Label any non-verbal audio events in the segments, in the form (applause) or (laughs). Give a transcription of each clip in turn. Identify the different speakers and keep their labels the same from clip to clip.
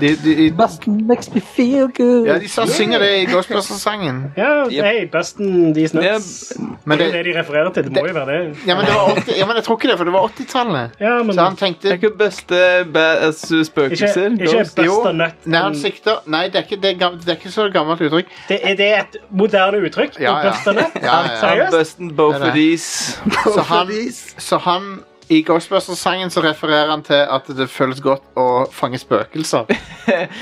Speaker 1: De, de,
Speaker 2: Boston makes me feel good.
Speaker 1: ja, de sa, synger det i Ghostbusters-sangen.
Speaker 3: Ja, hey, Busten, de snuts.
Speaker 4: Det
Speaker 1: Men,
Speaker 3: Det er jo
Speaker 1: det-
Speaker 3: det de refererer til. Det må jo være det.
Speaker 1: ja, men, det var 80, ja, men jeg tror ikke det, for det var 80-tallet.
Speaker 3: Ja, men
Speaker 1: Så han tenkte
Speaker 4: er ikke beste badass
Speaker 3: ikke,
Speaker 4: spøkelser.
Speaker 3: ikke
Speaker 4: Ghost.
Speaker 1: Jo.
Speaker 3: Buster Nut.
Speaker 1: Nei, han
Speaker 3: men
Speaker 1: sikter Nei, det er ikke, det er gam- det er ikke så gammelt uttrykk.
Speaker 3: Det er det er et moderne uttrykk.
Speaker 1: Ja, ja.
Speaker 3: Buster Nut.
Speaker 1: Ja, ja.
Speaker 4: I'm
Speaker 3: Seriøst?
Speaker 4: busting both
Speaker 1: Det er
Speaker 4: of
Speaker 1: det.
Speaker 4: these.
Speaker 1: Så han, så han i Ghostbusters-sangen så refererer han til at det føles godt å fange spøkelser.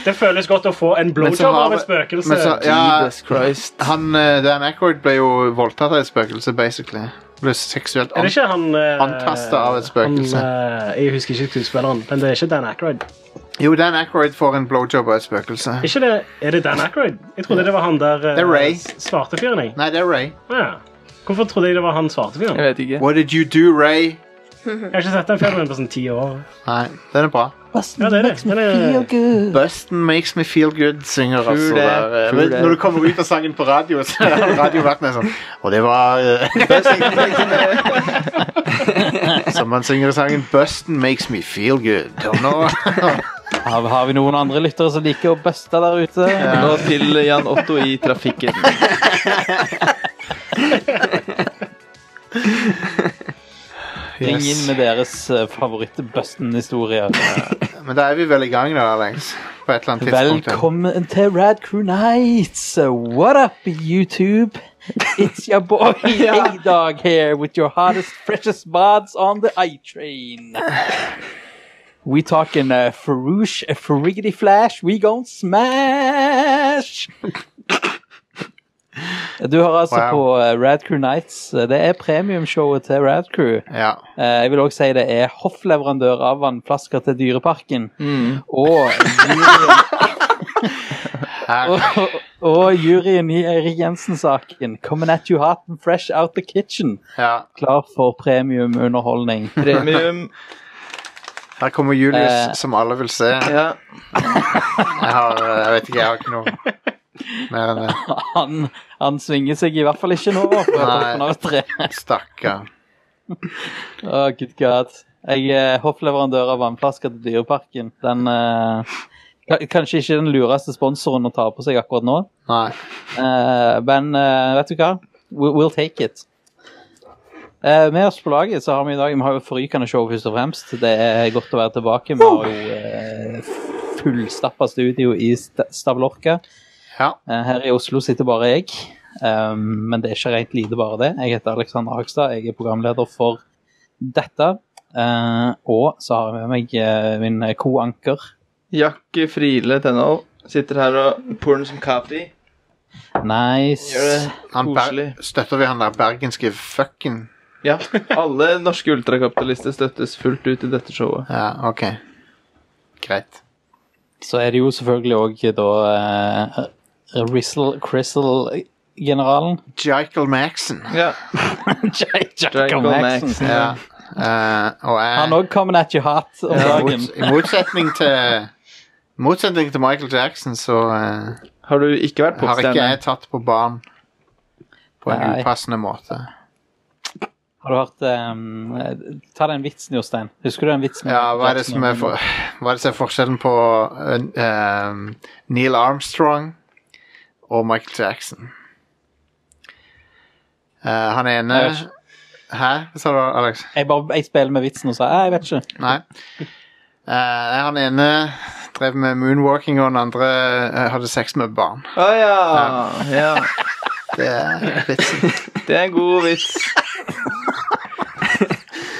Speaker 3: Det føles godt å få en
Speaker 1: Men så
Speaker 3: blowjob
Speaker 1: har
Speaker 3: av
Speaker 1: vi-
Speaker 3: et spøkelse.
Speaker 1: Men så, ja,
Speaker 4: Jesus Christ.
Speaker 1: han, eh, Dan Aykroyd ble jo voldtatt av et spøkelse, basically. Ble seksuelt
Speaker 3: Er
Speaker 1: an...
Speaker 3: det ikke han eh,
Speaker 1: Antastet av et spøkelse.
Speaker 3: han, eh, jeg husker ikke skuespilleren, men det er ikke Dan Aykroyd.
Speaker 1: Jo, Dan Aykroyd får en blowjob av et spøkelse.
Speaker 3: Er Ikke det, er det Dan Aykroyd? Jeg trodde det var han der eh,
Speaker 1: Det er Ray.
Speaker 3: s- svarte fyren. jeg.
Speaker 1: Nei, det er Ray.
Speaker 3: Ja. Hvorfor trodde jeg det var han svarte fyren?
Speaker 4: Jeg vet ikke.
Speaker 1: What did you do, Ray?
Speaker 3: Jeg har ikke sett den filmen på sånn ti år.
Speaker 1: Nei, den er bra.
Speaker 2: Boston
Speaker 3: Ja, det er det.
Speaker 2: makes me
Speaker 3: Men, eh,
Speaker 2: feel good.
Speaker 1: Busten makes me feel good, synger
Speaker 4: True
Speaker 1: altså
Speaker 4: det,
Speaker 1: der. eh,
Speaker 4: true
Speaker 1: men
Speaker 4: det.
Speaker 1: Når du kommer ut av sangen på radio, så har radioverten sånn Og det var
Speaker 5: (laughs)
Speaker 1: eh, Som man synger i sangen Busten makes me feel good. Og nå
Speaker 5: Har, har vi noen andre lyttere som liker å buste der ute?
Speaker 4: Nå til Jan Otto i
Speaker 1: (laughs)
Speaker 4: trafikken.
Speaker 5: Ring inn
Speaker 1: yes.
Speaker 5: med deres eh, favoritt-busten-historier.
Speaker 1: Men da er vi vel i gang, da, Alex. På et eller annet tidspunkt. ja.
Speaker 5: Velkommen til Rad Crew Nights! What up, YouTube? It's your
Speaker 1: (laughs)
Speaker 5: boy A-Dog here with your hottest, freshest mods on the I-Train. We talking uh, Farouche, uh, Ferrigity Flash, we gon' smash! Du hører altså
Speaker 1: Wow.
Speaker 5: på eh, Rad Crew Nights. Det er premiumshowet til Rad Crew.
Speaker 1: Ja.
Speaker 5: Eh, Jeg vil også si det er hoffleverandør av vannflasker til Dyreparken.
Speaker 1: Mm. (laughs)
Speaker 5: Og,
Speaker 1: Her.
Speaker 5: og, og juryen i Eirik Jensen-saken. Coming at you hot and fresh out the kitchen.
Speaker 1: ja.
Speaker 5: Klar for premiumunderholdning.
Speaker 4: Premium.
Speaker 1: Her kommer Julius,
Speaker 5: Eh.
Speaker 1: som alle vil se.
Speaker 4: Ja.
Speaker 1: Jeg, har, eh, jeg vet ikke, jeg har ikke noe eh, mer enn det.
Speaker 5: (laughs) Han, han svinger seg i hvert fall ikke nå. På toppen av et tre.
Speaker 1: Stakkar.
Speaker 5: Å, good god. Jeg er hoffleverandør av vannflasker til Dyreparken. Den eh, ka- Kanskje ikke den lureste sponsoren å ta på seg akkurat nå,
Speaker 1: Nei.
Speaker 5: Eh, men eh, vet du hva? We, we'll take it. Eh, med oss på laget så har vi i dag Vi har jo et forrykende show, først og fremst. Det er godt å være tilbake. Vi har jo uh, fullstappa studio i Sta- Stavlorka.
Speaker 1: Ja.
Speaker 5: Eh, her i Oslo sitter bare jeg. Um, men det er ikke rent lite bare det. Jeg heter Alexander Hagstad. Jeg er programleder for dette. Eh, og så har jeg med meg eh, min co-anker.
Speaker 4: Jakke Friele Tenhold sitter her og porn som kaffe. Gjør
Speaker 5: Nice.
Speaker 4: det
Speaker 1: Han
Speaker 4: koselig.
Speaker 1: ber støtter vi han der bergenske fucken?
Speaker 4: Ja. Alle norske ultrakapitalister støttes fullt ut i dette showet.
Speaker 1: Ja, ok. Greit.
Speaker 5: Så er det jo selvfølgelig òg da eh, Rizzle (laughs) Crizzle-generalen.
Speaker 1: Jikel Maxon.
Speaker 4: Ja.
Speaker 5: Jacob Maxon.
Speaker 4: Maxon.
Speaker 1: Ja. Eh, og jeg,
Speaker 5: Han òg coming at you hot om
Speaker 1: i
Speaker 5: dagen.
Speaker 1: mots- i motssetning til i motssetning til Michael Jackson, så eh,
Speaker 4: Har du ikke vært
Speaker 1: har ikke jeg
Speaker 4: popstjerne?
Speaker 1: tatt på barn på en
Speaker 5: Nei.
Speaker 1: upassende måte.
Speaker 5: Har du hørt eh, Ta den vitsen, Jostein. Husker du den vitsen?
Speaker 1: Ja, hva er det som er, for, hva er, det som er forskjellen på eh, eh, Neil Armstrong og Michael Jackson? Eh, han ene
Speaker 5: Jeg vet
Speaker 1: Hæ? Hva sa du, Alex?
Speaker 5: Jeg bare jeg spiller med vitsen og sa «Eh, jeg vet ikke.
Speaker 1: Nei. Eh, nei, han ene drev med moonwalking, og den andre eh, hadde sex med barn.
Speaker 4: Å ja. ja.
Speaker 1: Det er vitsen.
Speaker 4: Det er en god vits.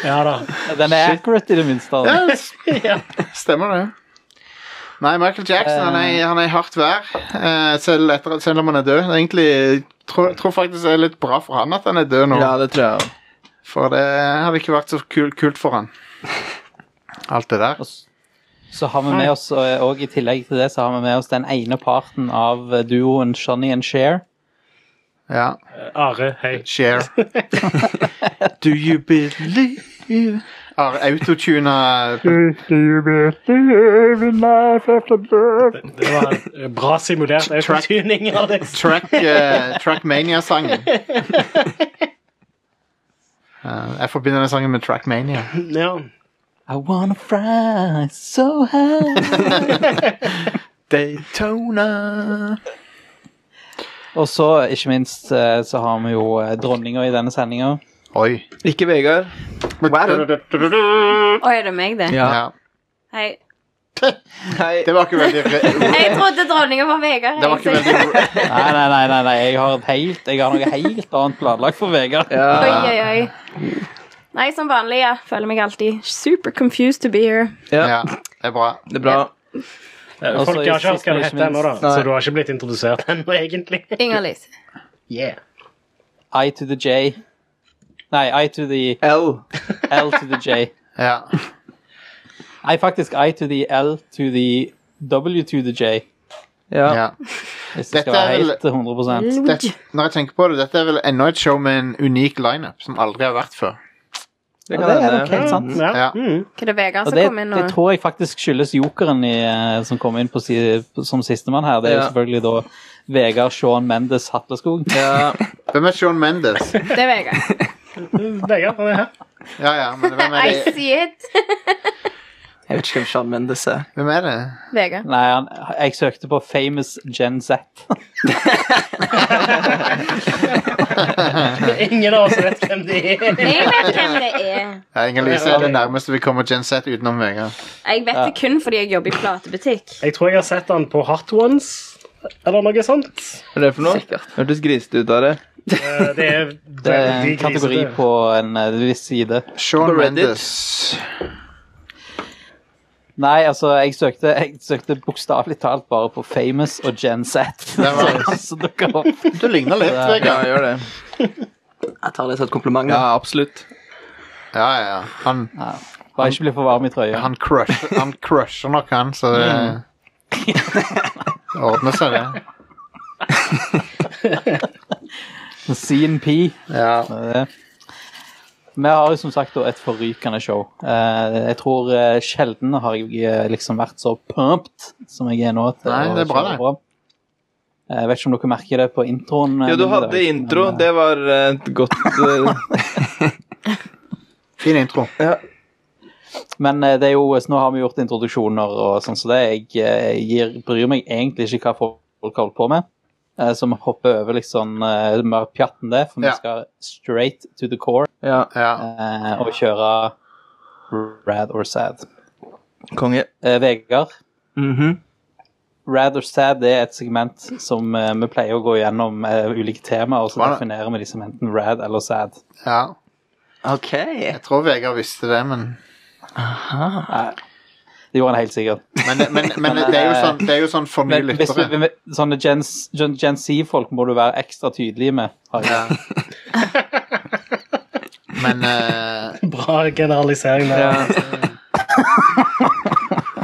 Speaker 3: Ja da. (laughs)
Speaker 5: Den er accurate, i det minste.
Speaker 1: (laughs)
Speaker 5: altså.
Speaker 1: Ja,
Speaker 5: da.
Speaker 1: det s- stemmer det. Nei, Michael Jackson han er, han er i hardt vær, eh, selv, etter, selv om han er død. Det er Egentlig tror, tror faktisk det er litt bra for han at han er død nå.
Speaker 4: Ja, det tror jeg òg.
Speaker 1: For det hadde ikke vært så kul, kult for han. Alt det der.
Speaker 5: Og s- Så har vi med oss, eh, og i tillegg til det, så har vi med oss den ene parten av eh, duoen Shunny and Share.
Speaker 1: Ja.
Speaker 3: Are, hei.
Speaker 1: Share. (laughs) Do you believe Har (laughs) autotuna
Speaker 3: Det, det var eh, bra simulert autotuning, Alex.
Speaker 1: track, eh,
Speaker 4: (laughs)
Speaker 1: Trackmania-sangen. Eh, jeg forbinder den sangen med Trackmania.
Speaker 3: Ja.
Speaker 5: I wanna fry so high.
Speaker 1: Daytona.
Speaker 5: Og så, ikke minst, eh, så har vi jo eh, dronninga i denne sendinga.
Speaker 1: Oi.
Speaker 4: Ikke Vegard.
Speaker 6: Å, er det meg, det?
Speaker 1: Ja.
Speaker 6: Hei.
Speaker 4: Hei.
Speaker 1: Det var ikke veldig re-
Speaker 6: Jeg trodde dronningen var Vegard.
Speaker 1: Det var ikke
Speaker 6: jeg.
Speaker 4: (laughs)
Speaker 1: veldig
Speaker 5: Nei, nei, nei, nei, nei. Jeg, har et helt, jeg har noe helt annet planlagt for Vegard.
Speaker 6: Oi,
Speaker 4: Ja.
Speaker 6: oi, oi. Nei, som vanlig, ja. Føler meg alltid super confused to be here.
Speaker 1: Ja, det er bra.
Speaker 4: Det er bra.
Speaker 3: Eh,
Speaker 5: Altså,
Speaker 3: Folk har
Speaker 5: i
Speaker 3: ikke hørt hva du
Speaker 5: siste,
Speaker 3: heter ennå, da.
Speaker 4: Nei.
Speaker 3: Så du har ikke blitt introdusert ennå, egentlig.
Speaker 6: Inger-Lise.
Speaker 3: Yeah.
Speaker 5: I to the J. Nei, I to the
Speaker 4: L.
Speaker 5: L to the J.
Speaker 1: Ja.
Speaker 5: Nei, faktisk I to the L to the W to the J.
Speaker 4: Ja.
Speaker 1: ja.
Speaker 5: Hvis det skal
Speaker 1: Dette er
Speaker 5: være
Speaker 1: vel-
Speaker 5: helt
Speaker 6: Mm,
Speaker 5: 100
Speaker 1: Det, når jeg tenker på det, dette er vel enda et show med en unik lineup som aldri har vært før.
Speaker 4: Det
Speaker 5: Ja,
Speaker 4: kan
Speaker 5: det er
Speaker 4: hende.
Speaker 5: nok helt sant.
Speaker 3: Ja.
Speaker 1: Ja.
Speaker 3: Mm.
Speaker 6: Hva er det Vegard
Speaker 5: Og
Speaker 6: som
Speaker 5: det,
Speaker 6: kom inn
Speaker 5: det
Speaker 6: nå?
Speaker 5: tror jeg faktisk skyldes jokeren i, eh, som kom inn på si, som sistemann her. Det er jo
Speaker 4: Ja.
Speaker 5: selvfølgelig da Vegard Sean Mendes Hatleskog.
Speaker 4: Ja.
Speaker 1: Hvem er Sean Mendes?
Speaker 6: Det er
Speaker 1: (laughs)
Speaker 6: Vegard.
Speaker 3: Vegard, han er her.
Speaker 1: Ja, ja, men hvem er
Speaker 6: I
Speaker 1: det?
Speaker 6: see it.
Speaker 4: Jeg vet ikke hvem Sean Mendes er.
Speaker 1: Hvem er det?
Speaker 6: Vegard.
Speaker 5: Nei, han, jeg søkte på Famous Gen Z.
Speaker 3: Ingen av oss vet hvem de er.
Speaker 6: Jeg vet hvem det er.
Speaker 1: Ja, Inger-Lise er det nærmeste vi kommer Gen Z utenom Vegard.
Speaker 6: Jeg vet det kun fordi jeg jobber i platebutikk.
Speaker 3: Jeg tror jeg har sett han på Hot Ones, eller noe sånt.
Speaker 4: Hva er det for noe? Hørtes grisete ut av det.
Speaker 3: Eh, Det er
Speaker 5: Det er en
Speaker 3: veldig
Speaker 5: kategori
Speaker 3: grisete.
Speaker 5: på en eh, viss side.
Speaker 1: Sean
Speaker 4: På Reddit.
Speaker 1: Mendes.
Speaker 5: Nei, altså, jeg søkte, jeg søkte bokstavelig talt bare på Famous og Gen
Speaker 1: (laughs)
Speaker 5: Z.
Speaker 1: var-
Speaker 5: (laughs) Så- Så dukker det opp.
Speaker 1: Du ligner litt,
Speaker 5: Ja.
Speaker 4: Ja,
Speaker 1: Vegard.
Speaker 4: gjør det.
Speaker 7: Jeg tar det som et kompliment.
Speaker 4: Ja,
Speaker 7: da.
Speaker 4: absolutt.
Speaker 1: Ja, ja, ja. Han,
Speaker 5: Bare ikke bli for varm i trøya.
Speaker 1: han, crusher, han crusher nok, han, så det
Speaker 5: Mm.
Speaker 1: (laughs) det ordner seg, det.
Speaker 5: CNP.
Speaker 1: Ja.
Speaker 5: Eh, Vi har jo som sagt da et forrykende show. Eh, Jeg tror eh, sjelden har jeg eh, liksom vært så pumped som jeg er nå. til
Speaker 1: Nei,
Speaker 5: å
Speaker 1: det er bra,
Speaker 5: kjøre
Speaker 1: det.
Speaker 5: på. Eh, Jeg vet ikke om dere merker det på introen. eh,
Speaker 4: Jo, du
Speaker 5: min i
Speaker 4: hadde
Speaker 5: dag,
Speaker 4: intro.
Speaker 5: men, eh,
Speaker 4: Det var eh, et godt eh,
Speaker 1: Fin intro.
Speaker 5: Men eh, det er jo, så nå har vi gjort introduksjoner og sånn, så det jeg eh, gir, bryr meg egentlig ikke hva folk holder på med. eh, Som hopper over liksom eh, mer pjatt enn det, for vi
Speaker 1: Ja.
Speaker 5: skal straight to the core
Speaker 4: Ja,
Speaker 1: Ja.
Speaker 5: eh, og kjøre rad or sad.
Speaker 4: konge.
Speaker 5: Eh, Vegard,
Speaker 7: Mhm.
Speaker 5: rad or sad det er et segment som eh, vi pleier å gå gjennom eh, ulike temaer, og så
Speaker 1: Hva er det?
Speaker 5: definerer vi de som enten rad eller sad.
Speaker 1: ja.
Speaker 7: OK.
Speaker 1: Jeg tror Vegard visste det, men
Speaker 5: Det gjorde han helt sikkert.
Speaker 1: Men, men, men det, er jo sånn, det er jo sånn for nye
Speaker 5: eh, Men hvis
Speaker 1: lyttere.
Speaker 5: du, sånne Gen, Gen, Gen Z-folk må du være ekstra tydelig med. Har jeg.
Speaker 1: Ja. Men eh,
Speaker 3: Bra generalisering der.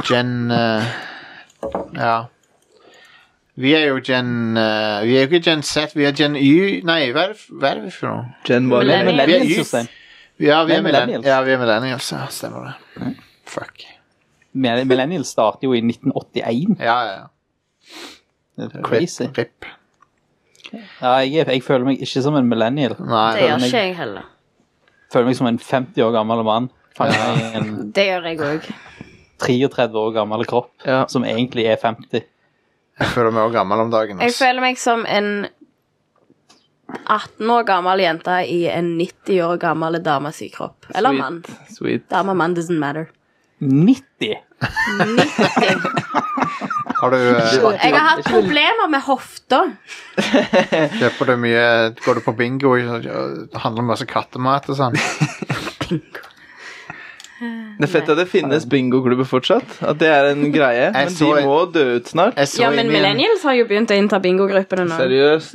Speaker 1: Gen eh, Ja. Vi er jo Gen eh, Vi er jo ikke Gen Z, vi er Gen Y Nei, hva er det, hva er det for noe?
Speaker 4: Jen var
Speaker 5: Vi er
Speaker 6: Millennium.
Speaker 4: litt
Speaker 5: millennials,
Speaker 1: Vi er
Speaker 5: Jostein.
Speaker 1: Ja, vi
Speaker 5: Vi er
Speaker 1: er,
Speaker 5: millennials.
Speaker 1: millennials.
Speaker 5: Mm.
Speaker 1: Ja, vi er millennials. Ja, stemmer det. Fuck.
Speaker 5: Mill- Millennials starter jo i 1981.
Speaker 1: Ja, ja. ja.
Speaker 5: Det er Crazy.
Speaker 1: Rip. rip.
Speaker 5: Ja, jeg, er- jeg føler meg ikke som en millennial.
Speaker 6: Det
Speaker 1: Nei.
Speaker 6: gjør ikke jeg heller.
Speaker 5: Føler meg som en 50 år gammel mann. Fanget i en
Speaker 6: Det gjør jeg òg.
Speaker 5: 33 år gammel kropp
Speaker 4: Ja.
Speaker 5: som egentlig er 50.
Speaker 1: Jeg føler meg også gammel om dagen.
Speaker 6: Jeg
Speaker 1: ass.
Speaker 6: føler meg som en 18 år gammel jente i en 90 år gammel dames i kropp. Eller mann.
Speaker 4: Sweet.
Speaker 6: Dame og mann doesn't matter.
Speaker 5: 90!
Speaker 1: Har du eh,
Speaker 6: Jeg har hatt problemer med hofta.
Speaker 1: Kjøper du mye Går du på bingo og handler masse kattemat og sånn?
Speaker 4: Det er fett at det finnes bingoklubber fortsatt. At det er en greie. Men de
Speaker 1: så-
Speaker 4: må dø ut snart.
Speaker 1: Jeg så
Speaker 6: Ja, men
Speaker 1: inn i en-
Speaker 6: millennials har jo begynt å innta bingogruppene nå.
Speaker 4: Seriøst.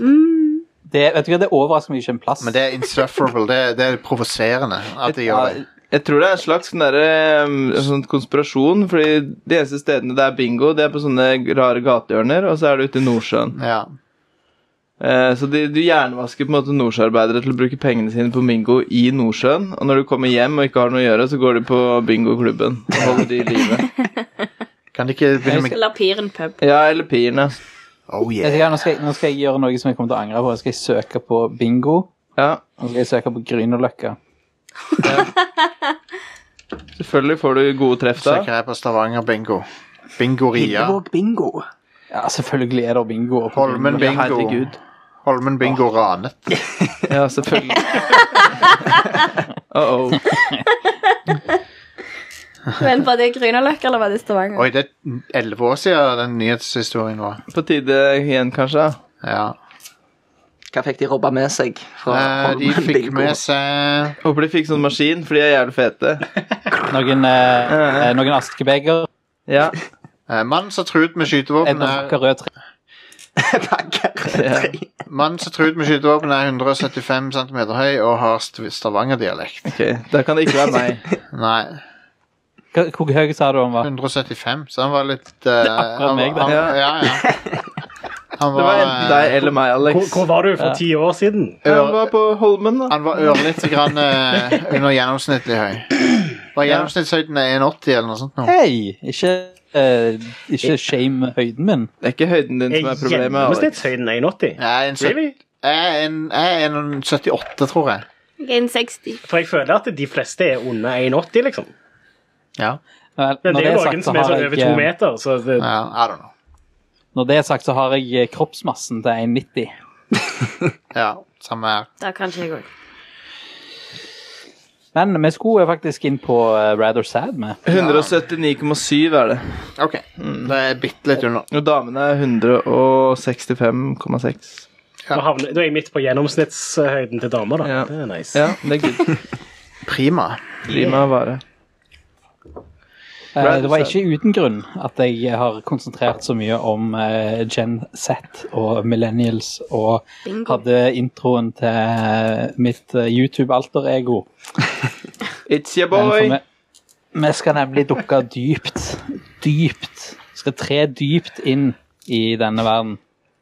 Speaker 5: Det, vet du hva, det overrasker meg ikke en plass.
Speaker 1: Men det er insufferable. Det, det er provoserende at de gjør det.
Speaker 4: Jeg tror det er en slags sånn derre, um, sånn konspirasjon, fordi de eneste stedene det er bingo, det er på sånne rare gatehjørner, og så er det ute i Nordsjøen.
Speaker 1: Ja.
Speaker 4: Eh, så de, du hjernevasker på en måte nordsjøarbeidere til å bruke pengene sine på bingo i Nordsjøen, og når du kommer hjem og ikke har noe å gjøre, så går de på bingoklubben og holder de i
Speaker 1: (laughs)
Speaker 4: live.
Speaker 1: Kan de ikke begynne med
Speaker 6: Eller Piren
Speaker 1: (laughs)
Speaker 6: pub.
Speaker 4: Ja, eller piren, ja.
Speaker 1: Oh
Speaker 5: Vet
Speaker 1: yeah.
Speaker 5: du hva, nå, skal jeg, nå skal jeg gjøre noe som jeg kommer til å angre på. Nå skal jeg søke på bingo.
Speaker 4: ja.
Speaker 5: Nå skal jeg søke på Grünerløkka.
Speaker 4: Selvfølgelig får du gode treff da.
Speaker 1: Søker jeg på Stavanger-bingo. Bingoria.
Speaker 7: Hillevåg bingo.
Speaker 5: Ja, selvfølgelig er det bingo. på
Speaker 1: Holmen
Speaker 4: Ja,
Speaker 1: bingo.
Speaker 4: herregud.
Speaker 1: Holmen bingo ranet.
Speaker 4: (laughs) Ja, selvfølgelig.
Speaker 1: (laughs)
Speaker 4: Uh-oh.
Speaker 6: Men var det Grünerløkka, eller var det Stavanger?
Speaker 1: Oi, det er elleve år siden den nyhetshistorien var.
Speaker 4: På tide igjen, kanskje?
Speaker 1: Ja.
Speaker 7: Hva fikk de robba med seg? fra
Speaker 1: Eh, de
Speaker 7: Holmen
Speaker 1: fikk
Speaker 7: bingo?
Speaker 1: med
Speaker 7: (laughs)
Speaker 1: seg
Speaker 4: Håper de fikk sånn maskin, for de er jævlig fete.
Speaker 5: Noen, eh, eh, noen askebeger,
Speaker 4: Ja.
Speaker 1: eh, Mannen som truet med
Speaker 5: en
Speaker 1: skytevåpen
Speaker 5: pakke
Speaker 1: er,
Speaker 5: rød tre.
Speaker 7: Bagger.
Speaker 1: mannen som truet med skytevåpen er 175 cm høy og har st- Stavanger-dialekt.
Speaker 4: (laughs) Ok, Da kan det ikke være meg.
Speaker 1: Nei,
Speaker 5: Hva- Hvor høy sa du han var?
Speaker 1: 175, så han var litt eh, han,
Speaker 5: meg, det.
Speaker 1: han, ja, ja. Han
Speaker 4: (laughs) Det var
Speaker 1: var,
Speaker 4: enten deg eller meg,
Speaker 3: Hvor,
Speaker 4: Alex.
Speaker 3: hvor var du for ti år siden?
Speaker 1: eh,
Speaker 4: Han
Speaker 1: ør,
Speaker 4: var på Holmen, da.
Speaker 1: han var ørlite grann eh, under gjennomsnittlig høy. Var gjennomsnittshøyden 1,80 eller noe sånt? nå?
Speaker 5: Hei, ikke, eh, ikke shame høyden min.
Speaker 4: Det er ikke høyden din som er problemet. Alex.
Speaker 3: gjennomsnittshøyden 1,80?
Speaker 1: Jeg er en syt-
Speaker 3: Really?
Speaker 1: jeg er en- jeg er en 78, tror jeg.
Speaker 6: Jeg er en 60.
Speaker 3: For jeg føler at de fleste er under 1,80, liksom.
Speaker 1: Ja,
Speaker 5: Men når
Speaker 3: Men det er
Speaker 5: det er
Speaker 3: jo
Speaker 5: sagt,
Speaker 3: noen
Speaker 5: så
Speaker 3: som er
Speaker 5: har
Speaker 3: sånn
Speaker 5: jeg,
Speaker 3: over to
Speaker 5: eh,
Speaker 3: meter, så det,
Speaker 1: ja I don't know.
Speaker 5: når det er sagt, så har jeg eh, kroppsmassen til 1,90.
Speaker 1: Ja, samme her.
Speaker 6: Da kan ikke jeg òg.
Speaker 5: Men vi skulle faktisk inn på eh, Rather Sad med.
Speaker 4: 179,7 er det.
Speaker 1: Ok, det er bitte litt unna.
Speaker 4: Og damene er 165,6.
Speaker 3: da, havner, da er jeg midt på gjennomsnittshøyden til damer, da.
Speaker 4: Ja.
Speaker 3: Det er nice.
Speaker 4: Ja, det er (laughs) good.
Speaker 1: Prima.
Speaker 4: Prima vare.
Speaker 5: Eh,
Speaker 4: Rather
Speaker 5: Det var
Speaker 4: Sad.
Speaker 5: ikke uten grunn at jeg har konsentrert så mye om eh, Gen Z og Millennials og
Speaker 6: Bingo.
Speaker 5: hadde introen til eh, mitt eh, YouTube-alter-ego.
Speaker 4: It's your
Speaker 5: Men for
Speaker 4: boy!
Speaker 5: meg- Vi skal nemlig dukke dypt, dypt, skal tre dypt inn i denne verden.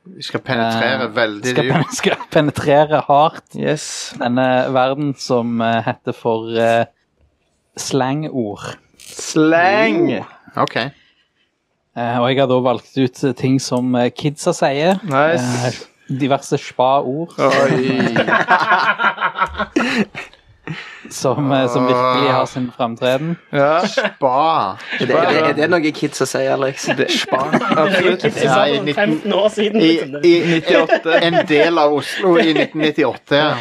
Speaker 1: Vi skal penetrere
Speaker 5: Eh,
Speaker 1: veldig
Speaker 5: Skal,
Speaker 1: dypt.
Speaker 5: pen skal penetrere hardt
Speaker 4: Yes.
Speaker 5: denne verden som eh, heter for eh, slangord.
Speaker 4: Slang!
Speaker 1: Ok.
Speaker 5: Eh, og jeg har da valgt ut eh, ting som eh, kidsa sier. Eh,
Speaker 4: Nice.
Speaker 5: diverse spa-ord
Speaker 4: Oh. Oi.
Speaker 5: som, eh, som virkelig har sin framtreden.
Speaker 4: (laughs) Ja,
Speaker 1: Spa.
Speaker 7: Er det, er, det, er det noe kids å si, Alex? Spa.
Speaker 4: absolutt.
Speaker 3: Ikke
Speaker 1: Ja, i
Speaker 3: sant,
Speaker 1: 19
Speaker 3: 15 år siden,
Speaker 1: I,
Speaker 3: liksom.
Speaker 1: i
Speaker 3: Det-
Speaker 1: 98. En del av Oslo i 1998, ja.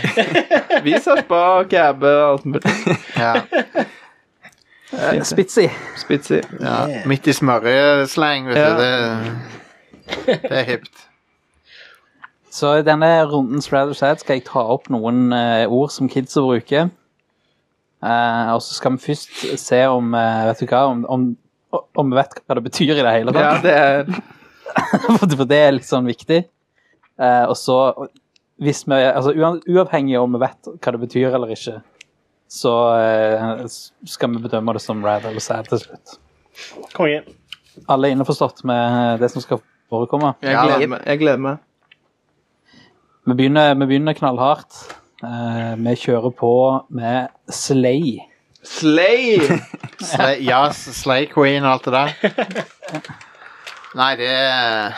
Speaker 4: Vi sa spa, cabbe og alt mulig.
Speaker 1: ja.
Speaker 5: Spitzy.
Speaker 4: Spitzy.
Speaker 1: ja. Midt i smørjesleng, vet
Speaker 4: Ja.
Speaker 1: du. Det, det er hipt.
Speaker 5: Så i denne rundens Rather Sad skal jeg ta opp noen eh, ord som kidsa bruker. Eh, og så skal vi først se om eh, Vet du hva? Om, om, om vi vet hva det betyr i det hele
Speaker 4: Ja,
Speaker 5: tatt.
Speaker 4: det er
Speaker 5: For det- (laughs) For det er litt sånn viktig. Eh, og så og hvis vi, altså, uan- Uavhengig om vi vet hva det betyr eller ikke, så eh, s- skal vi bedømme det som rather eller sad til slutt.
Speaker 3: Konge.
Speaker 5: Alle er innforstått med eh, det som skal forekomme.
Speaker 4: Jeg
Speaker 1: Ja.
Speaker 4: gleder meg. Jeg gleder meg.
Speaker 5: Vi begynner, vi begynner knallhardt. Eh, vi kjører på med Slay.
Speaker 4: Slay!
Speaker 1: Slay, ja, Slay Queen og alt det der. Nei, det er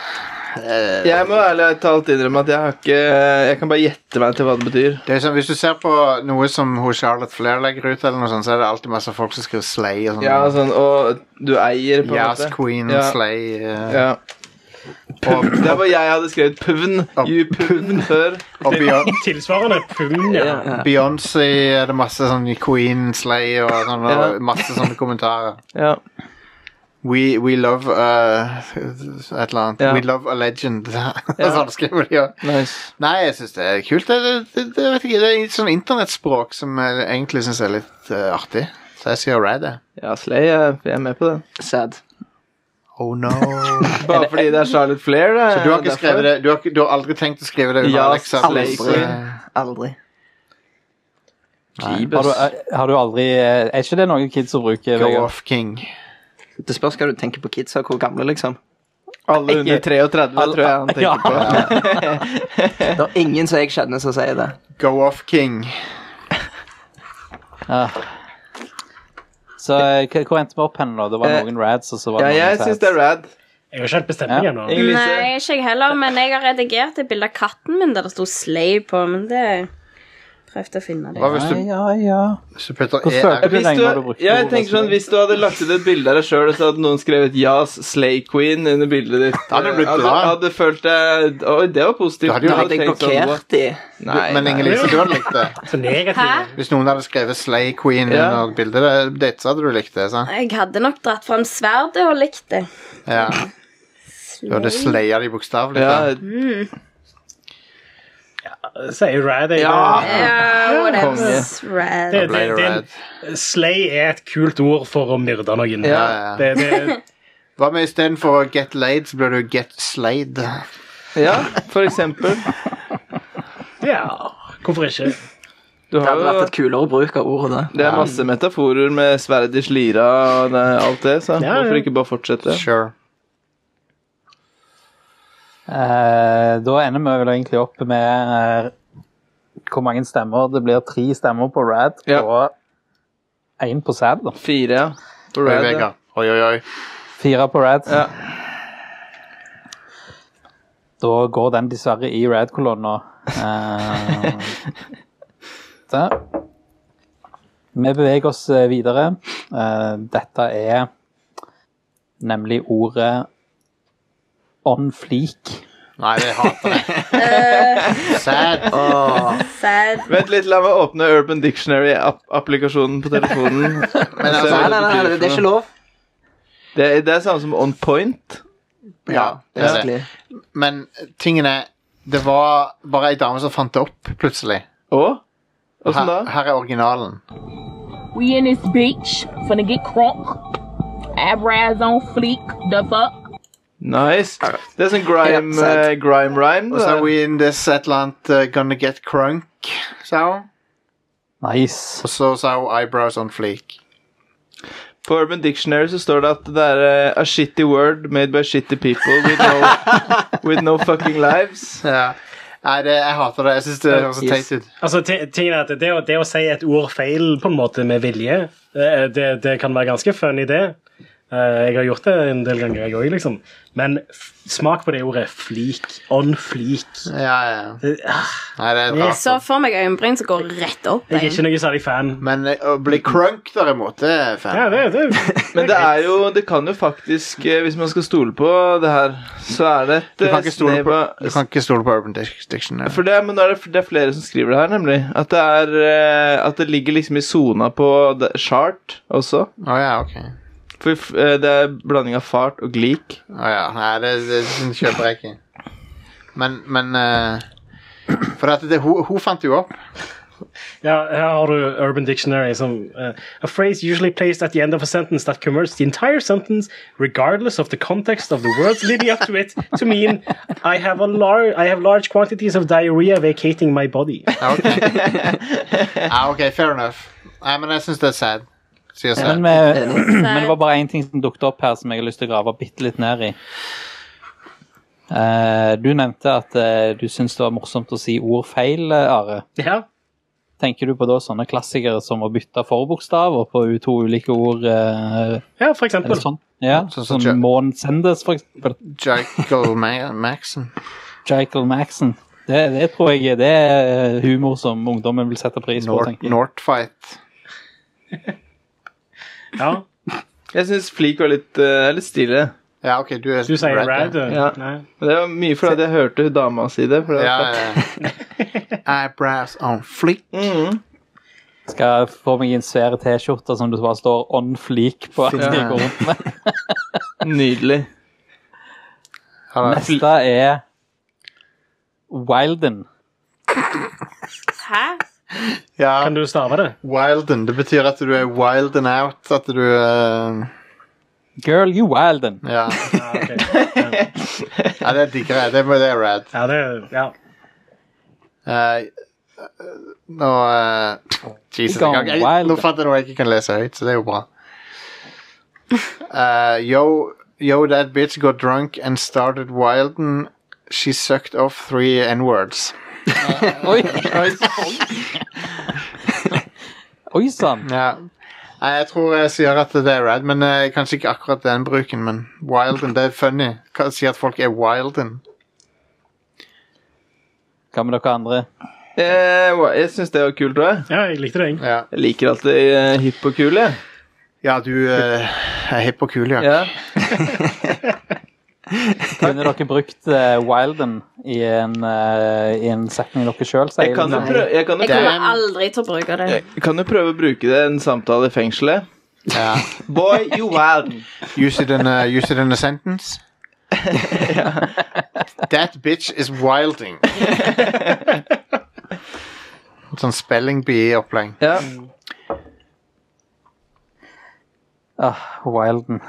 Speaker 1: eh,
Speaker 4: Jeg må ærlig talt innrømme at jeg har ikke Jeg kan bare gjette meg til hva det betyr.
Speaker 1: det er som, Hvis du ser på noe som hun Charlotte Flair legger ut, eller noe sånt, så er det alltid masse folk som skriver Slay. og sånn.
Speaker 4: Ja, sånn, og du eier, på en
Speaker 1: Yes,
Speaker 4: måte.
Speaker 1: Queen,
Speaker 4: Ja.
Speaker 1: Slay eh,
Speaker 4: Ja.
Speaker 1: og,
Speaker 4: Der hvor jeg hadde skrevet puvn, you puvn før.
Speaker 1: og Beyonce.
Speaker 3: Tilsvarende pund, ja.
Speaker 1: Beyoncé er det masse sånn Queen Slay og sånn, og
Speaker 4: Ja.
Speaker 1: masse sånne kommentarer.
Speaker 4: Ja.
Speaker 1: We, we love uh, et eller annet.
Speaker 4: Ja.
Speaker 1: We love a legend. (laughs) sånn skriver de òg.
Speaker 4: Nice.
Speaker 1: Nei, jeg syns det er kult. Det, det, det, det, vet ikke, det er sånn internettspråk som jeg egentlig syns er litt eh, artig. Så jeg sier rad, jeg.
Speaker 4: Ja, Slay, jeg jeg er med på den.
Speaker 7: Sad.
Speaker 1: Oh (laughs) no.
Speaker 4: Bare fordi det er Charlotte Flair. Det,
Speaker 1: Så du har ikke skrevet det Du har, ikke, du har aldri tenkt å skrive det under
Speaker 4: Ja,
Speaker 1: Alexa?
Speaker 4: Slay
Speaker 1: Bliss,
Speaker 4: Queen.
Speaker 1: eh,
Speaker 7: Aldri.
Speaker 5: Har du,
Speaker 4: Jeebus.
Speaker 5: eh, har du aldri eh, Er ikke det noe kids som bruker?
Speaker 1: Go
Speaker 5: Vegard?
Speaker 1: off king.
Speaker 7: Det spørs hva du tenker på kids og hvor gamle, liksom.
Speaker 4: Alle under 33, tror jeg han
Speaker 5: Ja.
Speaker 4: tenker
Speaker 1: (laughs)
Speaker 4: på.
Speaker 7: Det
Speaker 1: Eh.
Speaker 7: er ingen som jeg kjenner som sier det.
Speaker 1: Go off king.
Speaker 5: Ja. Så eh, hva- hvor endte vi opp hen nå? Det var
Speaker 4: Eh,
Speaker 5: noen rads, og så var
Speaker 4: Ja,
Speaker 5: det noen
Speaker 4: jeg
Speaker 5: sads.
Speaker 4: syns det er rad.
Speaker 3: Jeg har ikke helt bestemt meg
Speaker 5: Ja.
Speaker 3: ennå.
Speaker 4: Inger Lise.
Speaker 6: Nei, ikke jeg heller, men jeg har redigert et bilde av katten min der det sto 'slay' på, men det Prøvd å finne det.
Speaker 1: Hva hvis du,
Speaker 5: Ja, ja.
Speaker 1: hvis du putter E
Speaker 5: Hva søker du?
Speaker 1: ER
Speaker 4: Hvis
Speaker 5: lenge har du
Speaker 4: du,
Speaker 5: brukt
Speaker 4: jeg
Speaker 5: ordet,
Speaker 4: tenker
Speaker 5: altså?
Speaker 4: sånn, Hvis du hadde lagt ut et bilde av deg sjøl og så hadde noen skrevet 'Jas Slay Queen' under bildet ditt
Speaker 1: Da hadde du blitt
Speaker 4: eh, hadde,
Speaker 1: glad.
Speaker 4: hadde følt deg Oi, det var positivt.
Speaker 1: Du hadde
Speaker 4: Jeg
Speaker 1: jo
Speaker 7: Da hadde jeg
Speaker 4: tenkt sånn,
Speaker 7: blokkert de.
Speaker 4: «Wow». Nei,
Speaker 1: Men
Speaker 4: nei.
Speaker 1: Inger-Lise, du hadde likt det.
Speaker 3: Så negativ.
Speaker 6: Hæ?
Speaker 1: Hvis noen hadde skrevet Slay Queen
Speaker 4: Ja.
Speaker 1: under bildet ditt, så hadde du likt det. sant?
Speaker 6: Jeg hadde nok dratt fram sverdet og likt det.
Speaker 1: Ja. Du hadde slaya de bokstavelig.
Speaker 4: Ja,
Speaker 1: Ja.
Speaker 3: Sier Rad. jeg.
Speaker 4: Ja.
Speaker 6: Ja, whatevs.
Speaker 3: Det,
Speaker 6: Rad.
Speaker 3: det,
Speaker 1: Blade
Speaker 3: det,
Speaker 1: Red.
Speaker 3: slay er et kult ord for å myrde noen.
Speaker 1: Ja, ja.
Speaker 3: Det, det,
Speaker 1: Hva med istedenfor Get Laid, så blir du Get Slayed?
Speaker 4: ja, for eksempel.
Speaker 3: ja, hvorfor ikke?
Speaker 4: Du
Speaker 7: Det
Speaker 4: har
Speaker 7: hadde vært
Speaker 4: jo
Speaker 7: et kulere bruk av ordet.
Speaker 4: det er masse metaforer med sverd i slira og det, alt det, så
Speaker 3: Ja, ja.
Speaker 4: hvorfor ikke bare fortsette?
Speaker 1: Sure.
Speaker 5: Eh, da ender vi vel egentlig opp med eh, hvor mange stemmer. Det blir tre stemmer på Rad
Speaker 4: Ja.
Speaker 5: og én på Sad. da.
Speaker 4: Fire, ja. På
Speaker 1: Oi,
Speaker 4: Red, ja.
Speaker 1: Vegard. Oi, oi, oi.
Speaker 5: Fire på Rad.
Speaker 4: Ja.
Speaker 5: Da går den dessverre i Rad-kolonna.
Speaker 4: (laughs)
Speaker 5: Eh, der. Vi beveger oss eh, videre. Eh, dette er nemlig ordet on fleak.
Speaker 1: Nei, jeg hater det. (laughs) Sad.
Speaker 6: Sad.
Speaker 4: Vent litt, la meg åpne Urban Dictionary-applikasjonen på
Speaker 7: (laughs)
Speaker 4: telefonen.
Speaker 1: Men
Speaker 4: Se
Speaker 1: altså,
Speaker 7: Nei,
Speaker 4: hva
Speaker 7: nei, nei,
Speaker 4: betyr
Speaker 7: nei, det er
Speaker 4: for
Speaker 7: ikke
Speaker 4: noe.
Speaker 7: lov.
Speaker 4: Det er, det er samme som on point.
Speaker 1: ja, det er det.
Speaker 7: Basically.
Speaker 1: Men tingen er Det var bare ei dame som fant det opp, plutselig.
Speaker 4: Og? Åssen
Speaker 1: Her,
Speaker 4: da?
Speaker 1: her er originalen.
Speaker 8: We in this bitch, finna get crunk. Eyebrows on fleek, the fuck.
Speaker 4: Nice. Det er sånn
Speaker 7: Helt
Speaker 4: grime,
Speaker 7: sant.
Speaker 4: eh, grime rhyme.
Speaker 1: Og så er
Speaker 4: Det.
Speaker 1: we in this et eller annet uh, gonna get crunk, sa hun.
Speaker 5: Nice.
Speaker 1: Og så sa hun eyebrows on fleak.
Speaker 4: På Urban Dictionary så står det at det er eh, a shitty word made by shitty people with
Speaker 7: (laughs)
Speaker 4: no, with no fucking lives.
Speaker 1: Ja. Nei, det, jeg hater det. Jeg syns det høres så teit ut.
Speaker 3: Altså, ti- tingen er at det, å- det å si et ord feil på en måte med vilje, eh, det, det kan være ganske funny, det. Eh, Jeg har gjort det en del ganger, jeg òg, liksom. Men f smak på det ordet. Flik. On flik.
Speaker 1: Ja, ja.
Speaker 3: Det- ah,
Speaker 1: Nei, det er rart.
Speaker 6: Så for meg øyenbryn som går rett opp.
Speaker 3: Jeg er ikke
Speaker 6: Jeg.
Speaker 3: noe særlig fan.
Speaker 1: Men eh, å bli crunk, derimot, det er fan.
Speaker 3: Ja, det, det,
Speaker 4: Men det er jo Det kan jo faktisk eh, Hvis man skal stole på det her, så er det et
Speaker 1: Du
Speaker 4: eh,
Speaker 1: kan ikke stole
Speaker 4: snev
Speaker 1: på,
Speaker 4: av-
Speaker 1: du kan ikke stole på Urban Dic- Dictionary.
Speaker 4: For det, men da er det, det er flere som skriver det her, nemlig. At det, er, eh, at det ligger liksom i sona på det, chart også.
Speaker 1: Å ja, ok.
Speaker 4: For f- eh, det er blanding av fart og glik.
Speaker 1: Å ja. Nei, det, det, det kjøper jeg ikke. Men, men eh, For at det, hun, hun fant jo opp.
Speaker 3: Ja, her har du Urban Dictionary som eh, A phrase usually placed at the end of a sentence that converts the entire sentence, regardless of the context of the words leading up to it, to mean I have a lar I have large quantities of diarrhea vacating my body.
Speaker 1: Ja, ok. ja, ok, fair enough. Nei, men jeg syns det er sad. Sier
Speaker 5: Men,
Speaker 1: sad.
Speaker 5: vi, (clears throat) men det var bare én ting som dukket opp her som jeg har lyst til å grave bitte litt ned i. Eh, du nevnte at eh, du syns det var morsomt å si ord feil, eh, Are.
Speaker 3: Ja.
Speaker 5: Tenker du på da sånne klassikere som å bytte forbokstaver på u- to ulike ord? eh,
Speaker 3: ja, for eksempel.
Speaker 5: eller sånn? Ja,
Speaker 1: Sånn som
Speaker 5: sånn
Speaker 1: Jack-
Speaker 5: Månen sendes, for eksempel.
Speaker 1: Jackal Ma- Maxon.
Speaker 5: Jackal Maxon. Det, det tror jeg er- det er eh, humor som ungdommen vil sette pris på.
Speaker 1: Nort,
Speaker 5: tenker jeg.
Speaker 1: Nortfight.
Speaker 3: Ja.
Speaker 4: Jeg syns flik var litt, eh, er litt stilig.
Speaker 1: Ja, ok, du er
Speaker 3: Du sier rad.
Speaker 1: ja.
Speaker 3: eh. du.
Speaker 4: Ja.
Speaker 3: Nei.
Speaker 4: Men det var mye fordi jeg hørte hun dama si det. For det
Speaker 1: Ja,
Speaker 4: var
Speaker 1: ja, ja. (laughs) Eyebrows on fleek.
Speaker 5: Skal få meg en svær T-skjorte som det bare står 'on fleak' på. at (laughs) jeg går rundt med.
Speaker 4: så Nydelig.
Speaker 1: Ja, da.
Speaker 5: Neste er Wilden.
Speaker 6: Hæ?
Speaker 1: Ja,
Speaker 3: Kan du stave det?
Speaker 1: wilden. Det betyr at du er wild and out. At du eh,
Speaker 5: Girl, you wilden.
Speaker 1: Ja, (laughs)
Speaker 3: Ja, ok.
Speaker 1: ja det digger jeg. Det, må- det er rad.
Speaker 3: ja det ja.
Speaker 1: Eh, nå eh, Jesus, jeg, jeg, jeg, nå fant jeg noe jeg ikke kan lese høyt, så det er jo bra. Eh, yo, yo, that bitch got drunk and started wilding. She sucked off three N-words.
Speaker 5: Oi, (laughs) Oi sann.
Speaker 1: Ja. Nei, jeg tror jeg sier at det er rad, men eh, kanskje ikke akkurat den bruken. Men wilding, det er funny. Kan si at folk er wilding.
Speaker 5: Hva med dere andre?
Speaker 4: Eh, hva- jeg syns det var kult òg.
Speaker 3: Ja, jeg likte det. jeg.
Speaker 1: Ja,
Speaker 4: Jeg liker alltid eh, hipp og kul, jeg.
Speaker 1: ja du eh, er hipp og kul, ja.
Speaker 4: Ja.
Speaker 5: Kunne dere brukt eh, Wilden i en, eh, i en setning dere sjøl sier?
Speaker 4: Jeg kan jo
Speaker 5: liksom?
Speaker 4: prøve, jeg kan jo
Speaker 6: Jeg kommer
Speaker 4: prøve,
Speaker 6: aldri til å bruke det.
Speaker 4: jeg kan jo prøve å bruke det i en samtale i fengselet.
Speaker 1: ja.
Speaker 4: Boy, you wild.
Speaker 1: Use it in a, use it in a sentence. That bitch is wilding. (laughs) Sånn spelling bee-opplegg.
Speaker 4: (laughs) Ja.
Speaker 5: Ah, Wilden.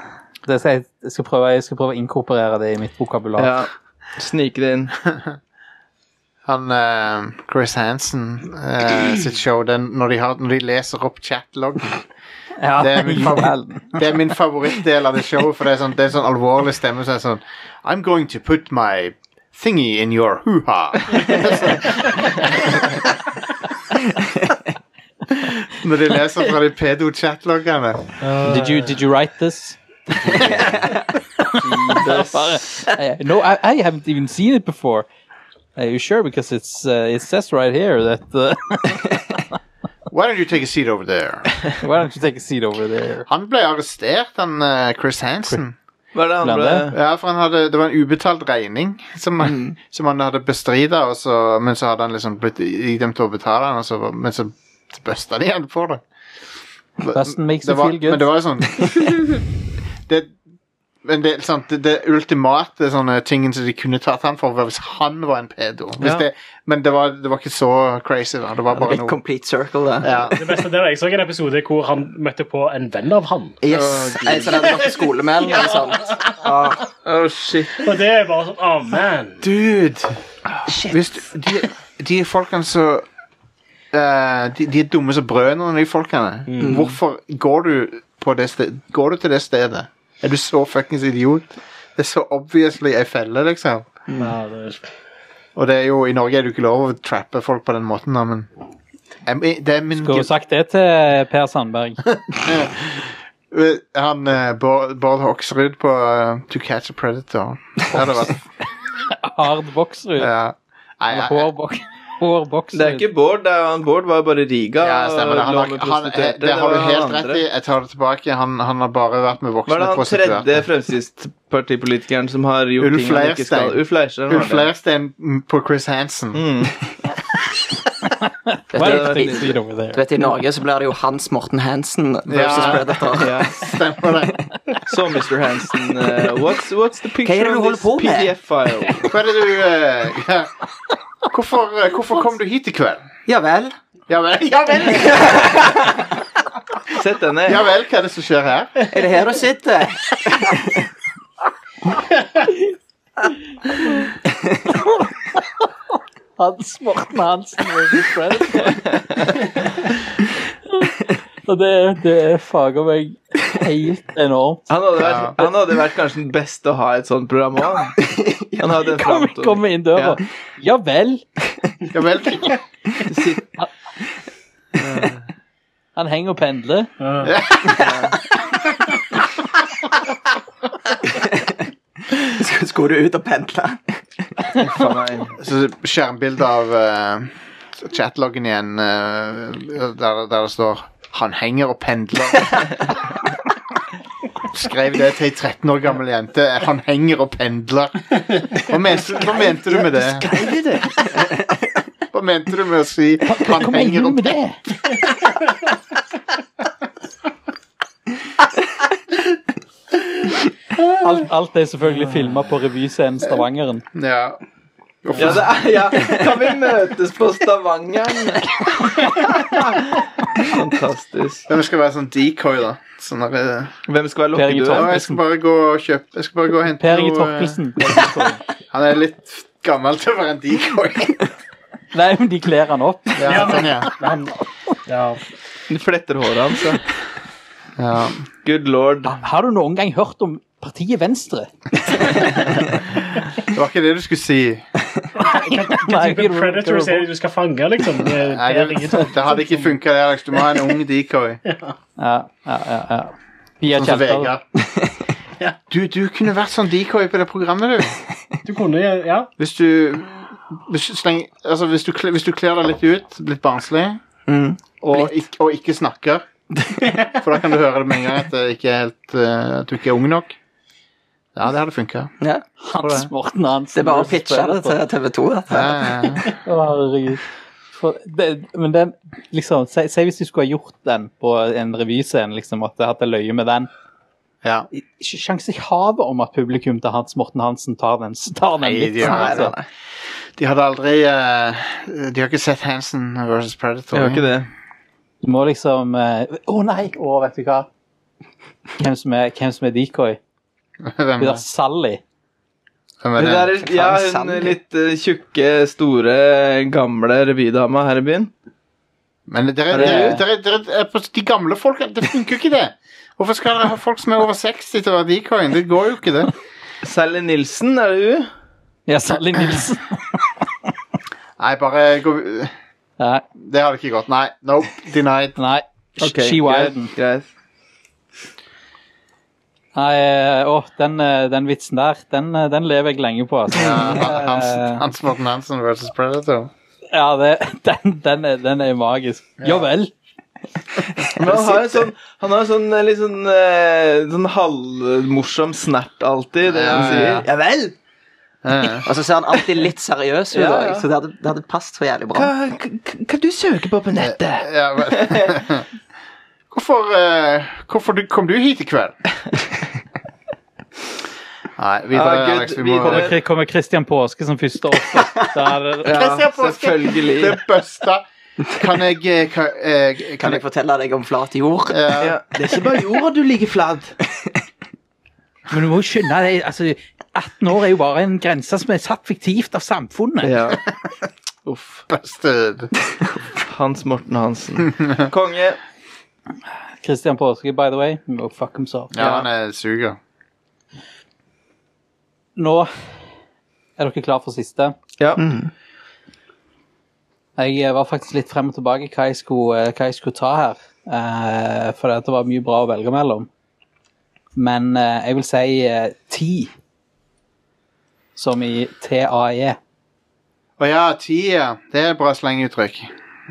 Speaker 5: Det skal jeg, jeg, skal prøve, jeg skal prøve å inkorporere det i mitt vokabular.
Speaker 4: ja. Snike det inn.
Speaker 1: Han eh, Chris Hansen eh, sitt show, den, når, de har, når de leser opp chatlog
Speaker 5: Ja,
Speaker 1: Det er
Speaker 5: (laughs)
Speaker 1: min favoritt.
Speaker 5: Wilden.
Speaker 1: Det er min favorittdel av det showet, for det er sånn, det er sånn alvorlig stemme som er sånn I'm going to put my thingy in your hoo-ha. (laughs) Når de leser fra de pedo-chatloggene.
Speaker 5: Did you, did you write this? Jesus. Eh, no, I, I haven't even seen it before. Are you sure? Because it's, uh, it says right here that uh,
Speaker 1: Why don't you take a seat over there?
Speaker 5: (laughs) Why don't you take a seat over there?
Speaker 1: Han ble arrestert, han eh, Chris Hansen.
Speaker 4: Hva er det
Speaker 5: Blant
Speaker 4: andre?
Speaker 1: Ja, for han hadde, Det var en ubetalt regning som han, som han hadde bestrida, og så, men så hadde han liksom blitt idømt å betale den, og så, var- men så busta de han for det.
Speaker 5: Busten makes
Speaker 1: det
Speaker 5: you
Speaker 1: var,
Speaker 5: feel good.
Speaker 1: Men det var jo sånn
Speaker 5: (laughs)
Speaker 1: det, men det, sant, det, det ultimate sånne tingen som de kunne tatt han for, var hvis han var en pedo. Hvis
Speaker 4: Ja.
Speaker 1: det, men det var, det var ikke så crazy, da. Det var bare
Speaker 7: Litt
Speaker 1: noe
Speaker 7: complete circle, da.
Speaker 1: ja.
Speaker 3: Det beste der, Jeg så en episode hvor han møtte på en venn av han.
Speaker 7: Yes, En som hadde vært skolemenn eller sånt. Ah,
Speaker 4: Å, shit.
Speaker 3: Og det var sånn Å, man.
Speaker 1: Dude! Hvis du, de, de folkene som eh, de, de er dumme som brødrene, de folkene.
Speaker 5: Mm.
Speaker 1: Hvorfor går du, på det sted, går du til det stedet? Er du så fuckings idiot? Det er så obviously ei felle, liksom.
Speaker 3: Ja, det-
Speaker 1: Og det er jo, i Norge er det jo ikke lov å trappe folk på den måten, da, men Jeg- jeg- det er min
Speaker 5: Skulle jo sagt det til Per Sandberg.
Speaker 1: Eh, Han eh, Bård, Bård Hoksrud på eh, To Catch a Predator. Det hadde vært
Speaker 5: Hard Boksrud.
Speaker 1: ja. Nei,
Speaker 5: Eller
Speaker 1: jeg-
Speaker 5: Hår bok- hår Boksrud.
Speaker 4: Det er ikke Bård. Det er, han- Bård var jo bare i Riga.
Speaker 1: Ja, stemmer det. Han,
Speaker 4: og lå med
Speaker 1: har, han, eh,
Speaker 4: prostituerte.
Speaker 1: det har
Speaker 4: var
Speaker 1: du
Speaker 4: han
Speaker 1: helt
Speaker 4: andre.
Speaker 1: rett i. Jeg tar det tilbake. Han, han har bare vært med
Speaker 4: Hva er
Speaker 1: voksne
Speaker 4: det han
Speaker 1: prostituerte.
Speaker 4: tredje Fremskrittspartipolitikeren som har gjort
Speaker 1: Ulf
Speaker 4: ting han ikke skal?
Speaker 1: Leirstein.
Speaker 4: Ulf Leirstein. var
Speaker 1: Ulf
Speaker 4: det.
Speaker 1: Leirstein på Chris Hansen.
Speaker 4: Mm.
Speaker 7: vet
Speaker 5: Why
Speaker 7: du,
Speaker 5: don't you take a seat over
Speaker 7: du
Speaker 5: there?
Speaker 7: vet, I Norge så blir det jo Hans Morten Hansen versus
Speaker 1: Ja. (laughs)
Speaker 7: Predator.
Speaker 4: Ja.
Speaker 1: (laughs) Stemmer det.
Speaker 4: Så, Mr. Hansen, eh, what's, what's the
Speaker 7: Hva er det
Speaker 4: picture
Speaker 7: du
Speaker 4: of
Speaker 7: holder
Speaker 4: this
Speaker 7: på med?
Speaker 4: PDF-file?
Speaker 1: Hva er det du eh, ja. hvorfor, eh, hvorfor kom du hit i kveld?
Speaker 7: Ja vel.
Speaker 1: Ja vel, ja vel,
Speaker 4: Sett den ned.
Speaker 1: ja vel, hva er det som skjer her?
Speaker 7: Er det her du sitter?
Speaker 5: Hans Morten Hansen versus (laughs) Predator. Og det, det fager meg helt enormt.
Speaker 4: Han hadde, vært,
Speaker 1: Ja.
Speaker 4: han hadde vært kanskje den beste å ha i et sånt program
Speaker 1: (laughs)
Speaker 4: òg. Han hadde en
Speaker 5: Kom,
Speaker 4: framtoning.
Speaker 5: kom inn døra. Ja vel.
Speaker 1: Ja vel.
Speaker 4: (laughs) Sitt-
Speaker 5: Han henger og pendler.
Speaker 7: Sk- Skulle du ut og pendle?
Speaker 4: Faen meg.
Speaker 1: Så skjermbilde av eh, chatloggen igjen, eh, der, der det står 'Han henger og pendler'. (laughs) Skrev det til ei 13 år gammel jente. 'Han henger og pendler'. Hva mente, hva mente du med det?
Speaker 7: Skrev du det?
Speaker 1: Hva mente du med å si 'han
Speaker 5: Kom inn
Speaker 1: henger og
Speaker 5: med det. Alt, alt er selvfølgelig filma på revyscenen Stavangeren.
Speaker 1: pendler'? Ja.
Speaker 4: Ja, det er, ja. Kan vi møtes på Stavangeren? Fantastisk.
Speaker 1: Den skal være sånn decoy, da. Sånn der, eh,
Speaker 4: Hvem skal være
Speaker 5: Per Inge
Speaker 1: ja,
Speaker 4: lokkedue?
Speaker 1: jeg skal bare gå og kjøpe Jeg skal bare gå og hente
Speaker 5: Per Inge
Speaker 1: noe, eh,
Speaker 5: Torkelsen.
Speaker 1: Han er litt gammel til å være en decoy.
Speaker 5: Nei, men de kler han opp.
Speaker 1: Ja, sånn, ja.
Speaker 3: Han, ja.
Speaker 4: Du fletter håret hans. ja.
Speaker 1: Ja.
Speaker 4: Good lord.
Speaker 5: Har du noen gang hørt om partiet
Speaker 1: (laughs)
Speaker 5: Venstre?
Speaker 1: Det var ikke det du skulle si.
Speaker 5: Nei,
Speaker 3: Typen Predators er det du skal fange, liksom. Det er
Speaker 1: Nei,
Speaker 3: Per
Speaker 1: det, sånn.
Speaker 3: Inge Torkelsen
Speaker 1: det hadde ikke
Speaker 3: som-
Speaker 1: funka, det, Alex. Du må ha en ung decoy.
Speaker 5: Ja, ja, ja. ja. Pia
Speaker 1: Sånn som
Speaker 5: Kjelter.
Speaker 1: Vegard. Du, du kunne vært sånn decoy på det programmet, du.
Speaker 3: Du kunne, ja.
Speaker 1: Hvis du bes- sleng, altså, hvis, du, kle- hvis du kler deg litt ut, litt barnslig,
Speaker 7: Mm.
Speaker 1: og, ikk- og ikke snakker For da kan du høre det med en gang at, det ikke er helt, eh, at du ikke er ung nok. Ja, det hadde funka.
Speaker 7: Ja.
Speaker 1: det.
Speaker 5: Hans Morten Hansen.
Speaker 7: Det er bare å
Speaker 5: du
Speaker 7: pitche
Speaker 5: spiller
Speaker 7: det
Speaker 5: på.
Speaker 7: til TV 2.
Speaker 1: Ja, ja, ja.
Speaker 5: Å, herregud. For det, men den, liksom, si, si hvis du skulle ha gjort den på en revyscene, liksom, at jeg hadde løyet med den.
Speaker 1: ja.
Speaker 5: Ikke sjanse i havet om at publikum til Hans Morten Hansen tar den, tar den
Speaker 1: Nei,
Speaker 5: vitsen,
Speaker 1: det gjør han
Speaker 5: altså.
Speaker 1: De hadde aldri eh, De har ikke sett Hansen versus Predator.
Speaker 4: Jeg gjør ikke det.
Speaker 5: Du må liksom eh, Å nei! Å, vet du hva? Hvem som er, hvem som er decoy?
Speaker 1: Hvem,
Speaker 5: Hun der Sally.
Speaker 1: hvem
Speaker 4: Hun
Speaker 1: er det?
Speaker 4: der, ja, hun
Speaker 7: Sally.
Speaker 4: litt eh, tjukke, store, gamle revydama her i byen.
Speaker 1: Men dere, dere, dere, dere, er på- de gamle folka Det funker jo ikke, det! Hvorfor skal dere ha folk som er over 60 til å være decoyen? Det går jo ikke, det.
Speaker 4: Sally Nilsen, er det hun?
Speaker 5: Ja, Sally Nilsen.
Speaker 1: (laughs) Nei, bare gå
Speaker 5: Nei.
Speaker 1: Det hadde ikke gått. Nei. Nope.
Speaker 4: (laughs)
Speaker 1: Denied.
Speaker 5: nei.
Speaker 4: Ok,
Speaker 5: She
Speaker 4: greit,
Speaker 5: Wilden.
Speaker 4: greit.
Speaker 5: Nei, eh, å, den, eh, den vitsen der, den, eh, den lever jeg lenge på. Altså.
Speaker 1: Ja, Hans, Hans Morten Hansen versus Predator.
Speaker 5: Ja, det, (laughs) den, den, er, den er magisk. Ja vel.
Speaker 4: Men han har jo sånn, han har jo sånn eh, litt sånn, eh, sånn halvmorsom snert alltid, det han
Speaker 1: Ja, ja, ja.
Speaker 4: sier. Ja vel!
Speaker 1: Eh,
Speaker 7: Og så ser han alltid litt seriøs ut,
Speaker 4: Ja,
Speaker 7: også,
Speaker 4: ja.
Speaker 7: så det hadde, det hadde passet så jævlig bra.
Speaker 4: hva du søker på på nettet?
Speaker 1: ja, men- (laughs) hvorfor, eh, hvorfor du, kom du hit i kveld? Nei, videre,
Speaker 4: Ah, Gud,
Speaker 1: Alex. Vi
Speaker 4: vi
Speaker 1: må
Speaker 4: kommer-
Speaker 5: Kommer, kommer Christian Påske som første offer? Der,
Speaker 4: Ja,
Speaker 1: Christian Påske.
Speaker 4: selvfølgelig.
Speaker 1: Det busta. Kan jeg eh, Kan, eh, kan
Speaker 7: Kan
Speaker 1: jeg
Speaker 7: jeg fortelle deg om flat jord?
Speaker 1: eh,
Speaker 4: Ja, det er ikke bare jorda du ligger flat.
Speaker 5: men du må jo skjønne det, altså, 18 år er jo bare en grense som er satt fiktivt av samfunnet.
Speaker 4: Ja. (laughs) Uff.
Speaker 1: busted?
Speaker 4: Hans Morten Hansen. Konge.
Speaker 5: Christian Påske, by the way. No fuck himself.
Speaker 1: Ja, han er suger.
Speaker 5: Nå er dere klar for siste.
Speaker 4: Ja.
Speaker 5: Jeg eh, var faktisk litt frem og tilbake hva jeg skulle, eh, hva jeg skulle ta her. eh, for det var mye bra å velge mellom. Men eh, jeg vil si eh, ti. Som i E. TAE.
Speaker 1: Å ja, tia. Det er et bra slenguttrykk.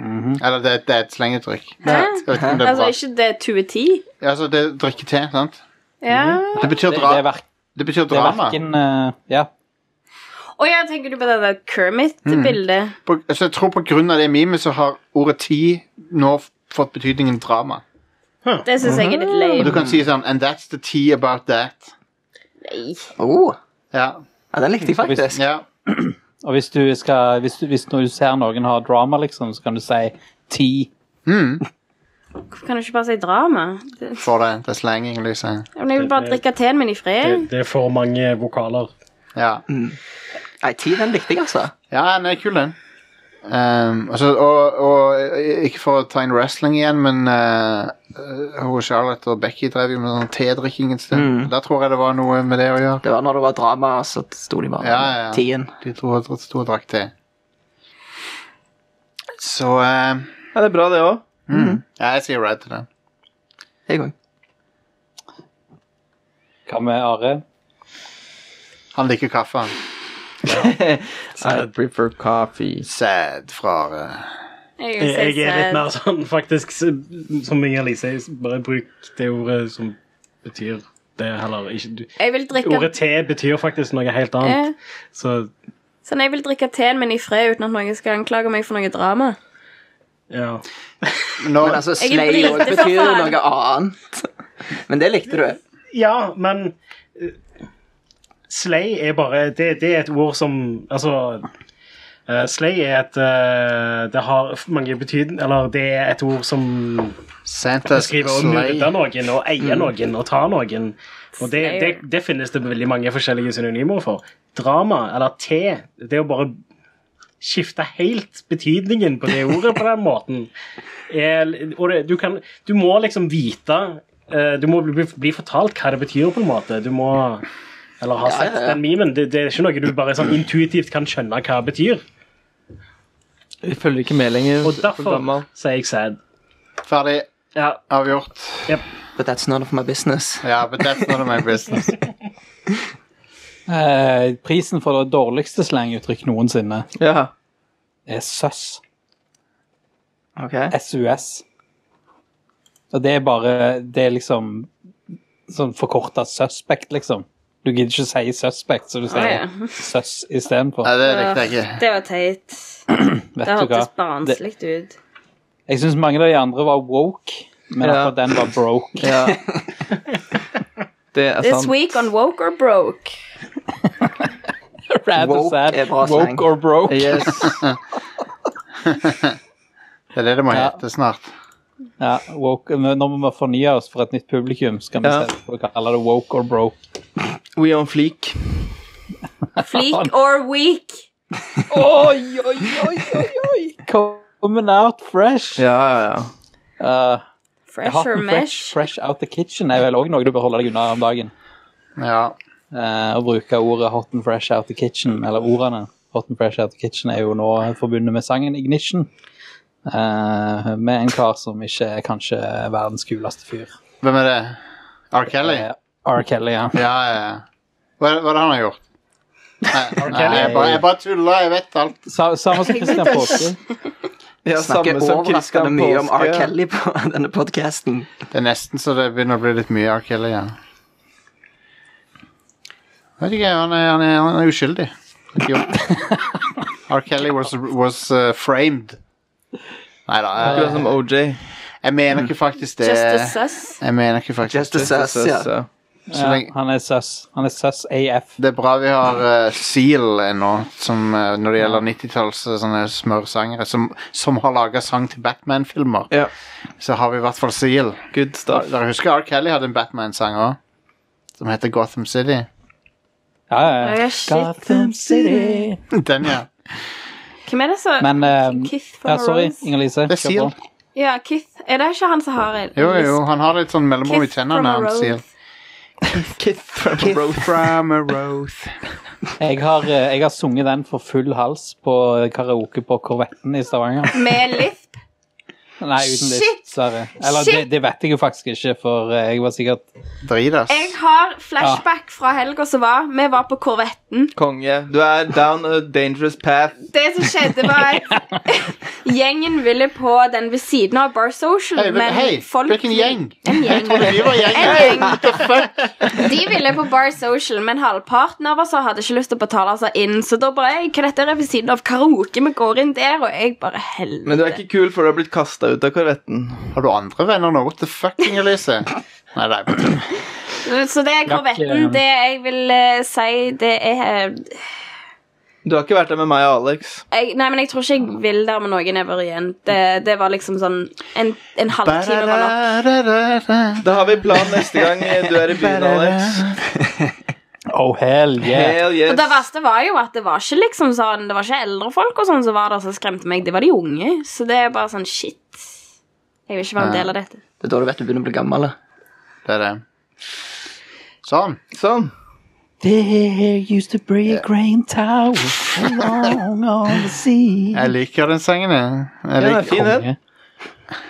Speaker 5: Mhm.
Speaker 1: Eller det, det er et slenguttrykk. Jeg vet ikke om det er
Speaker 6: Altså,
Speaker 1: bra.
Speaker 6: ikke det 2010?
Speaker 1: Altså, det er drikke te, sant?
Speaker 6: Ja.
Speaker 3: Mm.
Speaker 1: Det betyr,
Speaker 5: Det, det,
Speaker 1: dra
Speaker 5: er, verk,
Speaker 1: det betyr
Speaker 5: det er
Speaker 1: drama.
Speaker 5: verken eh, Ja.
Speaker 6: Å ja, tenker du på det der
Speaker 3: Mm.
Speaker 6: Kermit-bildet?
Speaker 1: På, altså, jeg tror på grunn av det memet så har ordet ti nå f- fått betydningen drama.
Speaker 6: Det syns jeg er litt
Speaker 1: Og du
Speaker 6: lame.
Speaker 5: Mm.
Speaker 1: kan si sånn And that's the tea about that.
Speaker 6: Nei.
Speaker 7: Oh,
Speaker 1: Ja.
Speaker 7: ja, den likte jeg faktisk.
Speaker 1: ja.
Speaker 5: Og hvis du, skal, hvis du, hvis du ser noen har drama, liksom, så kan du si ti.
Speaker 1: Mm.
Speaker 6: Hvorfor kan du ikke bare si drama? Det,
Speaker 1: For det. Det er slenging, liksom.
Speaker 6: men jeg vil bare drikke teen min i fred.
Speaker 3: Det, det er for mange vokaler.
Speaker 1: Ja.
Speaker 7: Nei, ti, den likte jeg, altså.
Speaker 1: Ja, den er kul, den. Ehm, altså, og, og ikke for å ta inn wrestling igjen, men eh, eh, hun Charlotte og Becky drev jo med sånn tedrikking et sted.
Speaker 7: Mm.
Speaker 1: Da tror jeg det var noe med det å gjøre.
Speaker 7: Det var når det var drama, så sto de bare
Speaker 1: Ja, ja, ja.
Speaker 7: tien.
Speaker 1: De dro og dro- sto og drakk te. Så eh,
Speaker 4: Ja, det er bra, det òg.
Speaker 1: ja, jeg sier red til den.
Speaker 7: Jeg òg.
Speaker 5: Hva med Are?
Speaker 1: Han liker kaffe, han.
Speaker 4: I prefer coffee.
Speaker 1: Sad fra eh,
Speaker 6: Jeg,
Speaker 3: Jeg,
Speaker 6: jeg,
Speaker 3: jeg er litt mer sånn faktisk s- som Inger-Lise. Bare bruk det ordet som betyr det, heller. Ikke, du,
Speaker 6: jeg vil drikke
Speaker 3: ordet te betyr faktisk noe helt
Speaker 6: Ja.
Speaker 3: annet. Så
Speaker 6: Sånn, jeg vil drikke teen min i fred uten at noen skal anklage meg for noe drama.
Speaker 3: ja.
Speaker 1: Nå,
Speaker 7: Men altså,
Speaker 6: Jeg er
Speaker 7: slay
Speaker 6: brite,
Speaker 7: òg
Speaker 6: for
Speaker 7: betyr jo
Speaker 6: faen.
Speaker 7: noe annet. Men det likte du.
Speaker 3: Ja, men eh, Slay er bare det, det er et ord som Altså eh, Slay er et eh, Det har f- mange betydning Eller det er et ord som
Speaker 1: Santa's
Speaker 3: beskriver å
Speaker 1: slay.
Speaker 3: myrde noen og eie noen og ta noen. Og det, det,
Speaker 6: Slayer.
Speaker 3: det finnes det veldig mange forskjellige synonymer for. Drama eller te, det å bare skifte helt betydningen på det ordet på den måten er, Og det, du kan Du må liksom vite eh, Du må bli, bli fortalt hva det betyr, på en måte. Du må Eller ha
Speaker 7: Ja,
Speaker 3: sett
Speaker 7: ja, ja.
Speaker 3: den memen. Det, det er ikke noe du bare sånn intuitivt kan skjønne hva det betyr.
Speaker 4: Vi følger ikke med lenger.
Speaker 3: Og
Speaker 4: for gammel.
Speaker 3: derfor sier jeg sad.
Speaker 1: Ferdig.
Speaker 3: Ja,
Speaker 1: Avgjort.
Speaker 7: But that's none of my business. (laughs)
Speaker 1: Ja, but that's not my business.
Speaker 5: Eh, prisen for det dårligste slanguttrykk noensinne
Speaker 4: Ja.
Speaker 5: er søss.
Speaker 7: Ok.
Speaker 5: SUS. Og det er bare Det er liksom sånn forkorta suspect, liksom. Du gidder ikke si suspect, så du sier
Speaker 9: ja.
Speaker 5: søss istedenfor.
Speaker 1: Nei, det likte jeg ikke.
Speaker 9: Det var teit. Det
Speaker 5: Vet du hva?
Speaker 9: hørtes barnslig ut.
Speaker 5: Jeg syns mange av de andre var woke, men
Speaker 4: Ja.
Speaker 5: akkurat den var broke.
Speaker 4: ja. Det er
Speaker 10: This
Speaker 4: sant.
Speaker 10: week on Woke or Broke.
Speaker 5: Rad
Speaker 7: Woke
Speaker 5: og sad.
Speaker 7: er bra slang.
Speaker 5: Woke or broke.
Speaker 4: (laughs) Yes.
Speaker 1: Det er det det må
Speaker 5: Ja.
Speaker 1: hete snart.
Speaker 5: Ja, woke. men Nå må vi fornye oss for et nytt publikum. Skal vi
Speaker 4: Ja.
Speaker 5: se på hva kaller det woke or broke.
Speaker 4: We on fleak.
Speaker 10: Fleek or weak.
Speaker 5: Oi, oi, oi, oi, oi! Coming out fresh.
Speaker 4: Ja, ja, ja.
Speaker 5: Uh, jeg
Speaker 10: Fresh
Speaker 5: hater
Speaker 10: or
Speaker 5: fresh,
Speaker 10: mesh.
Speaker 5: fresh out the kitchen er vel òg noe du bør holde deg unna om dagen.
Speaker 1: Ja.
Speaker 5: Eh, å bruke ordet hot and fresh out the kitchen, eller ordene hot and fresh out the kitchen, er jo nå forbundet med sangen Ignition. eh, med en kar som ikke er kanskje verdens kuleste fyr.
Speaker 1: Hvem er det? R. Kelly?
Speaker 5: Eh, R. Kelly, ja.
Speaker 1: Ja, ja. ja. Hva, hva er det han har gjort? Nei, nei
Speaker 5: Kelly?
Speaker 1: jeg, bare, jeg bare tuller. Jeg vet alt.
Speaker 5: Sa, samme som Christian Påske.
Speaker 4: ja
Speaker 7: Snakker
Speaker 4: samme som
Speaker 7: overraskende
Speaker 4: Christian
Speaker 7: mye om R.
Speaker 4: Påske.
Speaker 7: Kelly på (laughs) denne podcasten.
Speaker 1: Det er nesten så det begynner å bli litt mye R. Kelly igjen. Vet ikke, han er, han er, han er uskyldig. Ikke gjort. R. Kelly was, was uh, framed. Nei da,
Speaker 4: Akkurat
Speaker 1: jeg,
Speaker 4: som OJ.
Speaker 1: jeg mener ikke faktisk det.
Speaker 10: Just a sus.
Speaker 1: Jeg mener ikke faktisk
Speaker 7: Just a sass, ja.
Speaker 4: ja.
Speaker 1: så
Speaker 5: Ja,
Speaker 1: lenge,
Speaker 5: Eh, han er søs. Han er søs AF.
Speaker 1: Det er bra vi har eh, Seal ennå, som eh, når det gjelder 90-talls eh, sånne smørsangere, som, som har laga sang til Batman-filmer.
Speaker 4: Ja.
Speaker 1: Så har vi i hvert fall Seal.
Speaker 4: Good stuff.
Speaker 1: Dere husker R. Kelly hadde en Batman-sang òg, som heter Gotham City. (laughs)
Speaker 5: Ja, ja, ja.
Speaker 10: Oh, shit.
Speaker 5: Gotham City.
Speaker 1: Den, ja.
Speaker 10: Hvem er det som
Speaker 5: Men eh,
Speaker 10: Keith from
Speaker 5: ja, sorry,
Speaker 10: Rose?
Speaker 5: Inger-Lise.
Speaker 1: Det er
Speaker 5: kjør
Speaker 1: Seal.
Speaker 5: på.
Speaker 10: Ja, Keith. Er det ikke han som har en
Speaker 1: Jo, jo, han har litt sånn mellomrom i
Speaker 10: Keith from
Speaker 1: tennene.
Speaker 10: a
Speaker 1: Han Seal.
Speaker 10: rose.
Speaker 4: Kith from Roth.
Speaker 1: From a (laughs) rose.
Speaker 5: Jeg har, eh, jeg har sunget den for full hals på karaoke på Korvetten i Stavanger. (laughs)
Speaker 10: Med lift.
Speaker 5: Nei, uten
Speaker 10: Shit!
Speaker 5: lift, dessverre. Eller
Speaker 10: Shit!
Speaker 5: det, det vet jeg jo faktisk ikke, for eh, jeg var sikkert
Speaker 1: Dritas.
Speaker 10: Jeg har flashback fra helga som var. Vi var på Korvetten.
Speaker 4: Konge. Du er down a dangerous path.
Speaker 10: Det som skjedde, var
Speaker 1: (laughs)
Speaker 10: at gjengen ville på den ved siden av Bar Social.
Speaker 1: Hei, men, hei, hvilken gjeng?
Speaker 10: En
Speaker 1: (laughs)
Speaker 10: gjeng.
Speaker 1: Vi
Speaker 10: (laughs)
Speaker 1: var
Speaker 10: En
Speaker 1: gjengen.
Speaker 10: gjeng. De ville på Bar Social, men halvparten av oss hadde ikke lyst til å betale seg inn. Så da bare jeg, hva dette er ved siden av karaoke, vi går inn der, og jeg bare helvete.
Speaker 4: Men du er ikke kul før du har blitt kasta ut av korvetten.
Speaker 1: Har du andre venner nå? What the fuck, Inger-Lise? Nei, nei, bare tull.
Speaker 10: Så det er korvetten.
Speaker 5: Jakke.
Speaker 10: Det jeg vil eh, si, det er eh,
Speaker 4: Du har ikke vært der med meg og Alex.
Speaker 10: jeg, Nei, men jeg tror ikke
Speaker 1: Ah.
Speaker 10: jeg vil der med noen ever igjen. Det, det var liksom sånn En, en halvtime var nok.
Speaker 1: Ba-da-da-da-da.
Speaker 4: Da har vi plan neste gang du er i byen, Alex.
Speaker 5: Oh, hell yeah!
Speaker 4: Hell yes.
Speaker 10: Og det verste var jo at det var ikke liksom sånn Det var ikke eldre folk og sånn som var der som skremte meg. Det var de unge. Så det er bare sånn shit. Jeg vil ikke være en del av dette.
Speaker 7: Det er da du vet du begynner å bli gammel. da.
Speaker 1: Det er det. Sånn.
Speaker 4: Sånn.
Speaker 11: There used to be a grand tower along on the sea.
Speaker 1: Jeg liker den sangen, jeg. Jeg
Speaker 4: Den er
Speaker 1: liker,
Speaker 4: fin, den.
Speaker 5: Konge.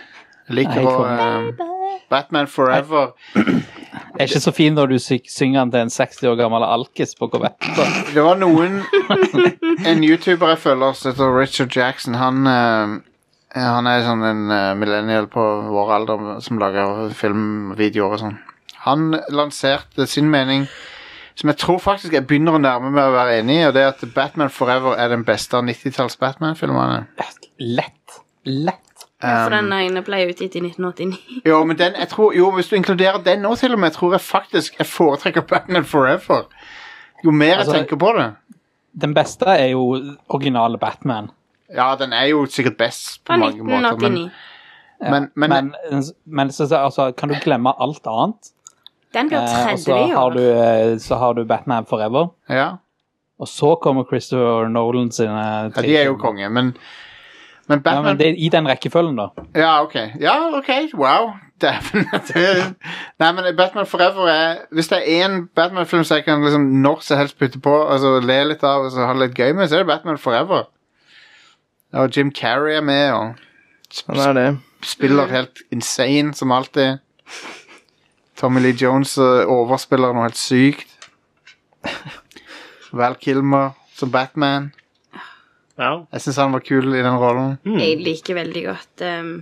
Speaker 1: jeg liker
Speaker 5: Nei,
Speaker 1: å, eh, Batman Forever.
Speaker 5: Det er ikke så fin når du sy synger den til en 60 år gammel alkis på Korvetten.
Speaker 1: Det var noen (laughs) En YouTuber jeg følger som heter Richard Jackson, han eh, Han er sånn en eh, millennial på vår alder som lager filmvideoer og sånn. Han lanserte sin mening, som jeg tror faktisk jeg begynner å nærme meg å være enig i, og det er at Batman Forever er den beste av 90-talls Batman-filmene.
Speaker 5: Lett. Lett.
Speaker 10: For den ene ble utgitt i 1989.
Speaker 1: Jo, men den, jeg tror, jo, hvis du inkluderer den nå til og med, tror jeg faktisk jeg foretrekker Batman Forever. Jo mer
Speaker 5: Altså,
Speaker 1: jeg tenker på det.
Speaker 5: Den beste er jo originale Batman.
Speaker 1: Ja, den er jo sikkert best på
Speaker 10: Fra
Speaker 1: mange måter,
Speaker 10: 1989.
Speaker 1: men, men, men,
Speaker 5: Men, men så, så- altså, kan du glemme alt annet?
Speaker 10: Den blir
Speaker 5: Eh, og
Speaker 10: 30
Speaker 5: så
Speaker 10: i
Speaker 5: har, du,
Speaker 10: år.
Speaker 5: eh, så har du Batman Forever.
Speaker 1: ja.
Speaker 5: Og så kommer Christopher Nolan sine
Speaker 1: ja, de er jo konge, men men
Speaker 5: Ja, men
Speaker 1: Batman Ja,
Speaker 5: det er i den rekkefølgen, da.
Speaker 1: ok. Ja, ok, wow. (laughs) Dæven. det- Nei, men Batman Forever er Hvis det er én Batman-film som jeg kan liksom når som helst putte på altså le litt av og så ha det litt gøy med, så er det Batman Forever. Og Jim Carrey er med, og
Speaker 4: Sånn er det.
Speaker 1: spiller helt insane som alltid.
Speaker 5: (laughs)
Speaker 1: Tommy Lee Jones eh, overspiller noe helt sykt. Val Kilmer som Batman.
Speaker 3: Ja.
Speaker 1: Jeg syns han var kul i den rollen.
Speaker 5: Mm.
Speaker 6: Jeg liker veldig godt um...
Speaker 10: ehm,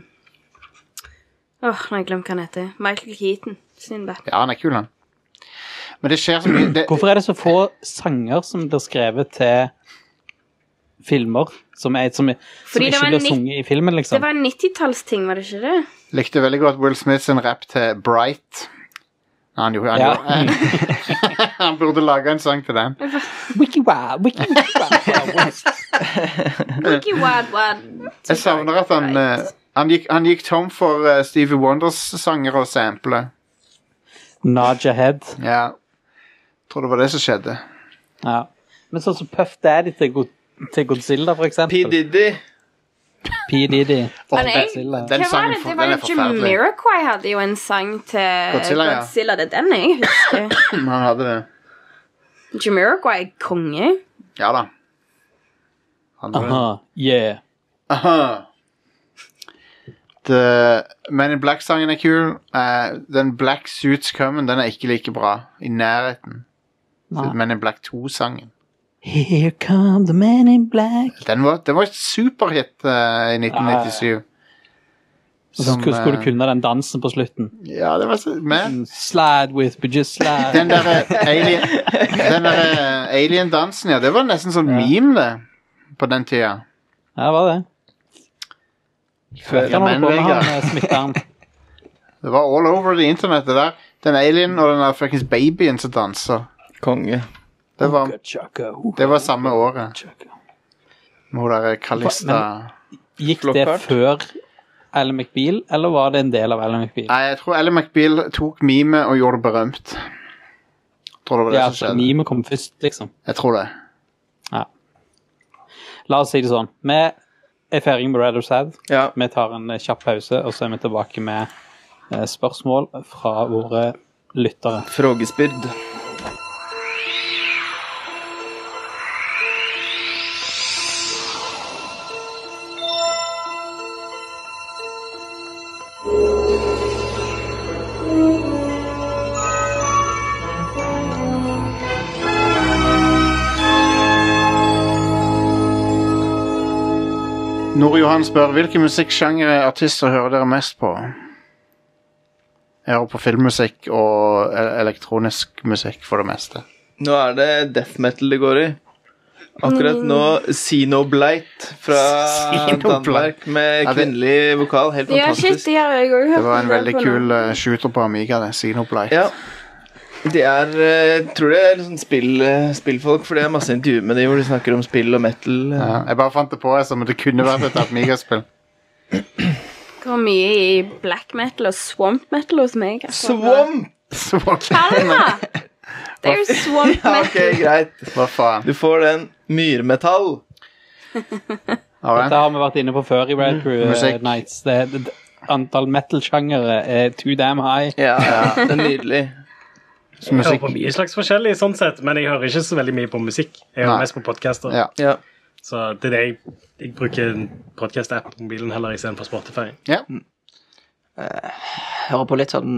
Speaker 6: Åh, nå har jeg glemt hva han heter. Michael Keaton sin Batman.
Speaker 1: Ja, han er kul, han. Men det skjer så mye det,
Speaker 5: Hvorfor er det så få sanger som blir skrevet til filmer? Som, er, som, som
Speaker 6: Fordi det
Speaker 5: ikke
Speaker 6: var
Speaker 5: blir
Speaker 6: nitt-
Speaker 5: sunget i filmen,
Speaker 6: Det
Speaker 5: liksom?
Speaker 6: var en 90-tallsting, var det ikke det?
Speaker 1: Likte veldig godt Will Smith sin rap til Bright. Han, gjorde, han,
Speaker 5: Ja.
Speaker 1: gjorde, (laughs) han burde lage en sang
Speaker 5: (laughs)
Speaker 1: til den.
Speaker 5: Wiki-wow, (laughs) wiki-wow.
Speaker 6: Wiggy Wad Wad.
Speaker 1: Jeg savner at han eh, han, gikk, han gikk tom for eh, Stevie Wonders sanger og sample.
Speaker 5: Naja Head.
Speaker 1: Ja. Tror det var det som skjedde.
Speaker 5: Ja. Men sånn som Puff Daddy til, God til Godzilla, for
Speaker 4: P.
Speaker 5: eksempel.
Speaker 4: Diddy.
Speaker 5: P. Diddy.
Speaker 1: Åh,
Speaker 6: Men jeg-
Speaker 5: Godzilla.
Speaker 1: Den
Speaker 6: Hva var
Speaker 1: sangen
Speaker 6: det?
Speaker 1: for-
Speaker 6: Det var
Speaker 1: den
Speaker 6: jo
Speaker 1: er forferdelig.
Speaker 6: Jamiroquai hadde jo en sang til
Speaker 1: Godzilla, ja.
Speaker 6: Godzilla. Det er den jeg
Speaker 1: (laughs)
Speaker 6: husker.
Speaker 1: (clears throat) Han hadde det.
Speaker 6: Jamiroquai er konge.
Speaker 1: Ja da. Han hadde det.
Speaker 5: Aha, yeah.
Speaker 1: Aha. The Men in Black-sangen er kul. Eh, den Black Suits Coming den er ikke like bra. I nærheten.
Speaker 5: Nei.
Speaker 1: Men in Black 2-sangen.
Speaker 5: Here come the man in black.
Speaker 1: Den var, den var et superhit eh, i 1997.
Speaker 5: Og så skulle,
Speaker 1: eh,
Speaker 5: skulle du kunne den dansen på slutten. Mm,
Speaker 1: Ja, det var så Men
Speaker 5: Slide with, but just slide.
Speaker 1: den der eh, alien Den der eh, alien-dansen, ja. Det var nesten sånn meme, det. På den tida.
Speaker 5: Ja, det var det.
Speaker 1: Før
Speaker 5: Kan holde på med
Speaker 1: Vegard.
Speaker 5: han eh,
Speaker 1: (laughs)
Speaker 5: smitteren.
Speaker 1: Det var all over det internettet der. Den alien og den der fuckings babyen som danser.
Speaker 4: Konge.
Speaker 1: Det var,
Speaker 5: Chaka,
Speaker 1: det var samme året.
Speaker 5: chaka.
Speaker 1: Med hun der eh, Kalista
Speaker 5: Gikk det
Speaker 4: Flockhart.
Speaker 5: før Ellen McBeal, eller var det en del av Ellen McBeal?
Speaker 1: Nei, jeg tror Ellen McBeal tok meme og gjorde det berømt. Jeg tror det var det
Speaker 5: Ja,
Speaker 1: som
Speaker 5: altså,
Speaker 1: skjedde.
Speaker 5: meme kom først, liksom.
Speaker 1: Jeg tror det.
Speaker 5: La oss si det sånn. Vi er ferdige med Red or Sad.
Speaker 4: Ja.
Speaker 5: Vi tar en eh, kjapp pause, og så er vi tilbake med eh, spørsmål fra våre lyttere.
Speaker 4: Frågespyrd.
Speaker 1: Nord-Johan spør hvilke musikksjangere artister hører dere mest på? Jeg hører på filmmusikk og e- elektronisk musikk for det meste.
Speaker 4: Nå er det death metal det går i. Akkurat nå Xenoblight fra
Speaker 1: Xenoblade.
Speaker 4: Danmark med
Speaker 1: Ja, det-
Speaker 4: kvinnelig vokal. Helt
Speaker 6: Ja, shit,
Speaker 4: fantastisk.
Speaker 6: de har jeg òg hørt.
Speaker 1: Det var
Speaker 6: om
Speaker 1: en veldig
Speaker 6: på nå.
Speaker 1: kul eh, shooter på Amiga, det. Xenoblade.
Speaker 4: Ja. De er eh, Jeg tror det er litt sånn spill, eh, spillfolk, for det er masse intervjuer med dem hvor de snakker om spill og metal.
Speaker 1: Ja, jeg bare fant det på, jeg, som det kunne vært et Amiga-spill.
Speaker 6: Går mye i black metal og swamp metal hos meg. akkurat nå.
Speaker 4: Swamp!
Speaker 1: (laughs) Så var det- (laughs)
Speaker 6: Alma! Det er jo swamp
Speaker 4: Ja,
Speaker 6: metal.
Speaker 4: ok, greit.
Speaker 1: Hva faen?
Speaker 4: Du får den. Myrmetall.
Speaker 1: Alright.
Speaker 5: Dette har vi vært inne på før i Red Crew eh,
Speaker 1: Mm. Musikk.
Speaker 5: Nights. Det, det, det- antall metal-sjangere er too damn high.
Speaker 4: Ja, det er nydelig.
Speaker 3: Jeg hører
Speaker 1: Musikk.
Speaker 3: på mye slags forskjellig, sånn sett, men jeg hører ikke så veldig mye på musikk. Jeg hører
Speaker 1: Nei.
Speaker 3: mest på podcaster.
Speaker 1: Ja.
Speaker 4: Ja.
Speaker 3: Så det er det jeg, jeg bruker en podcast-app på mobilen heller istedenfor Spotify.
Speaker 1: ja.
Speaker 7: Hører på litt sånn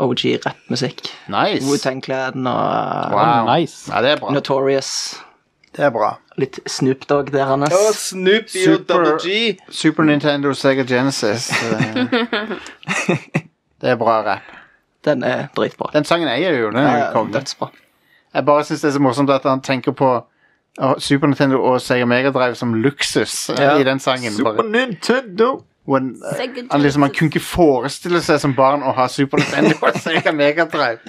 Speaker 7: OG-rappmusikk.
Speaker 1: Nice.
Speaker 7: Wu-Tang Clan og uh,
Speaker 1: Wow.
Speaker 5: Nice.
Speaker 1: Ja, det er bra.
Speaker 7: Notorious.
Speaker 1: Det er bra.
Speaker 7: Litt Snoop Dogg der, Anders.
Speaker 4: Og Snoop Super.
Speaker 1: Super-
Speaker 4: Double G.
Speaker 1: Super Nintendo Sega Genesis. eh. det er bra rap.
Speaker 7: Den er dritbra.
Speaker 1: Den sangen eier jo, den er jo
Speaker 7: Den
Speaker 1: konge.
Speaker 7: er dødsbra.
Speaker 1: Jeg bare syns det er så morsomt at han tenker på uh, Super Nintendo og Sega Megadrive som luksus uh,
Speaker 4: Ja.
Speaker 1: i den sangen.
Speaker 4: Super
Speaker 1: Bare.
Speaker 4: Nintendo.
Speaker 1: Og en, uh,
Speaker 6: Sega
Speaker 1: han, liksom, han kunne ikke forestille seg som barn å ha Super Nintendo og Sega Megadrive.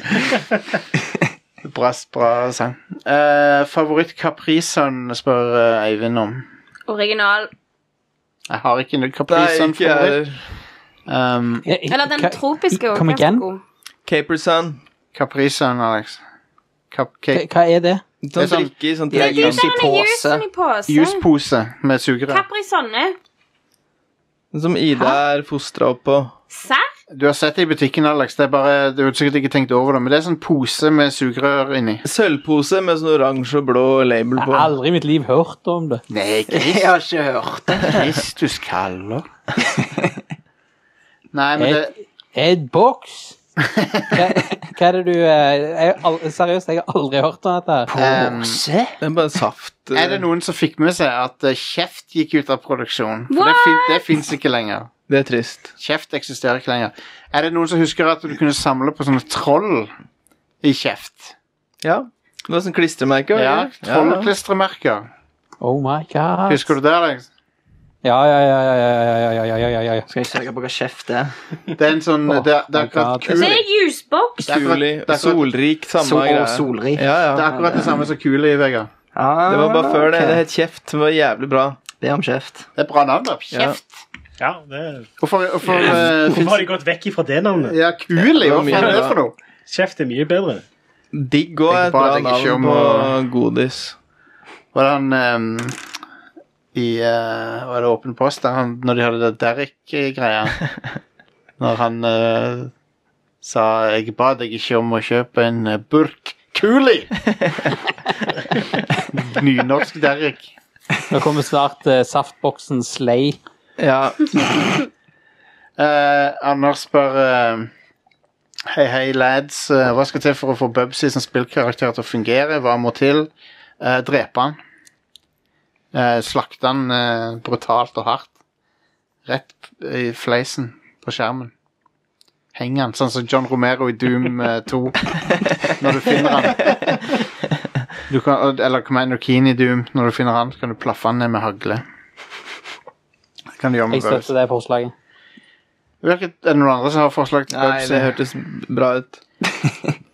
Speaker 1: bra, bra sang. Uh, favoritt Capri-sønn spør uh, Eivind om.
Speaker 6: Original.
Speaker 1: Jeg har ikke noe
Speaker 4: Nei,
Speaker 1: Capri-sønn
Speaker 4: ikke jeg
Speaker 1: favoritt.
Speaker 4: heller.
Speaker 1: Um,
Speaker 6: Eller den tropiske er
Speaker 5: Kom
Speaker 6: ganske
Speaker 5: igjen?
Speaker 6: god.
Speaker 4: Caperson.
Speaker 1: Capri-sønn, Alex. Cupcake.
Speaker 5: Hva er det?
Speaker 1: er
Speaker 4: Sånn
Speaker 1: sånn-
Speaker 4: drikke i sånn
Speaker 7: Det er
Speaker 4: trekanter.
Speaker 6: Den
Speaker 7: juicy
Speaker 6: er
Speaker 7: pose.
Speaker 6: jusen i pose.
Speaker 1: Juspose med sugerør.
Speaker 6: Capri Sonne.
Speaker 4: Sånn Som Ida er fostra opp på.
Speaker 6: Serr?
Speaker 1: Du har sett det i butikken, Alex. Det er bare, du har sikkert ikke tenkt over det, men det er sånn pose med sugerør inni.
Speaker 4: Sølvpose med sånn oransje og blå label
Speaker 5: Jeg
Speaker 4: på.
Speaker 5: har aldri i mitt liv hørt om det.
Speaker 1: Nei,
Speaker 7: Jeg har ikke hørt det.
Speaker 1: Kristus kaller. (laughs) Nei, men det (laughs)
Speaker 5: Ed box. Hva, hva er det du eh, jeg, har al- Seriøst, jeg har aldri hørt om dette. her.
Speaker 1: Um,
Speaker 4: Det er bare saft. eh,
Speaker 1: er det noen som fikk med seg at eh, Kjeft gikk ut av produksjon? For det, fin det fins ikke lenger.
Speaker 4: Det er trist.
Speaker 1: Kjeft eksisterer ikke lenger. Er det noen som husker at du kunne samle på sånne troll i kjeft?
Speaker 4: Ja. Det var sånn klistremerke. var det
Speaker 1: Ja,
Speaker 4: ikke?
Speaker 1: Trollklistremerker.
Speaker 5: Oh my god.
Speaker 1: Husker du det? Alex?
Speaker 5: Ja, ja, ja, ja, ja, ja, ja, ja, ja, ja, ja, ja, ja.
Speaker 7: Skal jeg søke på hva kjeft er?
Speaker 1: Det er en sånn
Speaker 5: Åh,
Speaker 1: Det, det er
Speaker 5: my
Speaker 1: akkurat
Speaker 5: God.
Speaker 1: kul.
Speaker 10: Det er jusboks.
Speaker 1: Det er akkurat-
Speaker 4: Kulig,
Speaker 1: det er akkurat-
Speaker 4: solrik, samme
Speaker 7: Sol
Speaker 4: greie.
Speaker 7: og solrik.
Speaker 4: Ja, ja.
Speaker 1: Det er akkurat det samme som kule i, Vegard.
Speaker 7: Ah,
Speaker 4: Det var bare før det.
Speaker 7: ok.
Speaker 4: Det het Kjeft. Det var jævlig bra.
Speaker 7: Det er om kjeft.
Speaker 1: Det er bra navn, da.
Speaker 4: Ja.
Speaker 1: Kjeft.
Speaker 3: Ja, det,
Speaker 1: Hvorfor, hvorfor eh,
Speaker 3: hvorfor
Speaker 1: finnes
Speaker 3: har de gått vekk ifra det navnet?
Speaker 1: Ja, Kuli?
Speaker 4: var
Speaker 1: Hva faen er
Speaker 4: mye
Speaker 1: det
Speaker 4: bra.
Speaker 1: for noe?
Speaker 3: Kjeft er mye bedre.
Speaker 4: Digg òg er
Speaker 1: Tenk
Speaker 4: et
Speaker 1: bare
Speaker 4: bra
Speaker 1: at jeg ikke
Speaker 4: navn
Speaker 1: må-
Speaker 4: på godis.
Speaker 1: Var det han ehm, i eh, Var det Åpen post, der han, når de hadde det Derek-greia? Når han eh, sa 'Jeg ba deg ikke om å kjøpe en eh, burk Cooley'. Nynorsk Derek.
Speaker 5: Nå kommer snart eh, saftboksen Slay.
Speaker 4: Ja.
Speaker 1: Eh, Anders spør eh, Hei, hei, lads. eh, hva skal til for å få Bubsy som spillkarakter til å fungere? Hva må til? Eh, drepe han. Eh, slakte han eh, brutalt og hardt. Rett p- i fleisen på skjermen. Heng han, sånn som John Romero i Doom eh, 2. Når du finner han. Du kan, eller Commander Keen i Doom. Når du finner han, så kan du plaffe han ned med hagle. Det kan du gjøre
Speaker 5: Jeg
Speaker 1: med Bubsy.
Speaker 5: støtter det forslaget.
Speaker 1: Hvilket, er det noen andre som har forslag til
Speaker 4: Nei,
Speaker 1: Bubsy?
Speaker 4: det hørtes bra ut.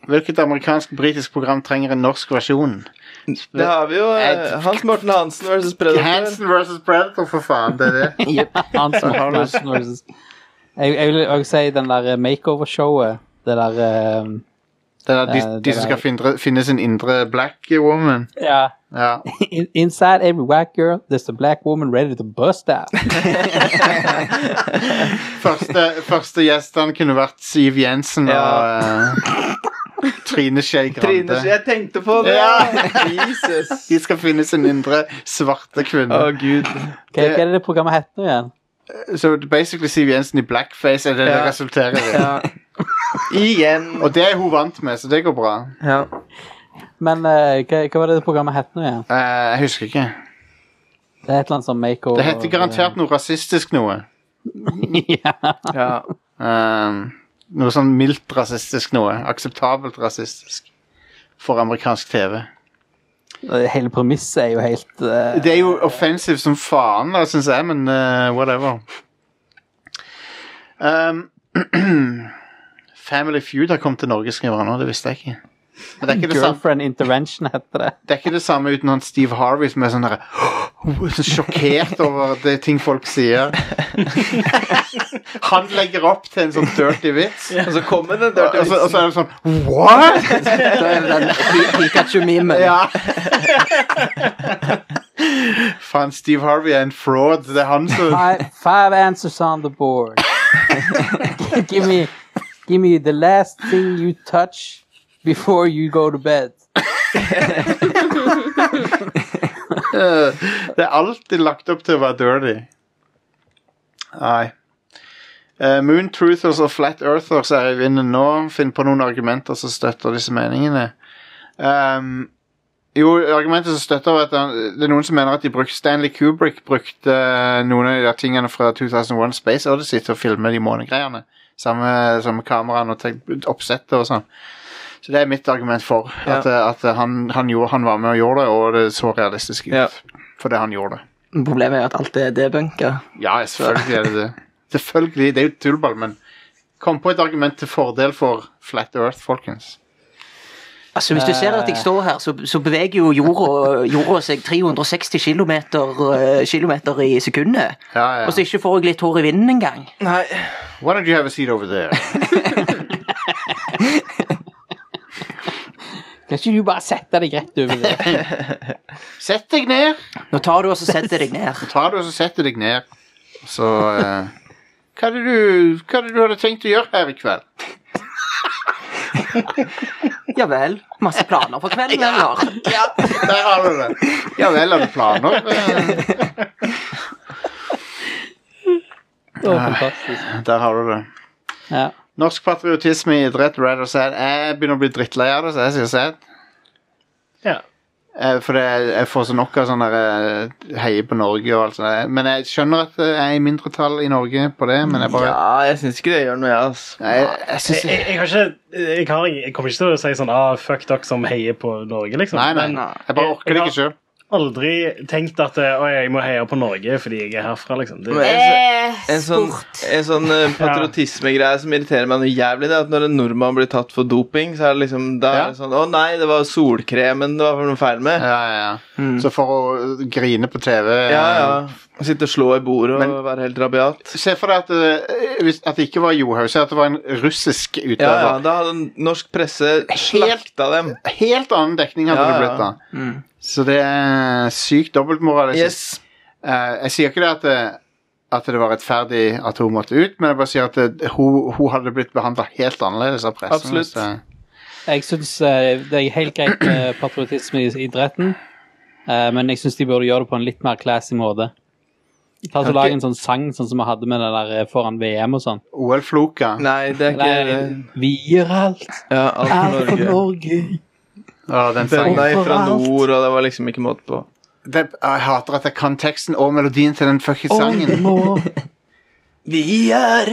Speaker 1: Hvilket amerikansk-britisk program trenger en norsk versjon?
Speaker 4: Det har vi jo. eh, Hans Morten Hansen versus Predator.
Speaker 1: Hansen versus Predator, for faen. Det er det.
Speaker 5: Hans Morten
Speaker 1: Har du-
Speaker 5: Hansen versus- Jeg, jeg vil også si den der eh, makeover-showet. Det der eh,
Speaker 1: (laughs) Det er
Speaker 4: Eh,
Speaker 1: de,
Speaker 5: Ja, det
Speaker 1: de som
Speaker 5: er-
Speaker 1: skal finne, finne sin indre black woman.
Speaker 5: Ja.
Speaker 1: Ja.
Speaker 5: In- Inside every whack girl, there's a black woman ready to bust out.
Speaker 1: Første, første gjestene kunne vært Siv Jensen og eh, (laughs) Trine Skei
Speaker 4: Trine, så
Speaker 1: Grande.
Speaker 4: jeg tenkte på det!
Speaker 1: Ja.
Speaker 4: Jesus.
Speaker 1: (laughs) De skal finne sin indre svarte
Speaker 4: Å,
Speaker 1: kvinne.
Speaker 4: gud.
Speaker 5: Hva, hva er det det programmet heter igjen?
Speaker 1: Så basically Siv Jensen i blackface er det det
Speaker 4: Ja.
Speaker 1: resulterer i.
Speaker 4: (laughs) Ja. Igjen.
Speaker 1: Og det er hun vant med, så det går bra.
Speaker 4: Ja.
Speaker 5: Men eh, hva, hva var det det programmet het nå igjen?
Speaker 1: Eh, jeg husker ikke.
Speaker 5: Det er et eller annet sånn makeover
Speaker 1: Det heter garantert noe rasistisk noe.
Speaker 5: (laughs) ja.
Speaker 4: ja.
Speaker 1: Um, noe sånn mildt rasistisk noe. Akseptabelt rasistisk. For amerikansk TV.
Speaker 5: Hele premisset er jo helt eh,
Speaker 1: Det er jo offensive som faen, da, syns jeg, men eh, whatever. Um, (clears throat) Family Feud har kommet til Norge, skriver han nå. Det visste jeg ikke. Men det er ikke det samme,
Speaker 5: Girlfriend Intervention heter
Speaker 1: (laughs)
Speaker 5: det.
Speaker 1: det er ikke det samme uten han Steve Harvey som er sånn (gasps) derre sånn Sjokkert over det ting folk sier. Han legger opp til en sånn dirty vits.
Speaker 4: Og så kommer den
Speaker 1: Og
Speaker 4: dirty
Speaker 1: så, og
Speaker 4: vitsen.
Speaker 1: så er det sånn What?!
Speaker 7: Det er den Pi- (laughs) Pikachu-memen.
Speaker 1: Ja. (laughs) Faen, Steve Harvey er en fraud. Det er han som
Speaker 5: Five, five answers on the board. (laughs) give me, give me the last thing you touch before you go to bed.
Speaker 1: Eh, (laughs) Det er alltid lagt opp til å være dirty. Nei. Eh, Moon Truthers og Flat Earthers er i vinden nå. Finn på noen argumenter som støtter disse meningene. Ehm, jo, argumentet som støtter er at han- det er noen som mener at de brukte Stanley Kubrick brukte eh, noen av de der tingene fra 2001 Space Odyssey til å filme de månegreiene. Samme, samme kameraen og tek- oppsettet og sånn. Så det er mitt argument for.
Speaker 4: Ja.
Speaker 1: At, eh, at eh, han, han, gjorde, han var med og gjorde det, og det så realistisk ut.
Speaker 4: Ja.
Speaker 1: Fordi han gjorde det.
Speaker 7: Problemet er jo at alt er debunka.
Speaker 1: Ja, selvfølgelig er det det. (laughs) Selvfølgelig, Det er jo tullball, men kom på et argument til fordel for Flat Earth, folkens.
Speaker 7: Altså, hvis du ser at jeg står her, så, så beveger jo jorda, jorda seg 360 kilometer, eh, kilometer i sekundet.
Speaker 1: Ja, ja.
Speaker 7: Og så ikke får jeg litt hår i vinden engang.
Speaker 4: Nei.
Speaker 1: Why don't you have a seat over there? (laughs)
Speaker 5: Kan ikke du bare sette deg rett over
Speaker 4: (laughs)
Speaker 5: det?
Speaker 1: Sett deg ned!
Speaker 7: Nå tar du og så setter deg ned.
Speaker 1: Tar du og så setter deg ned. Så eh, hva, er det du, hva er det du hadde tenkt å gjøre her i kveld?
Speaker 7: Ja vel. Masse planer for kvelden, eller?
Speaker 1: Ja, (laughs) Der har du det. Ja vel, har du planer? Eh,
Speaker 5: Det var fantastisk.
Speaker 1: Der har du det.
Speaker 5: Ja.
Speaker 1: Norsk patriotisme i idrett, Red og Sad. Jeg begynner å bli drittlei av det, så jeg sier Sad.
Speaker 3: Ja.
Speaker 1: Eh, For det, jeg får så nok av sånn der eh, heie på Norge og alt sånt. der. Men jeg skjønner at jeg er i mindretall i Norge på det, men jeg bare
Speaker 4: Ja, jeg syns ikke det gjør noe, jeg, ass.
Speaker 1: Nei, jeg, jeg synes
Speaker 3: Jeg, jeg, har ikke, jeg, har, jeg kommer ikke til å si sånn ah, fuck dere som heier på Norge, liksom.
Speaker 1: Nei, nei,
Speaker 3: Men
Speaker 1: nei. Jeg bare orker det ikke sjøl.
Speaker 3: aldri tenkt at eh, å, jeg må heie på Norge fordi jeg er herfra, liksom. Det,
Speaker 4: Men-
Speaker 6: Eh,
Speaker 4: En sånn,
Speaker 6: sport.
Speaker 4: en sånn eh, patriotismegreie som irriterer meg noe jævlig, det er at når en nordmann blir tatt for doping, så er det liksom da er det sånn Å nei, det var solkremen det var noe feil med.
Speaker 1: Ja, ja, ja. Så for å grine på TV eh,
Speaker 4: Mm. Ja, ja. Sitte og slå i bordet og være helt rabiat.
Speaker 1: Se for deg at, eh, hvis- at det ikke var Johaug, se at det var en russisk utøver.
Speaker 4: Ja, ja, da hadde norsk presse slakta dem.
Speaker 1: Helt annen dekning hadde
Speaker 4: Ja, ja.
Speaker 1: det blitt da. Så det er sykt dobbeltmoral. jeg
Speaker 4: Yes.
Speaker 1: synes. Eh, jeg sier ikke det at det, at det var rettferdig at hun måtte ut, men jeg bare sier at det, hun, hun hadde blitt behandla helt annerledes av pressen. eh,
Speaker 4: Absolutt.
Speaker 1: så-
Speaker 5: Jeg syns det er helt greit med patriotisme i idretten, eh, men jeg syns de burde gjøre det på en litt mer classy måte. Ta så Lag en sånn sang sånn som vi hadde med det der eh, foran VM og sånn.
Speaker 1: OL-floka.
Speaker 4: Nei, det er ikke
Speaker 5: Nei, vi gir alt.
Speaker 4: Ja, alt
Speaker 2: Alt
Speaker 4: for
Speaker 2: for
Speaker 4: Norge.
Speaker 2: Norge.
Speaker 1: Å, den sangen.
Speaker 4: Den er fra
Speaker 2: Overalt.
Speaker 4: nord, og det var liksom ikke måte på.
Speaker 1: Det, jeg hater at jeg kan teksten og melodien til den fuckings
Speaker 2: Og vi
Speaker 1: sangen.
Speaker 2: må
Speaker 4: Vi er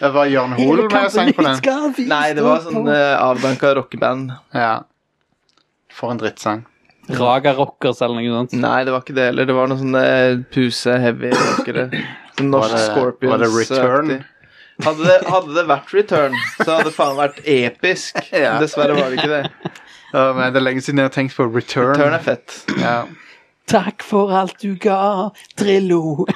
Speaker 1: Det var Jørn Hoel
Speaker 2: hele
Speaker 1: med og sang på
Speaker 2: kampen
Speaker 1: den.
Speaker 2: skal vi
Speaker 4: Nei, det
Speaker 2: stå
Speaker 4: var sånn
Speaker 2: på.
Speaker 4: eh, avdanka rockeband.
Speaker 1: Ja. For en drittsang.
Speaker 5: Raga Rockers eller noe sånt.
Speaker 4: Nei, det var ikke det heller. Det var sånn, eh, noen sånne puse-heavy rockere. Sånn Norsk
Speaker 1: Var det-
Speaker 4: Scorpions.
Speaker 1: var det Return?
Speaker 4: aktig. Hadde det, hadde det vært Return, så hadde det faen vært episk.
Speaker 1: (laughs) Ja.
Speaker 4: Dessverre var det ikke det.
Speaker 1: Å, men det er lenge siden jeg har tenkt på Return.
Speaker 4: Return er fett.
Speaker 1: Ja.
Speaker 2: Takk for alt du ga, Drillo.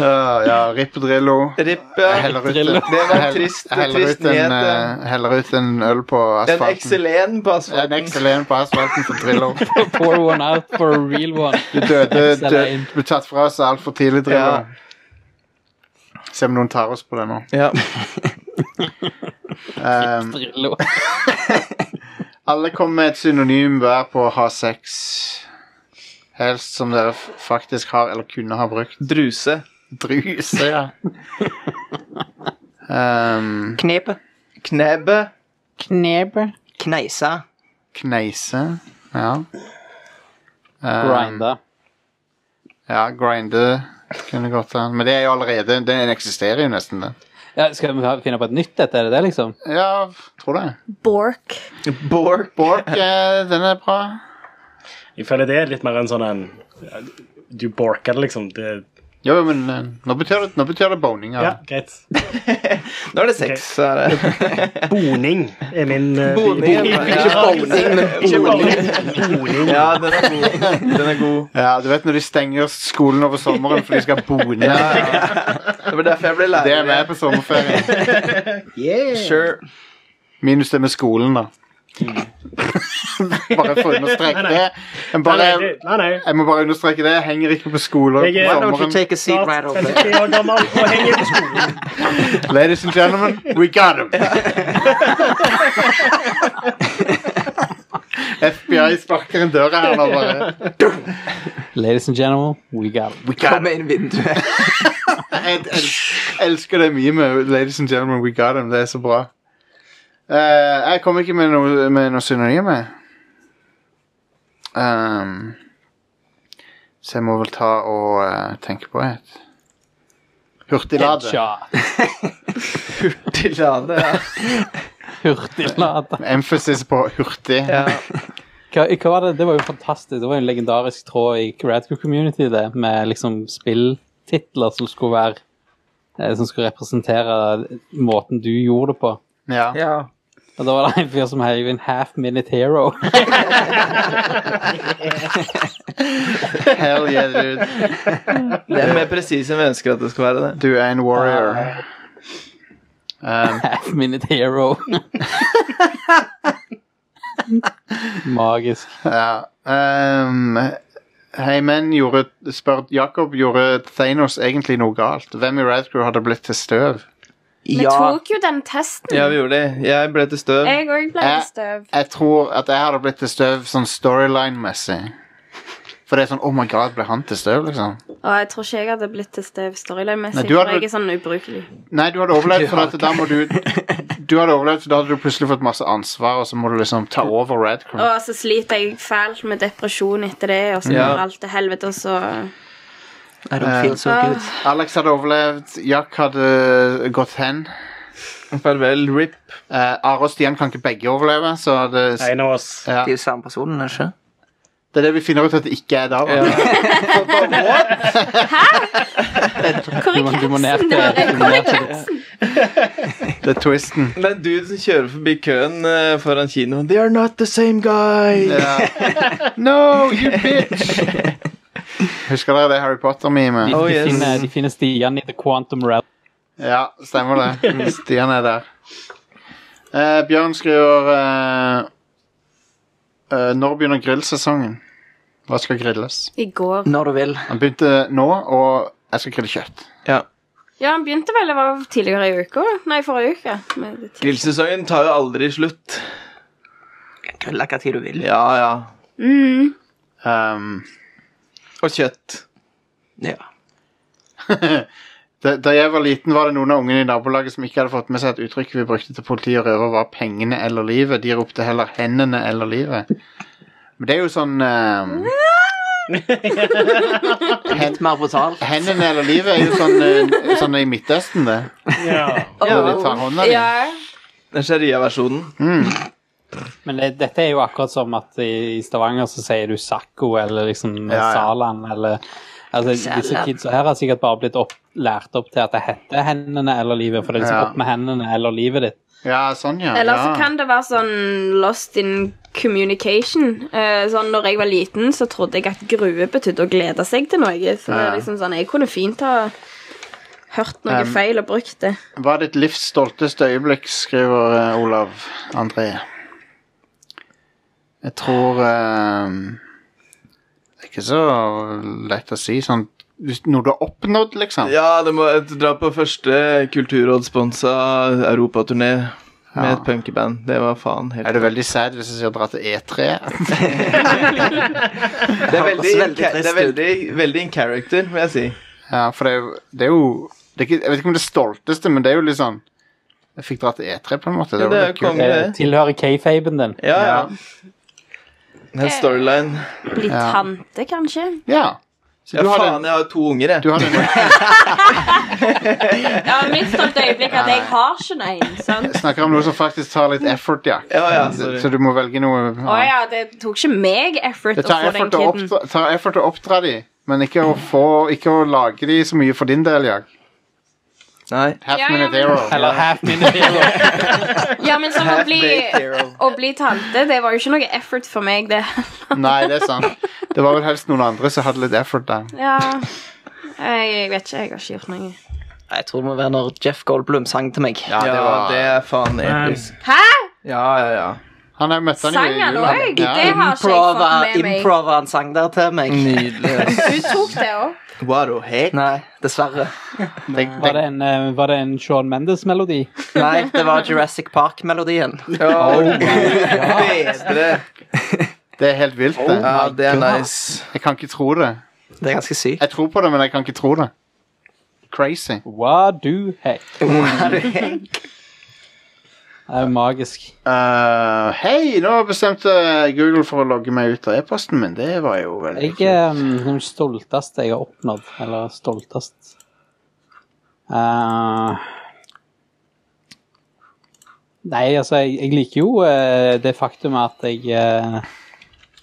Speaker 1: Å, (laughs) ja, Rip Drillo.
Speaker 4: Rip,
Speaker 1: Jeg
Speaker 4: ja.
Speaker 1: heller ut,
Speaker 5: Drillo.
Speaker 4: Det var
Speaker 1: jeg hell-
Speaker 4: trist-
Speaker 1: jeg heller
Speaker 4: trist
Speaker 1: ut en,
Speaker 4: nyhet,
Speaker 1: eh, heller ut en øl på
Speaker 4: En
Speaker 1: asfalten.
Speaker 4: XL1 på
Speaker 1: En
Speaker 4: asfalten.
Speaker 1: XL1 på asfalten for
Speaker 4: (laughs)
Speaker 1: Drillo.
Speaker 5: (laughs) Pour one out for a real one.
Speaker 1: Du døde,
Speaker 5: Selv
Speaker 1: dø-
Speaker 5: en.
Speaker 1: ble tatt fra oss altfor tidlig,
Speaker 4: Ja.
Speaker 1: Drillo. Se om noen tar oss på det nå.
Speaker 4: Ja.
Speaker 1: Um,
Speaker 5: Drillo.
Speaker 1: alle kom med et synonym hver på å ha sex. Helst som dere f- faktisk har eller kunne ha brukt.
Speaker 4: Druse.
Speaker 1: Druse, ja. Um,
Speaker 7: Knepet.
Speaker 4: Knebbe.
Speaker 5: Knebbe.
Speaker 7: Kneisa.
Speaker 1: kneise, ja.
Speaker 4: Eh.
Speaker 1: Um,
Speaker 5: Grinda.
Speaker 1: Ja, grinde kunne godt ha. Men det er jo allerede Den eksisterer jo nesten, den.
Speaker 5: Ja, skal vi ha- finne på et nytt et? Er det det, liksom?
Speaker 1: Ja, tror det.
Speaker 6: Bork.
Speaker 4: Bork.
Speaker 3: (laughs)
Speaker 1: Bork, eh, den er bra.
Speaker 3: jeg føler det er litt mer en sånn en ja, Du borker det, liksom. Det,
Speaker 1: Jo, jo, men eh, nå betyr det, nå betyr det boning.
Speaker 3: ja,
Speaker 1: Ja.
Speaker 3: greit.
Speaker 4: Nå er det sex. Så er det.
Speaker 3: Boning er min eh,
Speaker 4: Boning.
Speaker 3: Ikke boning, men boning. Boning.
Speaker 4: Ja, den er god. Den er god.
Speaker 1: ja, du vet når de stenger skolen over sommeren for de skal bone.
Speaker 4: Det var derfor jeg ble
Speaker 1: Det er med
Speaker 4: lærer.
Speaker 1: på sommerferien.
Speaker 4: Sure.
Speaker 1: Minus det med skolen, da. (laughs) bare for å understreke det. Men
Speaker 3: Mm. Nei,
Speaker 1: bare,
Speaker 3: nei, det- nei, nei.
Speaker 1: jeg må bare understreke det. Jeg henger ikke på skoler
Speaker 3: Jeg
Speaker 1: på
Speaker 3: er-
Speaker 7: Why don't you
Speaker 1: sommeren.
Speaker 7: take a seat
Speaker 3: Snart
Speaker 7: right over
Speaker 3: 53 år gammel og henger på (laughs) skolen.
Speaker 1: Ladies and gentlemen, we got him! FBI sparker en dør her nå, bare.
Speaker 5: Ladies and gentlemen, we got it.
Speaker 1: We got
Speaker 7: Kom inn vinduet.
Speaker 1: Jeg, jeg, jeg elsker det mye med Ladies and Gentlemen, we got them. Det er så bra. Eh, jeg kom ikke med noe, med noe synonym, jeg. Ehm, så jeg må vel ta og eh, tenke på et. Hurtiglade.
Speaker 5: Headshot. (laughs)
Speaker 4: Ja, det er.
Speaker 5: Hurtiglade.
Speaker 1: Emphasis på hurtig.
Speaker 4: Ja.
Speaker 5: Hva, hva var det? det var jo fantastisk. Det var jo en legendarisk tråd i Radco Community, det, med liksom spilltitler som skulle være eh, Som skulle representere måten du gjorde det på.
Speaker 1: Ja.
Speaker 4: ja.
Speaker 5: Og da var det en fyr som heiv inn Half Minute Hero.
Speaker 1: (laughs)
Speaker 5: (laughs)
Speaker 1: Hell yeah, dude.
Speaker 4: Det er mer presis enn vi ønsker at det skal være. det.
Speaker 1: Du er en warrior. Ehm,
Speaker 5: Half Minute
Speaker 4: (laughs)
Speaker 5: Hero. Magisk.
Speaker 1: ja. Ehm, Hei, men gjorde, spør Jakob, gjorde Thanos egentlig noe galt? Hvem i Radcrew hadde blitt til støv?
Speaker 6: Vi tok jo den testen.
Speaker 4: Ja, vi gjorde det. Jeg ble til støv.
Speaker 6: Jeg òg ble
Speaker 1: Jeg-
Speaker 6: støv.
Speaker 1: Jeg tror at jeg hadde blitt til støv sånn storyline-messig. For det er sånn Oh my god, ble han til støv, liksom?
Speaker 10: Og jeg tror ikke jeg hadde blitt til støv
Speaker 1: Nei,
Speaker 10: storyline-messig,
Speaker 1: du
Speaker 10: for
Speaker 1: hadde-
Speaker 10: jeg er sånn ubrukelig.
Speaker 1: Nei, du hadde overlevd, for at da må du Du hadde overlevd, for da hadde du plutselig fått masse ansvar, og så må du liksom ta over Red Crew.
Speaker 10: Og så sliter jeg fælt med depresjon etter det, og så
Speaker 4: Ja.
Speaker 10: går alt til helvete, og så
Speaker 7: I don't feel so good.
Speaker 1: Alex hadde overlevd, Jack hadde gått hen.
Speaker 4: Farvel, RIP.
Speaker 1: Eh, Are og Stian kan ikke begge overleve, så det,
Speaker 3: En av oss.
Speaker 1: ja.
Speaker 7: De er jo samme personen, er det ikke?
Speaker 1: det er det vi finner ut at (laughs) det ikke er da.
Speaker 4: Ja.
Speaker 10: Hvor er
Speaker 5: Du må- du må
Speaker 10: catsen?
Speaker 5: ned til-
Speaker 10: Det var-
Speaker 5: du må
Speaker 10: (laughs) Hvor er
Speaker 5: ned til det.
Speaker 10: catsen?
Speaker 1: Det er twisten.
Speaker 4: Det er en dude som kjører forbi køen eh, foran kinoen. They are not the same guy!
Speaker 1: Ja. (laughs) No, you bitch! (laughs) Husker dere det Harry Potter-memet?
Speaker 5: De,
Speaker 4: Oh,
Speaker 5: de,
Speaker 4: yes.
Speaker 5: finner, de finner Stian i The Quantum Realm.
Speaker 1: Ja, stemmer
Speaker 4: (laughs)
Speaker 1: det. Stian er der. Eh, Bjørn skriver eh, eh, Når begynner grillsesongen? Hva skal grilles?
Speaker 10: I går.
Speaker 7: Når du vil.
Speaker 1: Han begynte nå, og jeg skal grille kjøtt.
Speaker 4: Ja.
Speaker 10: Ja, han begynte vel det var tidligere i uka. Nei, forrige uke. Men det er tid.
Speaker 4: Grillsesongen tar jo aldri slutt.
Speaker 7: Grille hva tid du vil.
Speaker 4: Ja, ja.
Speaker 10: Mm.
Speaker 1: Um,
Speaker 4: Og kjøtt.
Speaker 7: Ja.
Speaker 1: da, da jeg var liten, var det noen av ungene i nabolaget som ikke hadde fått med seg at uttrykket vi brukte til politi og røver, var 'pengene eller livet'. De ropte heller 'hendene eller livet'. Men det er jo sånn ehm,
Speaker 7: Litt mer brutal.
Speaker 1: Hendene eller livet er jo sånn, eh, sånn i Midtøsten, det.
Speaker 3: Ja.
Speaker 1: Når de tar hånda di.
Speaker 10: Ja.
Speaker 4: Den sharia-versjonen.
Speaker 5: Men det, dette er jo akkurat som at i i Stavanger så sier du Sakko eller liksom
Speaker 1: ja.
Speaker 5: Salan eller Altså, disse
Speaker 7: Salan.
Speaker 5: kidsa her har sikkert bare blitt opp, lært opp til at det heter hendene eller livet, for det er liksom
Speaker 1: Ja.
Speaker 5: opp med hendene eller livet ditt.
Speaker 1: Ja, sånn, ja.
Speaker 10: Eller så
Speaker 1: ja.
Speaker 10: kan det være sånn lost in communication. Eh, sånn, når jeg var liten, så trodde jeg at grue betydde å glede seg til noe. Så det
Speaker 1: Ja.
Speaker 10: er liksom sånn, Jeg kunne fint ha hørt noe
Speaker 1: Um,
Speaker 10: feil og brukt det.
Speaker 1: Hva er ditt livs stolteste øyeblikk, skriver eh, Olav André. Jeg tror eh, Det er ikke så lett å si. Sånn, hvis- noe du har oppnådd, liksom.
Speaker 4: Ja, det må eh, dra på første kulturrådssponsa europaturné med et punkeband. Det var faen helt
Speaker 1: Er det veldig sad hvis jeg sier dra til E3? (laughs)
Speaker 4: Det er veldig,
Speaker 7: høres veldig trist
Speaker 4: det er veldig, veldig in character, vil jeg si.
Speaker 1: Ja, for det er jo, det er jo det er ikke, Jeg vet ikke om det stolteste, men det er jo litt sånn Jeg fikk dra til E3, på en måte.
Speaker 4: Ja,
Speaker 1: var
Speaker 4: det er
Speaker 1: litt
Speaker 4: jo
Speaker 1: kult.
Speaker 4: konge,
Speaker 5: Det
Speaker 4: det.
Speaker 5: Eh, tilhører k-faben din.
Speaker 4: Ja, ja. Det er storyline.
Speaker 10: Bli
Speaker 1: Ja.
Speaker 10: tante, kanskje.
Speaker 1: Ja. Så
Speaker 4: Ja,
Speaker 1: du hadde-
Speaker 4: faen, jeg har to unger,
Speaker 1: Du
Speaker 4: jeg.
Speaker 1: hadde en
Speaker 10: Ja, Mitt stolte øyeblikk er at jeg har ikke noen. sant?
Speaker 1: snakker om noe som faktisk tar litt effort, ja.
Speaker 4: Ja, ja,
Speaker 1: Så,
Speaker 4: sorry.
Speaker 1: så du må velge noe annet.
Speaker 10: Å ja, det tok ikke meg effort
Speaker 1: Det
Speaker 10: å
Speaker 1: tar
Speaker 10: få den
Speaker 1: effort, å
Speaker 10: kiden.
Speaker 1: oppdra, tar effort å oppdra de, men ikke å, få, ikke å lage de så mye for din del, Jack.
Speaker 4: Nei.
Speaker 1: Half
Speaker 10: Ja, ja,
Speaker 1: minute
Speaker 10: men-
Speaker 1: hero.
Speaker 5: Eller half minute hero.
Speaker 10: Ja, men som å bli,
Speaker 4: Half-baked hero.
Speaker 10: å bli tante, det var jo ikke noe effort for meg,
Speaker 1: (laughs)
Speaker 10: det.
Speaker 1: Nei, det er sant. Det var vel helst noen andre som hadde litt effort der.
Speaker 10: Ja, jeg vet ikke, jeg har ikke gjort noe.
Speaker 7: Jeg tror det må være når Jeff Goldblum sang til meg.
Speaker 1: Ja, det var,
Speaker 4: det er faen episk.
Speaker 10: Hæ?
Speaker 4: Ja, ja, ja.
Speaker 1: han er møtte han jo
Speaker 10: Sang
Speaker 1: i
Speaker 10: han
Speaker 1: jula.
Speaker 10: òg? Det
Speaker 1: Ja.
Speaker 10: har ikke jeg fått
Speaker 7: Improver,
Speaker 10: med meg.
Speaker 7: improver han sang der til meg.
Speaker 4: Nydelig. ass.
Speaker 10: Du tok det òg?
Speaker 4: What the heck?
Speaker 7: Nei, dessverre.
Speaker 1: Tenk-
Speaker 5: Var det en,
Speaker 1: tenk-
Speaker 5: eh, var det en Sean Mendes-melodi?
Speaker 7: Nei, det var Jurassic Park-melodien.
Speaker 1: (laughs)
Speaker 4: Oh, Bedre.
Speaker 1: Det er helt vilt, det.
Speaker 4: Ja, det er nice.
Speaker 1: Jeg kan ikke tro det.
Speaker 7: Det er ganske sykt.
Speaker 1: Jeg tror på det, men jeg kan ikke tro det. Crazy.
Speaker 5: Hva du heck? Det er jo magisk.
Speaker 1: Eh, Hei, nå bestemte Google for å logge meg ut av e-posten min. Det var jo veldig
Speaker 5: Jeg er den stolteste jeg har oppnådd, eller stoltest. Eh, nei, altså, jeg, jeg liker jo eh, det faktum at jeg eh,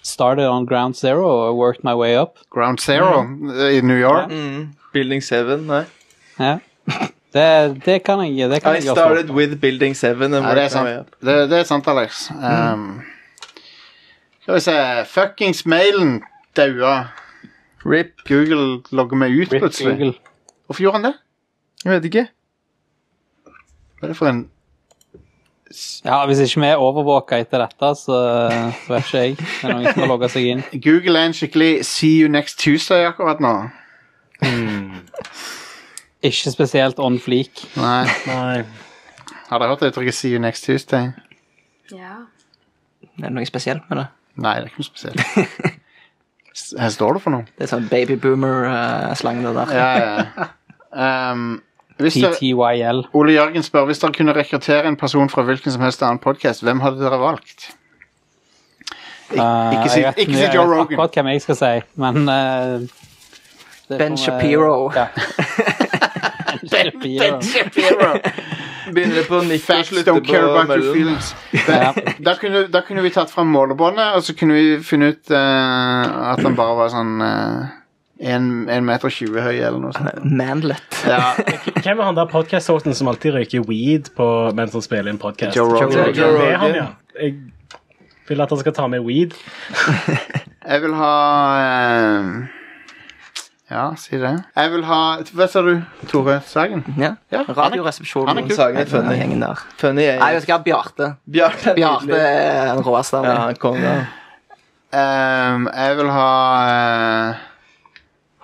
Speaker 5: started on ground zero og worked my way up.
Speaker 1: Ground Zero eh, i New York.
Speaker 4: Mm. Building 7, nei.
Speaker 5: Ja. Det, det kan jeg det kan
Speaker 4: I
Speaker 5: jeg gjøre stolt.
Speaker 4: started with Building 7 and worked
Speaker 1: Ja, det er
Speaker 4: my way up.
Speaker 1: sant. Det, det er sant, Alex. Um, Skal vi se Fuckings mailen daua.
Speaker 4: RIP.
Speaker 1: Google logger meg ut,
Speaker 5: Rip
Speaker 1: plutselig.
Speaker 5: Google.
Speaker 1: Hvorfor gjorde han det?
Speaker 4: Jeg vet ikke.
Speaker 1: Hva er det for en
Speaker 5: Ja, Hvis ikke vi er overvåka etter dette, så, så vet ikke jeg. Det er noen som har logga seg inn.
Speaker 1: Google er en skikkelig See you next Tuesday akkurat nå.
Speaker 5: Ikke spesielt on fleak.
Speaker 1: Nei.
Speaker 3: Nei.
Speaker 1: Har dere hørt det uttrykket See you next Tuesday?
Speaker 10: Ja.
Speaker 7: Er det noe spesielt med det?
Speaker 1: Nei, det er ikke noe spesielt. S- Her står det for noe.
Speaker 7: Det er sånn babyboomer-slang, det der.
Speaker 1: Ja, ja. Um, hvis dere,
Speaker 5: PTYL.
Speaker 1: Ole Jørgen spør hvis dere kunne rekruttere en person fra hvilken som helst annen podkast, hvem hadde dere valgt? Ik ikke si,
Speaker 5: jeg vet-
Speaker 1: ikke si
Speaker 5: jeg
Speaker 1: Joe
Speaker 5: vet
Speaker 1: Rogan.
Speaker 5: akkurat hvem jeg skal si, men eh, det får
Speaker 7: Ben
Speaker 5: vi-
Speaker 7: Shapiro.
Speaker 5: Ja. ben Shapiro.
Speaker 1: (laughs)
Speaker 4: Begynner på nitt og
Speaker 1: Facts
Speaker 4: slutter
Speaker 1: don't
Speaker 4: på
Speaker 1: care about your
Speaker 4: møllen.
Speaker 1: feelings. Da, da, kunne, da kunne vi tatt fram målebåndet, og så kunne vi funnet ut eh, at han bare var sånn uh, 1,20 meter høy eller noe sånt.
Speaker 7: Manlet.
Speaker 1: Ja,
Speaker 3: Hvem er han der podcast-hosten som alltid røyker weed på, mens han spiller en podcast?
Speaker 1: Joe Rogan.
Speaker 4: Joe Rogan.
Speaker 3: Det er han, ja. Jeg vil at han skal ta med weed.
Speaker 1: Jeg vil ha eh, Ja, si det. Jeg vil ha Hva sa du, Tore Sagen?
Speaker 7: Ja.
Speaker 1: Ja, han er-
Speaker 7: Radioresepsjonen.
Speaker 1: han er kul.
Speaker 7: Sagen er funny. Gjengen der.
Speaker 4: Funny
Speaker 7: Nei,
Speaker 4: jeg.
Speaker 7: jeg skal ha Bjarte.
Speaker 4: Bjarte er
Speaker 7: Bjarte
Speaker 4: nydelig.
Speaker 7: er den råeste.
Speaker 4: Ja,
Speaker 7: Ja.
Speaker 4: konge.
Speaker 1: Ehm, jeg vil ha eh,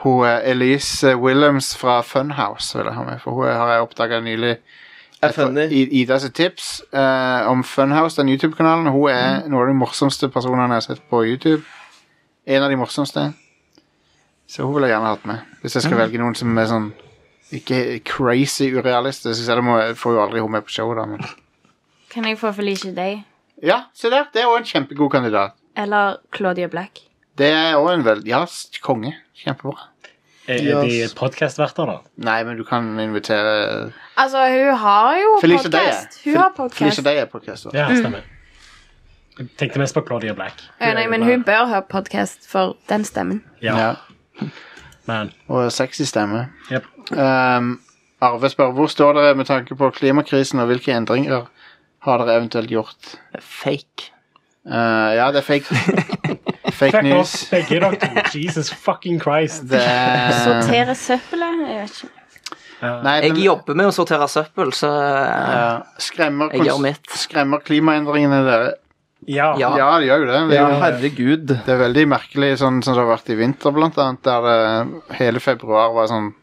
Speaker 1: hun eh, Elise Williams fra Funhouse. Vil jeg ha med, for hun har jeg oppdaga nylig.
Speaker 4: Er funny.
Speaker 1: I- Ida sitt tips eh, om Funhouse, den YouTube-kanalen. Hun er
Speaker 4: Mm.
Speaker 1: noen av de morsomste personene jeg har sett på YouTube. En av de morsomste. Så hun vil jeg gjerne hatt med. Hvis
Speaker 4: Mm.
Speaker 1: jeg skal velge noen som er sånn ikke crazy urealistisk. Selv om jeg får jo aldri hun med på showet, da. Men.
Speaker 10: Kan jeg få Felicia Day?
Speaker 1: Ja, se der. Det er òg en kjempegod kandidat.
Speaker 10: Eller Claudia Black?
Speaker 1: Det er òg en veldig Ja, s- konge. Kjempebra.
Speaker 3: Er, er Eh, de
Speaker 4: Yes.
Speaker 3: podcast-verter, da?
Speaker 1: Nei, men du kan invitere
Speaker 10: Altså, hun har jo
Speaker 1: Felicia Day. er-
Speaker 10: podcast. Hun har
Speaker 1: Fel-
Speaker 10: podcast.
Speaker 1: Felicia Day er podcaster.
Speaker 3: Ja, stemmer. Jeg tenkte mest på Claudia Black.
Speaker 10: Å, nei, men hun bør høre podcast for den stemmen.
Speaker 3: Ja,
Speaker 1: Ja,
Speaker 3: men
Speaker 1: og sexy stemme.
Speaker 3: Jep.
Speaker 1: Um, Arve spør hvor står dere med tanke på klimakrisen, og hvilke endringer har dere eventuelt gjort?
Speaker 7: Fake.
Speaker 1: Uh, ja, det er
Speaker 3: (laughs)
Speaker 1: fake Fake
Speaker 3: Fuck off,
Speaker 1: news.
Speaker 3: begge dere to. Jesus fucking Christ.
Speaker 1: Det er
Speaker 10: Sortere søppelet? Jeg vet ikke.
Speaker 1: Nei,
Speaker 7: Jeg
Speaker 1: men-
Speaker 7: jobber med å sortere søppel, så eh,
Speaker 1: ja, skremmer,
Speaker 7: Jeg gjør mitt.
Speaker 1: skremmer klimaendringene dere?
Speaker 3: Ja.
Speaker 7: Ja.
Speaker 1: Ja, det gjør jo det. Det er
Speaker 4: Ja,
Speaker 1: jo
Speaker 4: herregud.
Speaker 1: Det er veldig merkelig, sånn som det har vært i vinter, blant annet, der det hele februar var sånn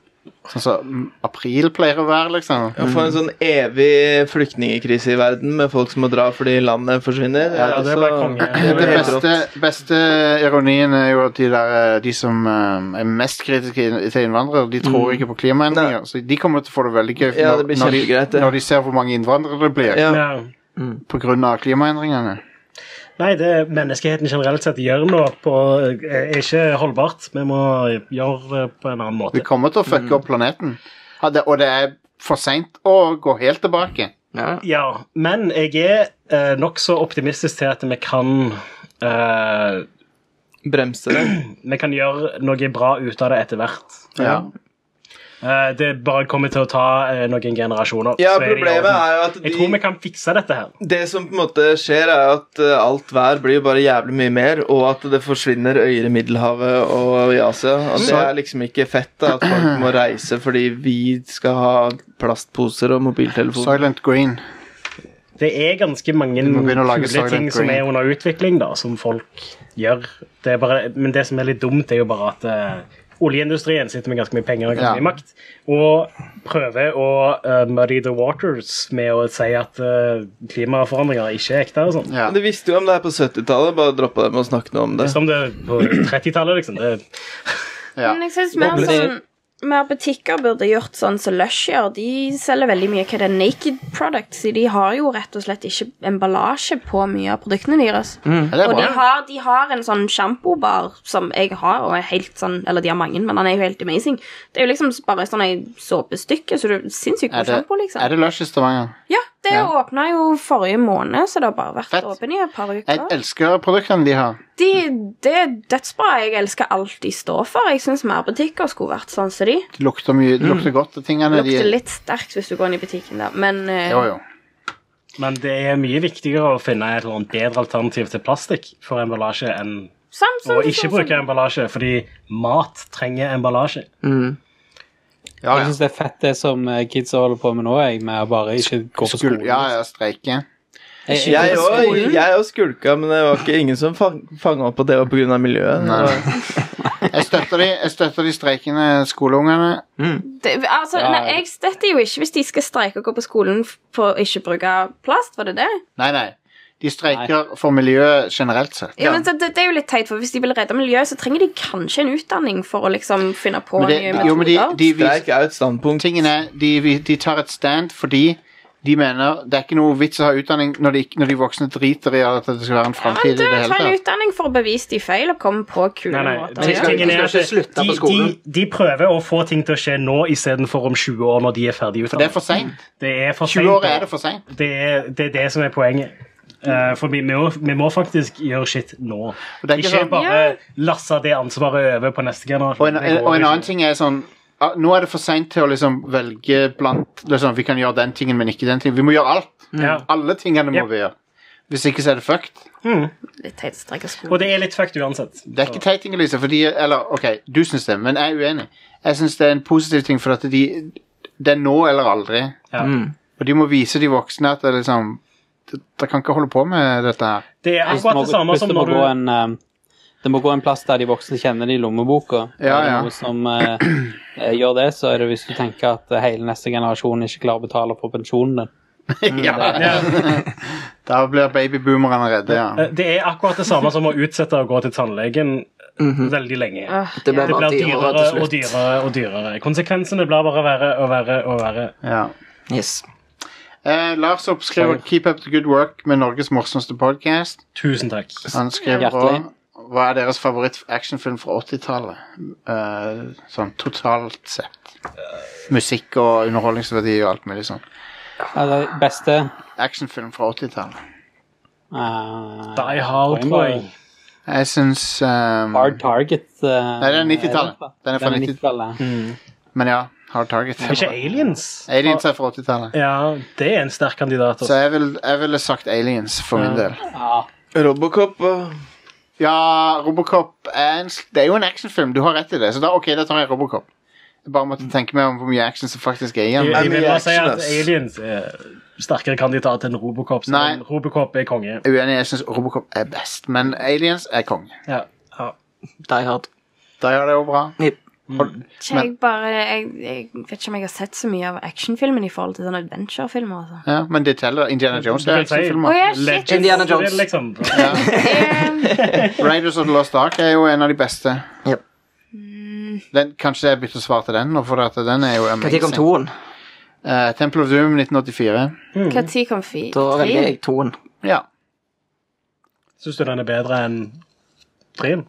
Speaker 1: Sånn som april pleier å være, liksom.
Speaker 4: Å få en sånn evig flyktningkrise i verden med folk som må dra fordi landet forsvinner. Altså,
Speaker 3: Ja, det ble konge.
Speaker 1: Det
Speaker 4: er helt
Speaker 1: beste, beste ironien er jo at de, der, eh, de som eh, er mest kritiske inn- til innvandrere, de tror ikke på klimaendringer. Så de kommer til å få det veldig gøy
Speaker 4: Mm. Ja,
Speaker 1: når,
Speaker 4: det blir
Speaker 1: når, de,
Speaker 4: kjempegreit, det.
Speaker 1: når de ser hvor mange innvandrere det blir
Speaker 4: Ja.
Speaker 3: Ja.
Speaker 1: på grunn av klimaendringene.
Speaker 3: Nei, det menneskeheten generelt sett gjør nå, på, eh, er ikke holdbart. Vi må gjøre det på en annen
Speaker 1: Vi
Speaker 3: måte.
Speaker 1: kommer til å
Speaker 4: Mm.
Speaker 1: fucke opp planeten. Ja, det, og det er for seint å gå helt tilbake.
Speaker 7: ja.
Speaker 3: Ja, men jeg er eh, nokså optimistisk til at vi kan eh,
Speaker 4: Bremse det.
Speaker 3: Vi kan gjøre noe bra ut av det etter hvert.
Speaker 1: Ja.
Speaker 3: Eh, det bare kommer til å ta eh, noen generasjoner.
Speaker 4: Ja,
Speaker 3: så er det i
Speaker 4: problemet
Speaker 3: orden.
Speaker 4: er jo at
Speaker 3: Jeg tror vi
Speaker 4: de,
Speaker 3: kan fikse dette her.
Speaker 4: det som på en måte skjer, er at eh, alt vær blir bare jævlig mye mer, og at det forsvinner øyer i Middelhavet og i Asia. Og det
Speaker 1: Så-
Speaker 4: er liksom ikke fett da, at folk må reise fordi vi skal ha plastposer og mobiltelefon.
Speaker 1: Silent Green.
Speaker 3: Det er ganske mange
Speaker 1: må begynne å lage
Speaker 3: kule
Speaker 1: Silent
Speaker 3: ting som
Speaker 1: Green.
Speaker 3: er under utvikling, da, som folk gjør. Det er bare, men det som er litt dumt, er jo bare at eh, oljeindustrien sitter med ganske mye penger og ganske
Speaker 1: Ja.
Speaker 3: mye makt, og prøver å eh, muddy the waters med å si at eh, klimaforandringer ikke er ekte. og sånn.
Speaker 1: Ja.
Speaker 4: Men de visste jo om det her på 70-tallet, bare droppa dem og snakket noe om det.
Speaker 3: Som det på 30-tallet, liksom. Det,
Speaker 1: Ja.
Speaker 10: Men jeg synes mer
Speaker 5: Dobbelt.
Speaker 10: sånn mer butikker burde gjort sånn som Lush gjør. De selger veldig mye hva det er naked products i. De har jo rett og slett ikke emballasje på mye av produktene deres.
Speaker 1: Ja, Mm, det er
Speaker 10: Og de
Speaker 1: bra.
Speaker 10: har, de har en sånn sjampobar som jeg har, og er helt sånn Eller de har mange, men han er jo helt amazing. Det er jo liksom bare sånn ei såpestykke, så du er sinnssykt
Speaker 1: Er
Speaker 10: god sjampo,
Speaker 1: det,
Speaker 10: liksom.
Speaker 1: er det Lush i Stavanger?
Speaker 10: Ja, det
Speaker 1: Ja.
Speaker 10: åpna jo forrige måned, så det har bare vært
Speaker 1: Fett.
Speaker 10: åpen i et par
Speaker 1: Jeg
Speaker 10: uker.
Speaker 1: elsker produktene de har.
Speaker 10: De, det er dødsbra. Jeg elsker alt de står for. Jeg syns mer butikker skulle vært sånn som de.
Speaker 1: De lukter, mye, de lukter godt av tingene.
Speaker 10: Lukter
Speaker 1: De,
Speaker 10: litt sterkt hvis du går inn i butikken, da, men eh,
Speaker 1: jo, jo.
Speaker 3: men det er mye viktigere å finne et eller annet bedre alternativ til plastikk for emballasje enn
Speaker 10: sant, sant,
Speaker 3: å ikke
Speaker 10: sant,
Speaker 3: bruke
Speaker 10: sant.
Speaker 3: emballasje, fordi mat trenger emballasje.
Speaker 7: Mm.
Speaker 1: Ja,
Speaker 5: Jeg
Speaker 1: ja.
Speaker 5: syns det er fett, det som eh, kidsa holder på med nå, jeg, med å bare ikke gå på
Speaker 1: Skul,
Speaker 5: skolen.
Speaker 1: ja, ja, streike.
Speaker 5: Jeg,
Speaker 4: Jeg òg- jeg òg skulka, men det var ikke ingen som fanga opp på det var på grunn av miljøet.
Speaker 1: Nei. Jeg støtter de, jeg støtter de streikende skoleungene.
Speaker 10: Det, altså,
Speaker 5: Ja, ja.
Speaker 10: nei, jeg støtter jo ikke hvis de skal streike og gå på skolen f- for å ikke bruke plast, var det det?
Speaker 1: Nei, nei. De streiker for miljøet generelt sett.
Speaker 10: Ja, men så det, det er jo litt teit, for Hvis de vil redde miljøet, så trenger de kanskje en utdanning for å liksom finne på
Speaker 1: Men
Speaker 10: nye
Speaker 1: det,
Speaker 10: metoder.
Speaker 1: jo, men de, de, vis-
Speaker 4: Streik er jo et standpunkt.
Speaker 1: tingen er, de, vi- de tar et stand fordi de mener det er ikke noe vits å ha utdanning når de, ikke- når de voksne driter i at det skal være en
Speaker 10: ja,
Speaker 1: framtid
Speaker 10: men du,
Speaker 1: i det hele
Speaker 10: Ta en
Speaker 1: tatt.
Speaker 10: utdanning for å bevise de feil, og komme på kule
Speaker 3: Nei, nei.
Speaker 10: måter. å
Speaker 3: ting-
Speaker 10: gjøre det.
Speaker 3: Tingen er at
Speaker 7: skal ikke slutte på
Speaker 3: de, de,
Speaker 7: skolen.
Speaker 3: de prøver å få ting til å skje nå istedenfor om 20 år, når de er ferdig
Speaker 1: For det er
Speaker 3: utdannet.
Speaker 1: for seint.
Speaker 3: Det er for
Speaker 1: 20 år er
Speaker 3: sent.
Speaker 1: det for seint.
Speaker 3: Det er det, er det som er poenget. Eh, for vi må, vi må faktisk gjøre shit nå.
Speaker 1: det er ikke
Speaker 3: Ikke
Speaker 1: sånn-
Speaker 3: bare lasse det ansvaret over på neste generasjon.
Speaker 1: Og en,
Speaker 3: Det går
Speaker 1: og en
Speaker 3: ikke.
Speaker 1: annen ting er sånn ah, Nå er det for seint til å liksom velge blant liksom, Vi kan gjøre den tingen, men ikke den tingen. Vi må gjøre alt.
Speaker 3: Ja.
Speaker 1: Alle tingene må
Speaker 3: Yep.
Speaker 1: vi gjøre. Hvis ikke så er det fucked.
Speaker 10: Litt teit å strekke sko.
Speaker 3: Og det er litt fucked uansett.
Speaker 1: Det er ikke teit, Inger-Lise. fordi- Eller OK, du syns det, men jeg er uenig. Jeg syns det er en positiv ting, for at de Det er nå eller aldri.
Speaker 3: Ja.
Speaker 7: Mm.
Speaker 1: Og de må vise de voksne at det er liksom det- Dere kan ikke holde på med dette her.
Speaker 3: Det er
Speaker 5: Hvis det
Speaker 3: akkurat
Speaker 5: må,
Speaker 3: det samme
Speaker 5: hvis
Speaker 3: som
Speaker 5: det må
Speaker 3: når du
Speaker 5: gå en eh, det må gå en plass der de voksne kjenner det i lommeboka.
Speaker 1: Ja,
Speaker 5: Er det
Speaker 1: ja.
Speaker 5: noe som eh, eh, gjør det, så er det hvis du tenker at eh, hele neste generasjon ikke klarer å betale for pensjonen din.
Speaker 1: (laughs) ja,
Speaker 3: (laughs) ja.
Speaker 1: Da blir babyboomerne redde, ja.
Speaker 3: Eh, Det er akkurat det samme som å utsette å gå til tannlegen
Speaker 1: Mhm.
Speaker 3: veldig lenge.
Speaker 7: Det blir
Speaker 3: Det
Speaker 7: bare
Speaker 3: blir
Speaker 7: dyrere
Speaker 3: dyrere
Speaker 7: til
Speaker 3: og
Speaker 7: slutt.
Speaker 3: dyrere og dyrere. Konsekvensene blir bare verre og verre og verre.
Speaker 1: ja.
Speaker 7: Yes.
Speaker 1: Eh, Lars Opp skriver 'Keep up the good work' med Norges morsomste podcast
Speaker 3: Tusen takk.
Speaker 1: Han skriver
Speaker 5: Hjertelig.
Speaker 1: også Hva er deres favoritt-actionfilm fra 80-tallet? Eh, sånn totalt sett. Musikk og underholdningsverdi og alt mulig sånn.
Speaker 5: Ja, det beste
Speaker 1: Actionfilm fra 80-tallet.
Speaker 5: eh,
Speaker 3: Die Hard, tror jeg.
Speaker 1: Jeg syns ehm,
Speaker 5: Hard Target. eh,
Speaker 1: Nei, det er 90-tallet. Den er fra 90
Speaker 5: 90-tallet.
Speaker 1: Men ja, Hard Target.
Speaker 3: Er ikke
Speaker 1: (laughs)
Speaker 3: Aliens?
Speaker 1: Aliens er fra 80-tallet.
Speaker 3: Ja, det er en sterk kandidat.
Speaker 1: Så
Speaker 3: Også.
Speaker 1: jeg, vil, jeg ville sagt Aliens for min
Speaker 3: Ja.
Speaker 1: del.
Speaker 5: Ja.
Speaker 4: Robocop og
Speaker 1: Ja, Robocop er en, s- Det er jo en actionfilm, du har rett i det. Så da, ok, da tar jeg Robocop. Jeg bare måtte tenke meg om hvor mye action som faktisk er
Speaker 3: Jeg,
Speaker 1: igjen.
Speaker 3: jeg vil
Speaker 4: mye
Speaker 3: bare si
Speaker 4: action,
Speaker 3: at
Speaker 4: ass.
Speaker 3: Aliens er sterkere kandidat enn Robocop. Så
Speaker 1: Nei.
Speaker 3: Robocop er konge.
Speaker 1: Jeg er Uenig, jeg syns Robocop er best, men Aliens er konge.
Speaker 3: Ja. Ja.
Speaker 7: Die Hard.
Speaker 1: Da gjør det jo bra.
Speaker 7: Jep.
Speaker 10: Ikke, Jeg, bare, jeg, jeg vet ikke om jeg har sett så mye av actionfilmen i forhold til sånne adventurefilmer. Altså.
Speaker 1: Ja, men det teller. Indiana Jones det er
Speaker 3: Du kan si-
Speaker 10: Å
Speaker 1: actionfilmer.
Speaker 10: ja, shit.
Speaker 7: Indiana Jones.
Speaker 3: Det er Liksom.
Speaker 10: Eh,
Speaker 1: Raiders of the Lost Ark er jo en av de beste. Mm.
Speaker 7: Jep.
Speaker 1: Den, kanskje jeg bytter svar til den nå, for at den er jo
Speaker 7: Når kom
Speaker 1: amazing.
Speaker 7: toen?
Speaker 1: Eh, Temple of Doom 1984.
Speaker 3: Mm.
Speaker 10: Hva tid kom fi?
Speaker 7: Da velger jeg toen.
Speaker 1: Ja.
Speaker 3: Syns du den er bedre enn Trien?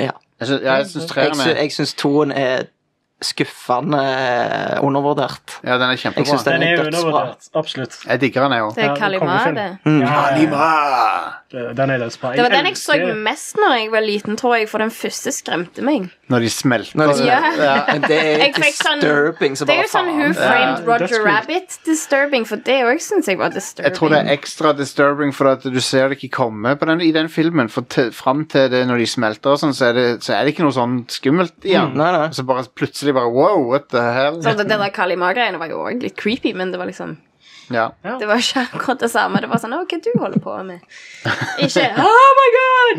Speaker 7: Ja.
Speaker 1: Jeg syns, ja, jeg syns
Speaker 7: Jeg,
Speaker 1: treeren
Speaker 7: sy
Speaker 1: er
Speaker 7: jeg syns toen er skuffende eh, undervurdert.
Speaker 1: Ja, den er
Speaker 7: Jeg syns
Speaker 1: kjempebra.
Speaker 3: Den
Speaker 7: den
Speaker 3: er
Speaker 7: er dødsbra.
Speaker 3: undervurdert. Absolutt.
Speaker 1: Jeg digger den, jeg òg.
Speaker 10: Det er
Speaker 3: Ja,
Speaker 10: Kalimade.
Speaker 3: kongefilm.
Speaker 1: Ja,
Speaker 3: Den er dødsbra.
Speaker 10: Det var den jeg så
Speaker 3: elsker-
Speaker 10: mest når jeg var liten, tror jeg, for den første skremte meg.
Speaker 1: Når de smelter.
Speaker 7: Når de smelter.
Speaker 1: Ja.
Speaker 7: (laughs) Men det er
Speaker 10: Jeg fikk sånn-
Speaker 7: disturbing som
Speaker 10: Det er
Speaker 7: bare
Speaker 10: jo sånn Who
Speaker 7: faen.
Speaker 10: Framed
Speaker 3: that's
Speaker 10: Roger
Speaker 3: cool.
Speaker 10: Rabbit disturbing, for det òg syns jeg var disturbing.
Speaker 1: Jeg tror det er ekstra disturbing for at du ser det ikke komme på den, i den filmen. For til, fram til det når de smelter og sånn, så er det, så er det ikke noe sånn skummelt igjen.
Speaker 7: Nei, nei.
Speaker 1: Så bare plutselig bare wow, what the hell?
Speaker 10: Så Sånn det, det der Kalima-greiene var jo òg litt creepy, men det var liksom
Speaker 1: Ja.
Speaker 10: Det var ikke akkurat det samme. Det var sånn «Å, Hva du holder på med? Ikke Oh my god!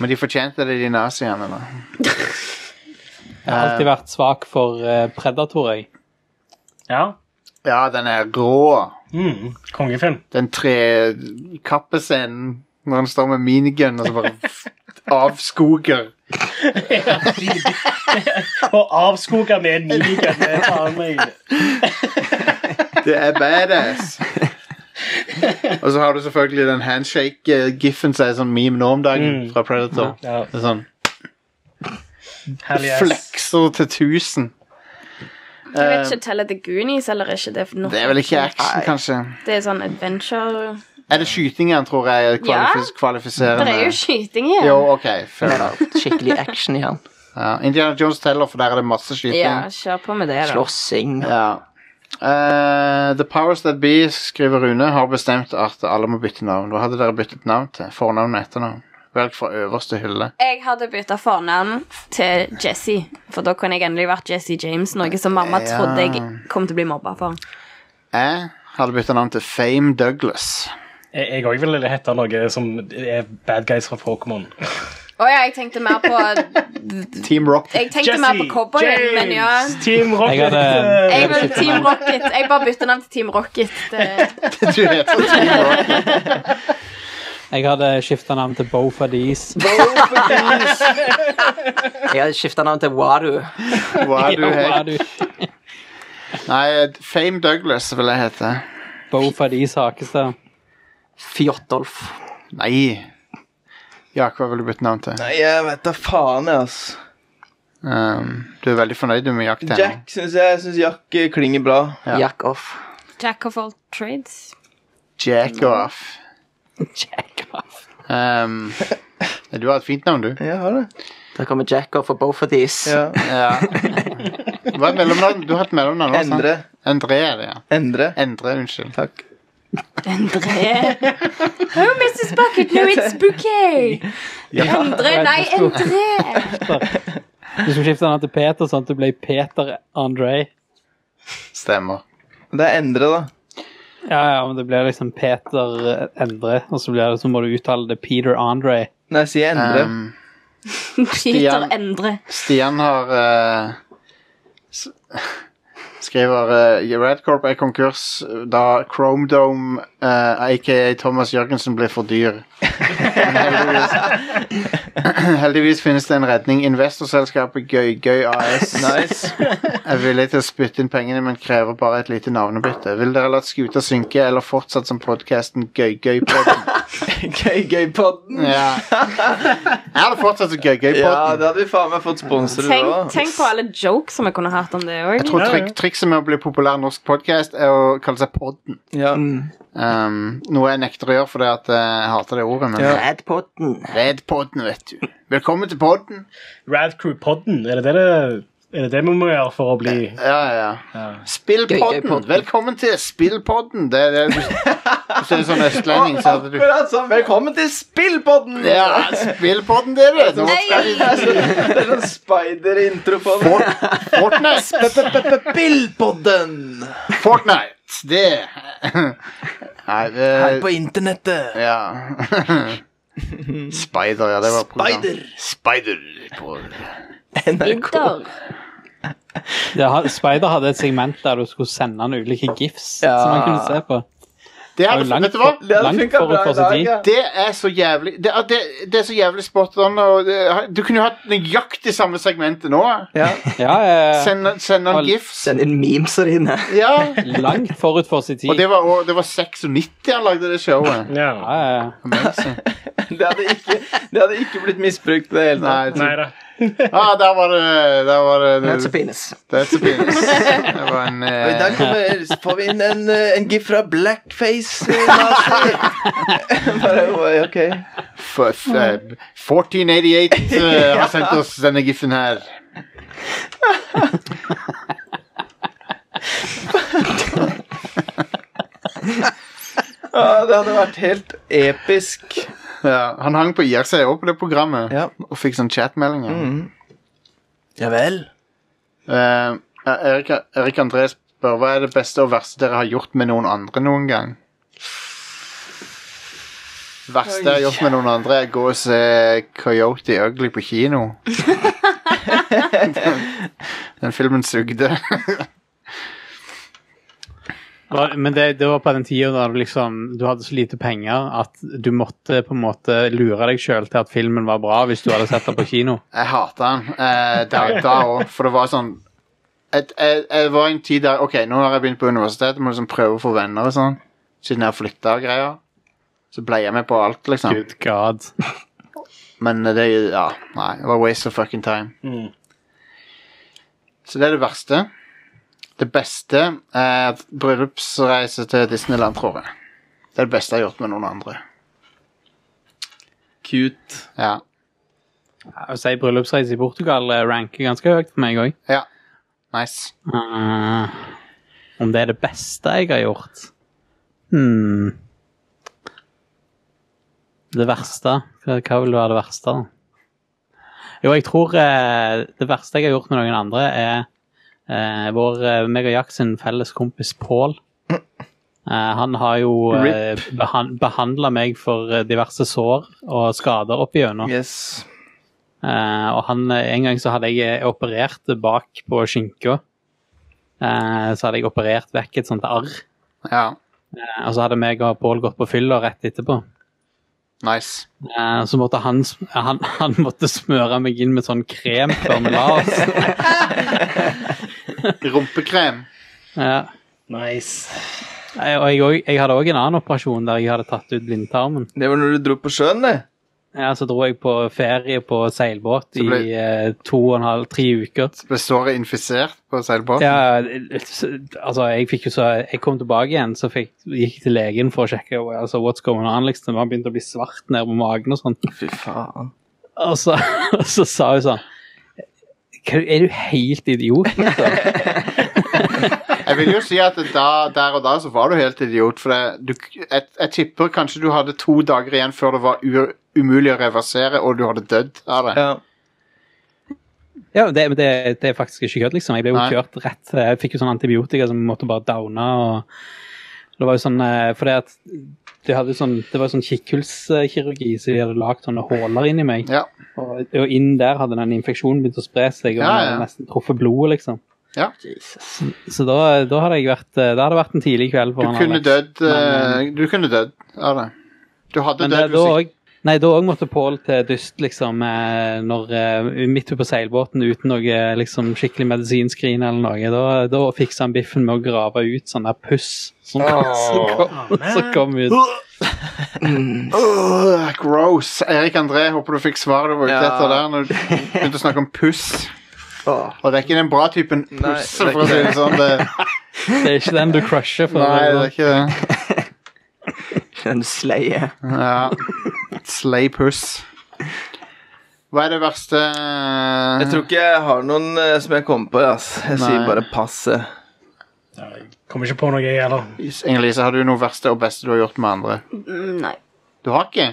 Speaker 1: Men de fortjente det, de naziene. da.
Speaker 5: Jeg har alltid vært svak for eh, Predator, jeg.
Speaker 3: Ja.
Speaker 1: Ja, den er rå.
Speaker 3: Mm. Kongefilm.
Speaker 1: Den trekappescenen når han står med minigun og så bare (laughs) avskoger.
Speaker 3: Og avskoga med en minigun. det faen meg.
Speaker 1: Det er badass. og så har du selvfølgelig den handshake-giffen som er sånn meme nå om dagen,
Speaker 3: Mm.
Speaker 1: fra Predator.
Speaker 3: Ja.
Speaker 1: Det er sånn
Speaker 3: Hell yes.
Speaker 1: flekser til 1000.
Speaker 10: Jeg vet ikke, teller det Goonies eller ikke? Det er, nok-
Speaker 1: Eh. Det er vel ikke action, kanskje.
Speaker 10: Det er sånn adventure
Speaker 1: Er det skytingen, tror jeg, er kvalifis
Speaker 10: Det er
Speaker 1: kvalifiserende?
Speaker 10: jo skyting igjen.
Speaker 1: jo, OK. Fair enough.
Speaker 7: Skikkelig action igjen.
Speaker 1: Ja. Indiana Jones teller, for der er det masse skyting.
Speaker 10: Ja, kjør på med det, da.
Speaker 7: Slåssing.
Speaker 1: Ja. Eh, the Powers That Be, skriver Rune, har bestemt at alle må bytte navn. Hva hadde dere byttet navn til? Fornavn og etternavn? Velg fra øverste hylle.
Speaker 10: Jeg hadde bytta fornavn til Jesse, for da kunne jeg endelig vært Jesse James, noe som mamma
Speaker 1: Ja.
Speaker 10: trodde jeg kom til å bli mobba for.
Speaker 1: Jeg hadde byttet navn til Fame Douglas.
Speaker 3: Jeg òg ville hette noe som er bad guys fra Pokémon.
Speaker 10: Å ja, jeg tenkte mer på
Speaker 1: Team Rock.
Speaker 10: Jeg tenkte mer på cowboyen, men ja.
Speaker 3: Team Rocket.
Speaker 5: Jeg hadde-
Speaker 3: eh,
Speaker 10: Jeg var Team Rocket. Jeg bare bytter navn til Team (laughs) Rocket. Det,
Speaker 1: du heter Team Rock.
Speaker 5: Jeg hadde skifta navn til Bofa Dees.
Speaker 7: Jeg har skifta navn til Wadu.
Speaker 1: Hva er du
Speaker 5: Hva
Speaker 1: het?
Speaker 5: er du?
Speaker 1: Nei, Fame Douglas vil jeg hete.
Speaker 5: Bofa Dees Hakestad.
Speaker 7: Fjottolf.
Speaker 1: Nei. Jak, hva vil du bytte navn til?
Speaker 4: Nei, jeg vet da faen, jeg, ass.
Speaker 1: Um, du er veldig fornøyd med jakten.
Speaker 4: Jack syns jeg synes Jack eh, klinger bra.
Speaker 1: Ja.
Speaker 7: Jack off.
Speaker 10: Jack of all trades.
Speaker 1: Jack off.
Speaker 5: Jack off.
Speaker 1: Um, du har et fint navn, du.
Speaker 4: Jeg har det.
Speaker 7: Der kommer Jack off og both of these.
Speaker 4: Ja.
Speaker 1: Ja. Hva er mellomnavn? Du har et mellomnavn også, sant?
Speaker 4: Endre.
Speaker 1: Endre er det, ja.
Speaker 4: Endre.
Speaker 1: Endre, unnskyld.
Speaker 4: Takk.
Speaker 10: Endre. Oh, Mrs. Bucket, no, it's bouquet. Endre, nei, Endre.
Speaker 5: Du skulle skifte navn til Peter, sånn at du ble Peter André.
Speaker 1: Stemmer.
Speaker 4: Det er Endre, da.
Speaker 5: Ja, ja, men det blir liksom Peter eh, Endre, og så, blir det, så må du uttale det Peter André.
Speaker 4: Nei, jeg sier Endre.
Speaker 1: Um,
Speaker 10: Peter Endre.
Speaker 1: Stian har eh, s- Skriver uh, Radcorp er konkurs da Chrome Dome, eh, aka Thomas Jørgensen, ble for dyr. Men heldigvis, (clears throat) heldigvis finnes det en redning. Investorselskapet Gøygøy AS
Speaker 4: Nice.
Speaker 1: er villig til å spytte inn pengene, men krever bare et lite navnebytte. Vil dere la skuta synke, eller fortsatt som podkasten
Speaker 4: (laughs)
Speaker 1: Gøygøypodden?
Speaker 4: (laughs) Gøy, gøy podden.
Speaker 1: Ja. Er det fortsatt som
Speaker 4: Ja,
Speaker 1: Gøygøypodden?
Speaker 4: da hadde vi faen meg fått sponsorer
Speaker 10: Tenk,
Speaker 4: òg.
Speaker 10: tenk på alle jokes som jeg kunne hatt om det
Speaker 1: Jeg
Speaker 10: òg.
Speaker 1: tror
Speaker 3: Ja, ja.
Speaker 1: trik trikset med å bli populær norsk podkast er å kalle seg Podden.
Speaker 4: Ja.
Speaker 1: Um, noe jeg nekter å gjøre fordi at eh, jeg hater det ordet, men
Speaker 7: Radpodden.
Speaker 1: Red Podden, vet du. Velkommen til podden.
Speaker 3: Radcrew Podden. Er det det, det, er det det vi må gjøre for å bli
Speaker 1: Ja, ja. ja. Spillpodden.
Speaker 7: Gøygøypodden.
Speaker 1: Velkommen til Spillpodden. Det er det du Hvis du er sånn østlending, så hadde du
Speaker 4: Akkurat sånn. Velkommen til spillpodden!
Speaker 1: Ja, Spillpodden, det er det. Nå skal vi
Speaker 4: (laughs) Det er sånn spider-intro på den.
Speaker 1: Fortnite.
Speaker 4: Spillpodden!
Speaker 1: Fortnite. Det Nei, det
Speaker 4: Her på internettet.
Speaker 1: Ja. Spider, ja, det var program.
Speaker 4: Spider.
Speaker 1: Spider på
Speaker 4: NRK.
Speaker 10: Inter.
Speaker 5: Det, ha- Spider hadde et segment der du skulle sende han ulike gifs
Speaker 4: Ja.
Speaker 5: som han kunne se på. Det
Speaker 1: Det
Speaker 5: var
Speaker 1: hadde,
Speaker 5: jo langt
Speaker 1: vet du hva?
Speaker 5: for-
Speaker 4: Det hadde
Speaker 5: Langt
Speaker 4: funka
Speaker 5: forut
Speaker 4: bra
Speaker 5: for
Speaker 4: i
Speaker 5: sin
Speaker 4: dag,
Speaker 5: tid.
Speaker 4: ja.
Speaker 1: Det er så jævlig Det er, det, det er så jævlig spot on. Og det, du kunne jo hatt nøyaktig samme segmentet nå.
Speaker 4: ja. (laughs)
Speaker 5: Ja, eh,
Speaker 1: Send, send
Speaker 5: Og-
Speaker 1: han gifs.
Speaker 7: Send inn memesa dine.
Speaker 1: Ja.
Speaker 5: langt forut for sin tid.
Speaker 1: Og det var, og det var 96 han lagde det showet.
Speaker 3: Ja.
Speaker 5: Ja, ja.
Speaker 1: Amazing.
Speaker 4: Det hadde ikke, det hadde ikke blitt misbrukt i det hele
Speaker 1: Nei,
Speaker 4: tatt.
Speaker 1: det-
Speaker 3: Nei da.
Speaker 1: ah, der var det Der var det
Speaker 7: That's a penis.
Speaker 1: That's a penis. Det var en
Speaker 4: Og i dag
Speaker 1: eh,
Speaker 4: kommer, får vi inn en, eh, en gif fra Blackface. eh, nazi. (laughs) Bare, oi, ok.
Speaker 1: f- eh, 1488 eh, har sendt oss denne giffen her.
Speaker 4: Ja, det hadde vært helt episk.
Speaker 1: (laughs) Ja, han hang på IRC òg på det programmet,
Speaker 4: Ja. Mm.
Speaker 1: og fikk sånn chatmeldinger.
Speaker 4: Ja vel.
Speaker 1: Eh, Erik, Erik André spør hva er det beste og verste dere har gjort med noen andre noen gang? verste jeg har gjort med noen andre, er å gå og se Coyote Ugly på kino.
Speaker 4: (laughs)
Speaker 1: Den filmen sugde.
Speaker 5: Var- Men det, det var på den tida da du liksom du hadde så lite penger at du måtte på en måte lure deg sjøl til at filmen var bra hvis du hadde sett den på kino.
Speaker 1: Jeg hata den eh, da- da òg, for det var sånn jeg, jeg, jeg var i en tid der Ok, nå har jeg begynt på universitetet, må liksom prøve å få venner og sånn. Siden jeg har flytta og greier. Så ble jeg med på alt, liksom.
Speaker 5: Good God.
Speaker 1: Men det er jo- ja, nei, det var waste of fucking time. Så det er det verste. Det beste er bryllupsreise til Disneyland, tror jeg. Det er det beste jeg har gjort med noen andre.
Speaker 4: Cute.
Speaker 1: Ja.
Speaker 5: Å si bryllupsreise i Portugal eh, ranker ganske høyt for meg òg.
Speaker 1: ja. Nice.
Speaker 5: Eh, om det er det beste jeg har gjort hmm. Det verste? Hva, hva vil være det verste? da? Jo, jeg tror eh, det verste jeg har gjort med noen andre, er eh, vår eh, meg og Jack sin felles kompis Pål. Eh, han har jo eh, behan behandla meg for eh, diverse sår og skader opp igjennom.
Speaker 4: Yes.
Speaker 5: Eh, og han, en gang så hadde jeg eh, operert bak på skinka. Eh, så hadde jeg operert vekk et sånt arr.
Speaker 1: Ja.
Speaker 5: Eh, og så hadde meg og Pål gått på fylla rett etterpå.
Speaker 1: Nice.
Speaker 5: Eh, så måtte han, sm- han, (laughs) han måtte smøre meg inn med sånn krem før vi la
Speaker 1: (laughs)
Speaker 5: oss.
Speaker 1: Rumpekrem.
Speaker 5: Ja.
Speaker 3: Nice.
Speaker 5: Eh, Og jeg, og- jeg hadde òg en annen operasjon der jeg hadde tatt ut blindtarmen.
Speaker 4: Det var når du dro på sjøen, det.
Speaker 5: Ja, så dro jeg på ferie på seilbåt
Speaker 1: Så ble-
Speaker 5: i eh, to og en halv, tre uker.
Speaker 1: Ble såret infisert på seilbåten?
Speaker 5: Ja, altså, jeg fikk jo så Jeg kom tilbake igjen, så fikk, gikk jeg til legen for å sjekke altså, what's going on, liksom. Han begynte å bli svart nede på magen og sånn.
Speaker 4: Fy faen.
Speaker 5: Og så, (laughs) og så sa hun sånn "Hva- Er du helt idiot? Altså?
Speaker 1: Jeg vil jo si at da, der og da så var du helt idiot, for det, du, jeg, jeg tipper kanskje du hadde to dager igjen før det var u, umulig å reversere, og du hadde dødd av det.
Speaker 4: Ja.
Speaker 5: Ja, det, men det, det er faktisk ikke kødd, liksom. Jeg ble jo
Speaker 1: Nei.
Speaker 5: kjørt rett Jeg fikk jo sånn antibiotika som måtte bare downe, og det var jo sånn eh, Fordi at de hadde jo sånn, det var jo sånn kikkhullskirurgi, så de hadde lagd sånne huller inni meg.
Speaker 1: Ja.
Speaker 5: Og, og inn der hadde den infeksjonen begynt å spre seg, og den
Speaker 1: Ja, ja.
Speaker 5: hadde nesten truffet blodet, liksom.
Speaker 1: Ja.
Speaker 5: Så da, da hadde jeg vært eh, Da hadde det vært en tidlig kveld for han
Speaker 1: Du kunne
Speaker 5: Alex.
Speaker 1: dødd
Speaker 5: Men,
Speaker 1: eh, Du kunne dødd av det. Du hadde
Speaker 5: Men det,
Speaker 1: dødd
Speaker 5: da
Speaker 1: hvis ikke
Speaker 5: òg Nei, da òg måtte Pål til dyst, liksom, eh, når, eh, midt ute på seilbåten uten noe liksom, skikkelig medisinskrin eller noe. Da, da fiksa han biffen med å grave ut sånn der puss som, som, kom, som kom ut.
Speaker 1: Åh, Gross. Erik André, håper du fikk svaret du var ute
Speaker 4: Ja.
Speaker 1: etter der når du begynte å snakke om puss. Og det er ikke den bra typen
Speaker 4: Nei,
Speaker 1: puss,
Speaker 4: det er
Speaker 1: for å si
Speaker 4: ikke
Speaker 1: det sånn. Det,
Speaker 5: (laughs) Det er ikke den du crusher for.
Speaker 1: nei, det er ikke det.
Speaker 7: En sleie.
Speaker 1: Ja. Slay puss. Hva er det verste eh?
Speaker 4: Jeg tror ikke jeg har noen eh, som jeg kommer på. ass. Jeg
Speaker 1: Nei.
Speaker 4: sier bare passe.
Speaker 3: Kommer ikke på noe, jeg heller.
Speaker 1: Inger-Lise, har du noe verste og beste du har gjort med andre?
Speaker 10: Mm, Nei.
Speaker 1: Du har ikke?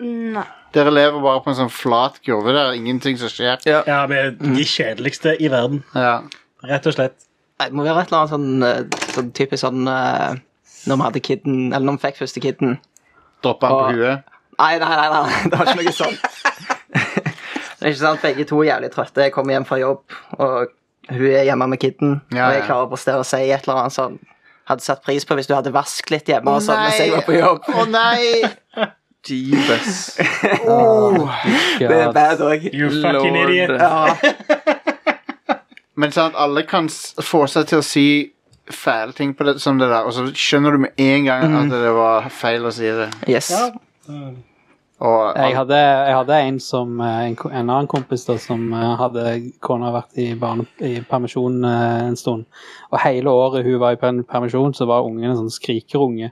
Speaker 10: Nei.
Speaker 1: Dere lever bare på en sånn flat kurve der. Ingenting som skjer.
Speaker 3: Ja, vi er de kjedeligste i verden.
Speaker 1: Ja.
Speaker 3: Rett og slett.
Speaker 7: Nei, Det må være et eller annet sånn, eh, sånn typisk sånn eh, Når vi hadde kidden, eller når vi fikk første kidden
Speaker 1: Dropper han på huet.
Speaker 7: Nei, nei, nei, nei, det var ikke noe sånt. det er ikke sant, Begge to er jævlig trøtte. Jeg kommer hjem fra jobb, og hun er hjemme med kidden.
Speaker 1: Ja,
Speaker 7: og jeg
Speaker 1: ja.
Speaker 7: klarer å prestere og si et eller annet sånn Hadde satt pris på hvis du hadde vasket litt hjemme og sånn mens jeg var på jobb.
Speaker 1: Å nei!
Speaker 4: Jesus.
Speaker 7: Det er bad òg.
Speaker 3: You fucking
Speaker 4: Lord.
Speaker 3: idiot.
Speaker 1: Men sant, alle kan s- få seg til å si fæle ting på det, som det der, og så skjønner du med en gang at det var feil å si det.
Speaker 7: Yes.
Speaker 1: Og
Speaker 5: Jeg hadde, jeg hadde en som eh, en, ko- en annen kompis da, som eh, hadde kona vært i, barne, i permisjon eh, en stund. Og hele året hun var i per- permisjon, så var ungen en sånn skrikerunge.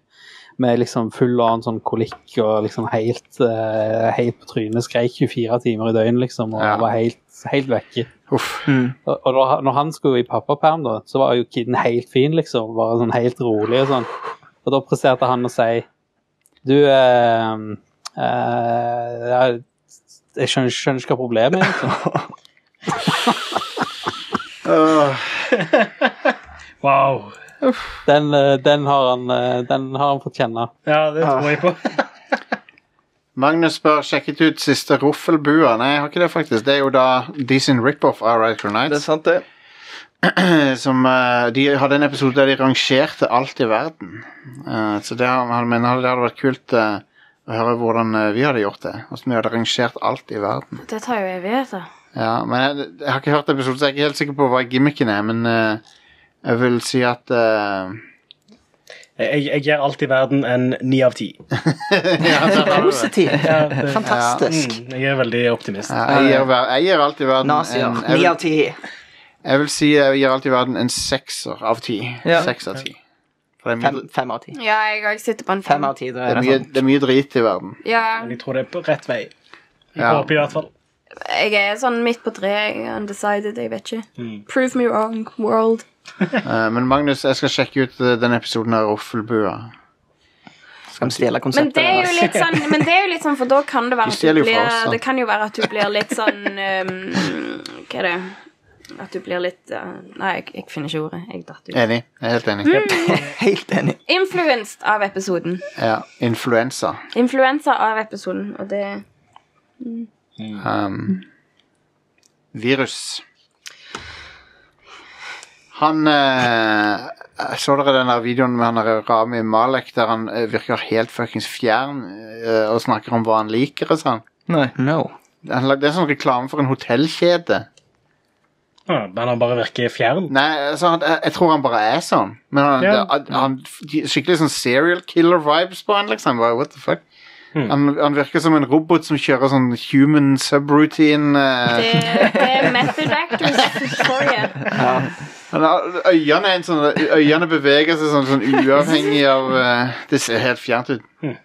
Speaker 5: Med liksom full annen sånn kolikk og liksom helt, eh, helt på trynet. Skreik 24 timer i døgnet, liksom, og
Speaker 1: Ja.
Speaker 5: var helt, helt vekke.
Speaker 1: uff.
Speaker 5: Og, og da, når han skulle i pappaperm, da, så var jo kiden helt fin, liksom. Bare sånn helt rolig og sånn. Og da presterte han å si Du eh, eh, jeg- Jeg skjønner, skjønner ikke hva problemet er, liksom.
Speaker 1: Øh,
Speaker 3: Wow.
Speaker 5: Den, eh, den, har han, eh, den har han fått kjenne.
Speaker 3: Ja, det tror jeg på.
Speaker 1: Magnus spør sjekket ut siste Ruffelbua. Nei, jeg har ikke det, faktisk. Det er jo da de sin rip-off av Radical
Speaker 4: Det er
Speaker 1: Nights.
Speaker 4: sant, det.
Speaker 1: Som, eh, de hadde en episode der de rangerte alt i verden. Eh, så det, har- han mener det hadde vært kult eh, å høre hvordan eh, vi hadde gjort det. Hvordan vi hadde rangert alt i verden.
Speaker 10: Det tar jo evigheter.
Speaker 1: Ja, men jeg, jeg har ikke hørt episoden, så jeg er ikke helt sikker på hva gimmicken er. Men eh, jeg vil si at eh,
Speaker 3: Jeg, jeg gir alt i verden en ni av ti.
Speaker 1: ja, der har du det.
Speaker 7: Positivt. Fantastisk. Sånn,
Speaker 3: Mm, jeg er veldig optimist.
Speaker 1: Ja, jeg, gir, ver- jeg gir alt i verden
Speaker 7: Nazier.
Speaker 1: en- jeg
Speaker 7: Ni
Speaker 1: vil-
Speaker 7: av ti.
Speaker 1: Jeg vil si jeg gir alt i verden en sekser av ti.
Speaker 4: Ja.
Speaker 1: Seks av ti. For det er,
Speaker 7: Fem,
Speaker 1: mye,
Speaker 7: fem av ti.
Speaker 10: Ja, jeg òg sitter på en
Speaker 7: Fem
Speaker 10: fem.
Speaker 7: av ti, da
Speaker 1: det,
Speaker 7: er
Speaker 1: er
Speaker 7: det
Speaker 1: mye,
Speaker 7: sånn.
Speaker 1: det er mye drit i verden.
Speaker 10: Ja,
Speaker 3: Men jeg tror det er på rett vei. Jeg
Speaker 1: Ja.
Speaker 3: håper i hvert fall.
Speaker 10: jeg er sånn midt på treet. jeg er Undecided, jeg vet ikke. Prove me wrong, world.
Speaker 1: Eh, men Magnus, jeg skal sjekke ut eh, den episoden av Roffelbua.
Speaker 7: sånn. Skal vi stjele
Speaker 10: Men
Speaker 7: konseptet
Speaker 10: det er jo
Speaker 7: deres?
Speaker 10: litt
Speaker 1: (laughs)
Speaker 10: sånn, men det er jo litt sånn for da kan det være
Speaker 1: De
Speaker 10: at du
Speaker 1: stjeler jo fra
Speaker 10: blir,
Speaker 1: oss, da.
Speaker 10: det kan jo være at du blir litt sånn um, Hva er det? At du blir litt uh, Nei, jeg, jeg finner ikke ordet. Jeg datt ut.
Speaker 1: Enig. Jeg er helt enig.
Speaker 7: (laughs) Mm. Helt enig.
Speaker 10: Influenced av episoden.
Speaker 1: Ja, influensa.
Speaker 10: Influensa av episoden, og det
Speaker 1: Um, Virus. Han eh, Så dere den der videoen med han der Rami Malek der han eh, virker helt fuckings fjern eh, og snakker om hva han liker og sånn?
Speaker 4: Nei.
Speaker 1: Han lag- Det er sånn reklame for en hotellkjede.
Speaker 3: Ah, men han bare virker fjern.
Speaker 1: Nei, altså, han, jeg, jeg tror han bare er sånn. Men han,
Speaker 3: Ja.
Speaker 1: han, han de- Skikkelig sånn serial killer vibes på han, liksom. Bare, what the fuck? Han, han virker som en robot som kjører sånn human subroutine. eh,
Speaker 10: Det, det er Method Actors Victoria.
Speaker 1: Han har- Øynene, er en sånn, øynene beveger seg sånn, sånn uavhengig av eh, Det ser helt fjernt ut.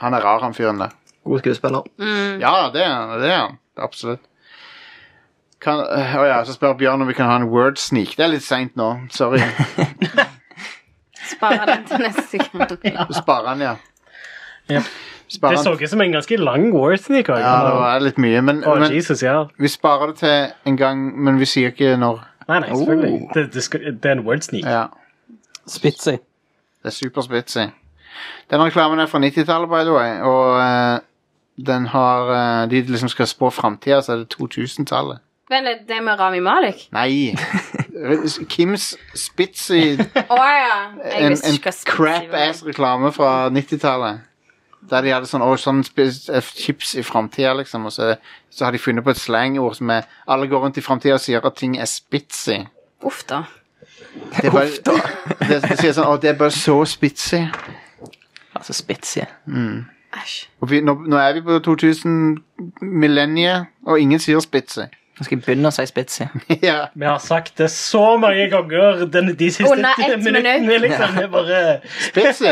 Speaker 1: Han er rar, han fyren der.
Speaker 7: God skuespiller.
Speaker 1: Ja, det er han. Det er han. Absolutt. Kan, eh, å ja, så spør Bjørn om vi kan ha en word sneak. Det er litt seint nå. Sorry.
Speaker 10: Sparer den til neste gang.
Speaker 1: Sparer han, (laughs) ja.
Speaker 3: (laughs) Ja.
Speaker 1: Sparer
Speaker 3: Det så
Speaker 1: han.
Speaker 3: ut som en ganske lang Warsneak.
Speaker 1: Ja, det var litt mye, men,
Speaker 3: Å,
Speaker 1: men
Speaker 3: Jesus, ja.
Speaker 1: vi sparer det til en gang, men vi sier ikke når.
Speaker 3: Nei, nei, selvfølgelig.
Speaker 1: Oh.
Speaker 3: Det, det, skal, det er en Wordsneak.
Speaker 1: Ja,
Speaker 12: Spitzy.
Speaker 1: det er superspitsy. Den reklamen er fra 90-tallet, by the way, og eh, den har eh, De liksom skal spå framtida, så er det 2000-tallet.
Speaker 10: Vent litt, det med Rami Malik?
Speaker 3: (laughs)
Speaker 1: Nei! Kims Spitzy
Speaker 10: Å ja. Jeg
Speaker 1: en,
Speaker 10: visste
Speaker 1: en
Speaker 10: ikke hva spicy
Speaker 1: crap
Speaker 10: var.
Speaker 1: ass reklame fra 90-tallet. Der de hadde sånn, «Å, sånn spis- eh, chips i framtida, liksom. Og så, så har de funnet på et slangord som er Alle går rundt i framtida og sier at ting er spitsy.
Speaker 10: Uff da.
Speaker 1: Det er bare, (laughs) det, det sier sånn Å, det er bare så spitsy.
Speaker 7: Altså spitsy.
Speaker 10: Æsj.
Speaker 1: Og vi, nå, nå er vi på 2000 millenniet, og ingen sier spitsy. (laughs)
Speaker 7: Nå skal jeg begynne å si spitsy.
Speaker 1: ja.
Speaker 3: Vi har sagt det så mange ganger den, de siste
Speaker 10: Under ett
Speaker 3: minuttene.
Speaker 10: minutt.
Speaker 3: Liksom. Det er bare
Speaker 1: Spitsy.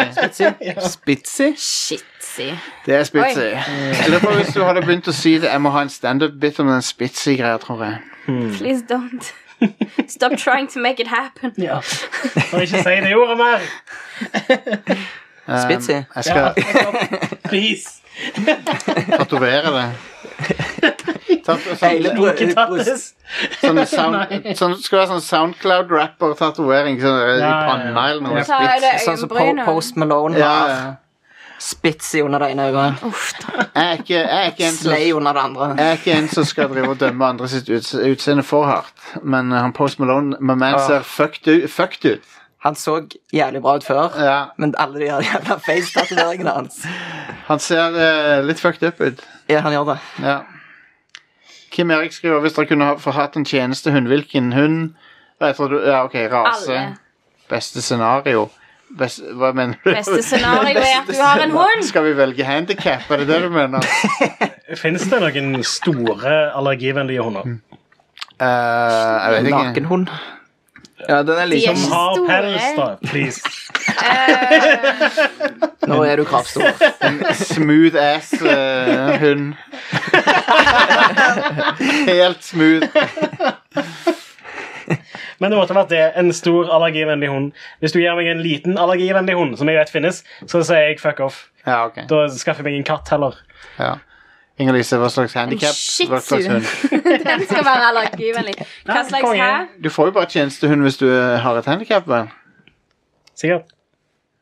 Speaker 4: Spitzy?
Speaker 10: Shitzy.
Speaker 1: Det er spitsy. Jeg lurer på hvis du hadde begynt å si det. Jeg må ha en standup-bit om den spitsy-greia, tror jeg.
Speaker 3: Mm.
Speaker 10: Please don't. Stop trying to make it happen.
Speaker 3: ja. Og ikke si det ordet mer.
Speaker 1: Um,
Speaker 7: Spitsy?
Speaker 1: Jeg skal,
Speaker 3: Please.
Speaker 1: Tatovere det. Tat sånn,
Speaker 7: Hele bro-
Speaker 3: Tattes.
Speaker 1: sånn, sound, sånn, skal være sånn Soundcloud-rapper-tatovering sånn, i
Speaker 3: Ja, ja, ja.
Speaker 1: panna eller noe.
Speaker 3: Ja.
Speaker 10: Ta av
Speaker 1: Spits.
Speaker 10: deg
Speaker 7: Sånn som po
Speaker 10: øyenbrynene.
Speaker 7: Post Malone
Speaker 1: Ja,
Speaker 7: har.
Speaker 1: ja.
Speaker 7: Spitsy under det ene øyet.
Speaker 10: Uff da.
Speaker 1: Jeg er ikke, jeg er ikke en som
Speaker 7: Slay under det andre.
Speaker 1: jeg er ikke en som skal drive og dømme andre sitt utse- utseende for hardt, men eh, han Post Malone my man
Speaker 7: Ah.
Speaker 1: ser fucked ut. Fucked ut.
Speaker 7: Han så jævlig bra ut før,
Speaker 1: Ja,
Speaker 7: men alle de her jævla face-tatoveringene hans
Speaker 1: han ser eh, litt fucked up ut.
Speaker 7: Ja, han gjør det.
Speaker 1: Ja. Kim Erik skriver hvis dere kunne ha, få hatt en tjenestehund, hvilken hund? Jeg tror du, ja, ok, rase.
Speaker 10: Alle.
Speaker 1: Beste scenario. Best, hva mener du?
Speaker 10: Beste scenario er at du har en hund.
Speaker 1: (laughs) Skal vi velge handicap, er det det du mener?
Speaker 3: Fins det noen store allergivennlige hunder?
Speaker 1: (laughs) Eh, jeg vet ikke.
Speaker 7: Nakenhund.
Speaker 4: Ja, den er
Speaker 10: De er
Speaker 4: liksom
Speaker 10: ikke
Speaker 3: Har pels, da.
Speaker 10: store.
Speaker 3: Please.
Speaker 7: Nå er du kravstor.
Speaker 1: Smooth ass eh, hund. Helt smooth.
Speaker 3: Men det måtte vært det. En stor allergivennlig hund. Hvis du gir meg en liten allergivennlig hund, som jeg vet finnes, så sier jeg fuck off.
Speaker 1: Ja, ok.
Speaker 3: Da skaffer jeg meg en katt heller.
Speaker 1: Ja. Inger-Lise, hva slags handicap?
Speaker 10: shih
Speaker 1: Hva slags
Speaker 10: tzu.
Speaker 1: hund?
Speaker 10: (laughs) Den skal være allergivennlig. Hva
Speaker 3: Nei,
Speaker 10: slags
Speaker 3: konge.
Speaker 10: hæ?
Speaker 1: Du får jo bare tjenestehund hvis du eh, har et handicap, vel?
Speaker 3: Sikkert.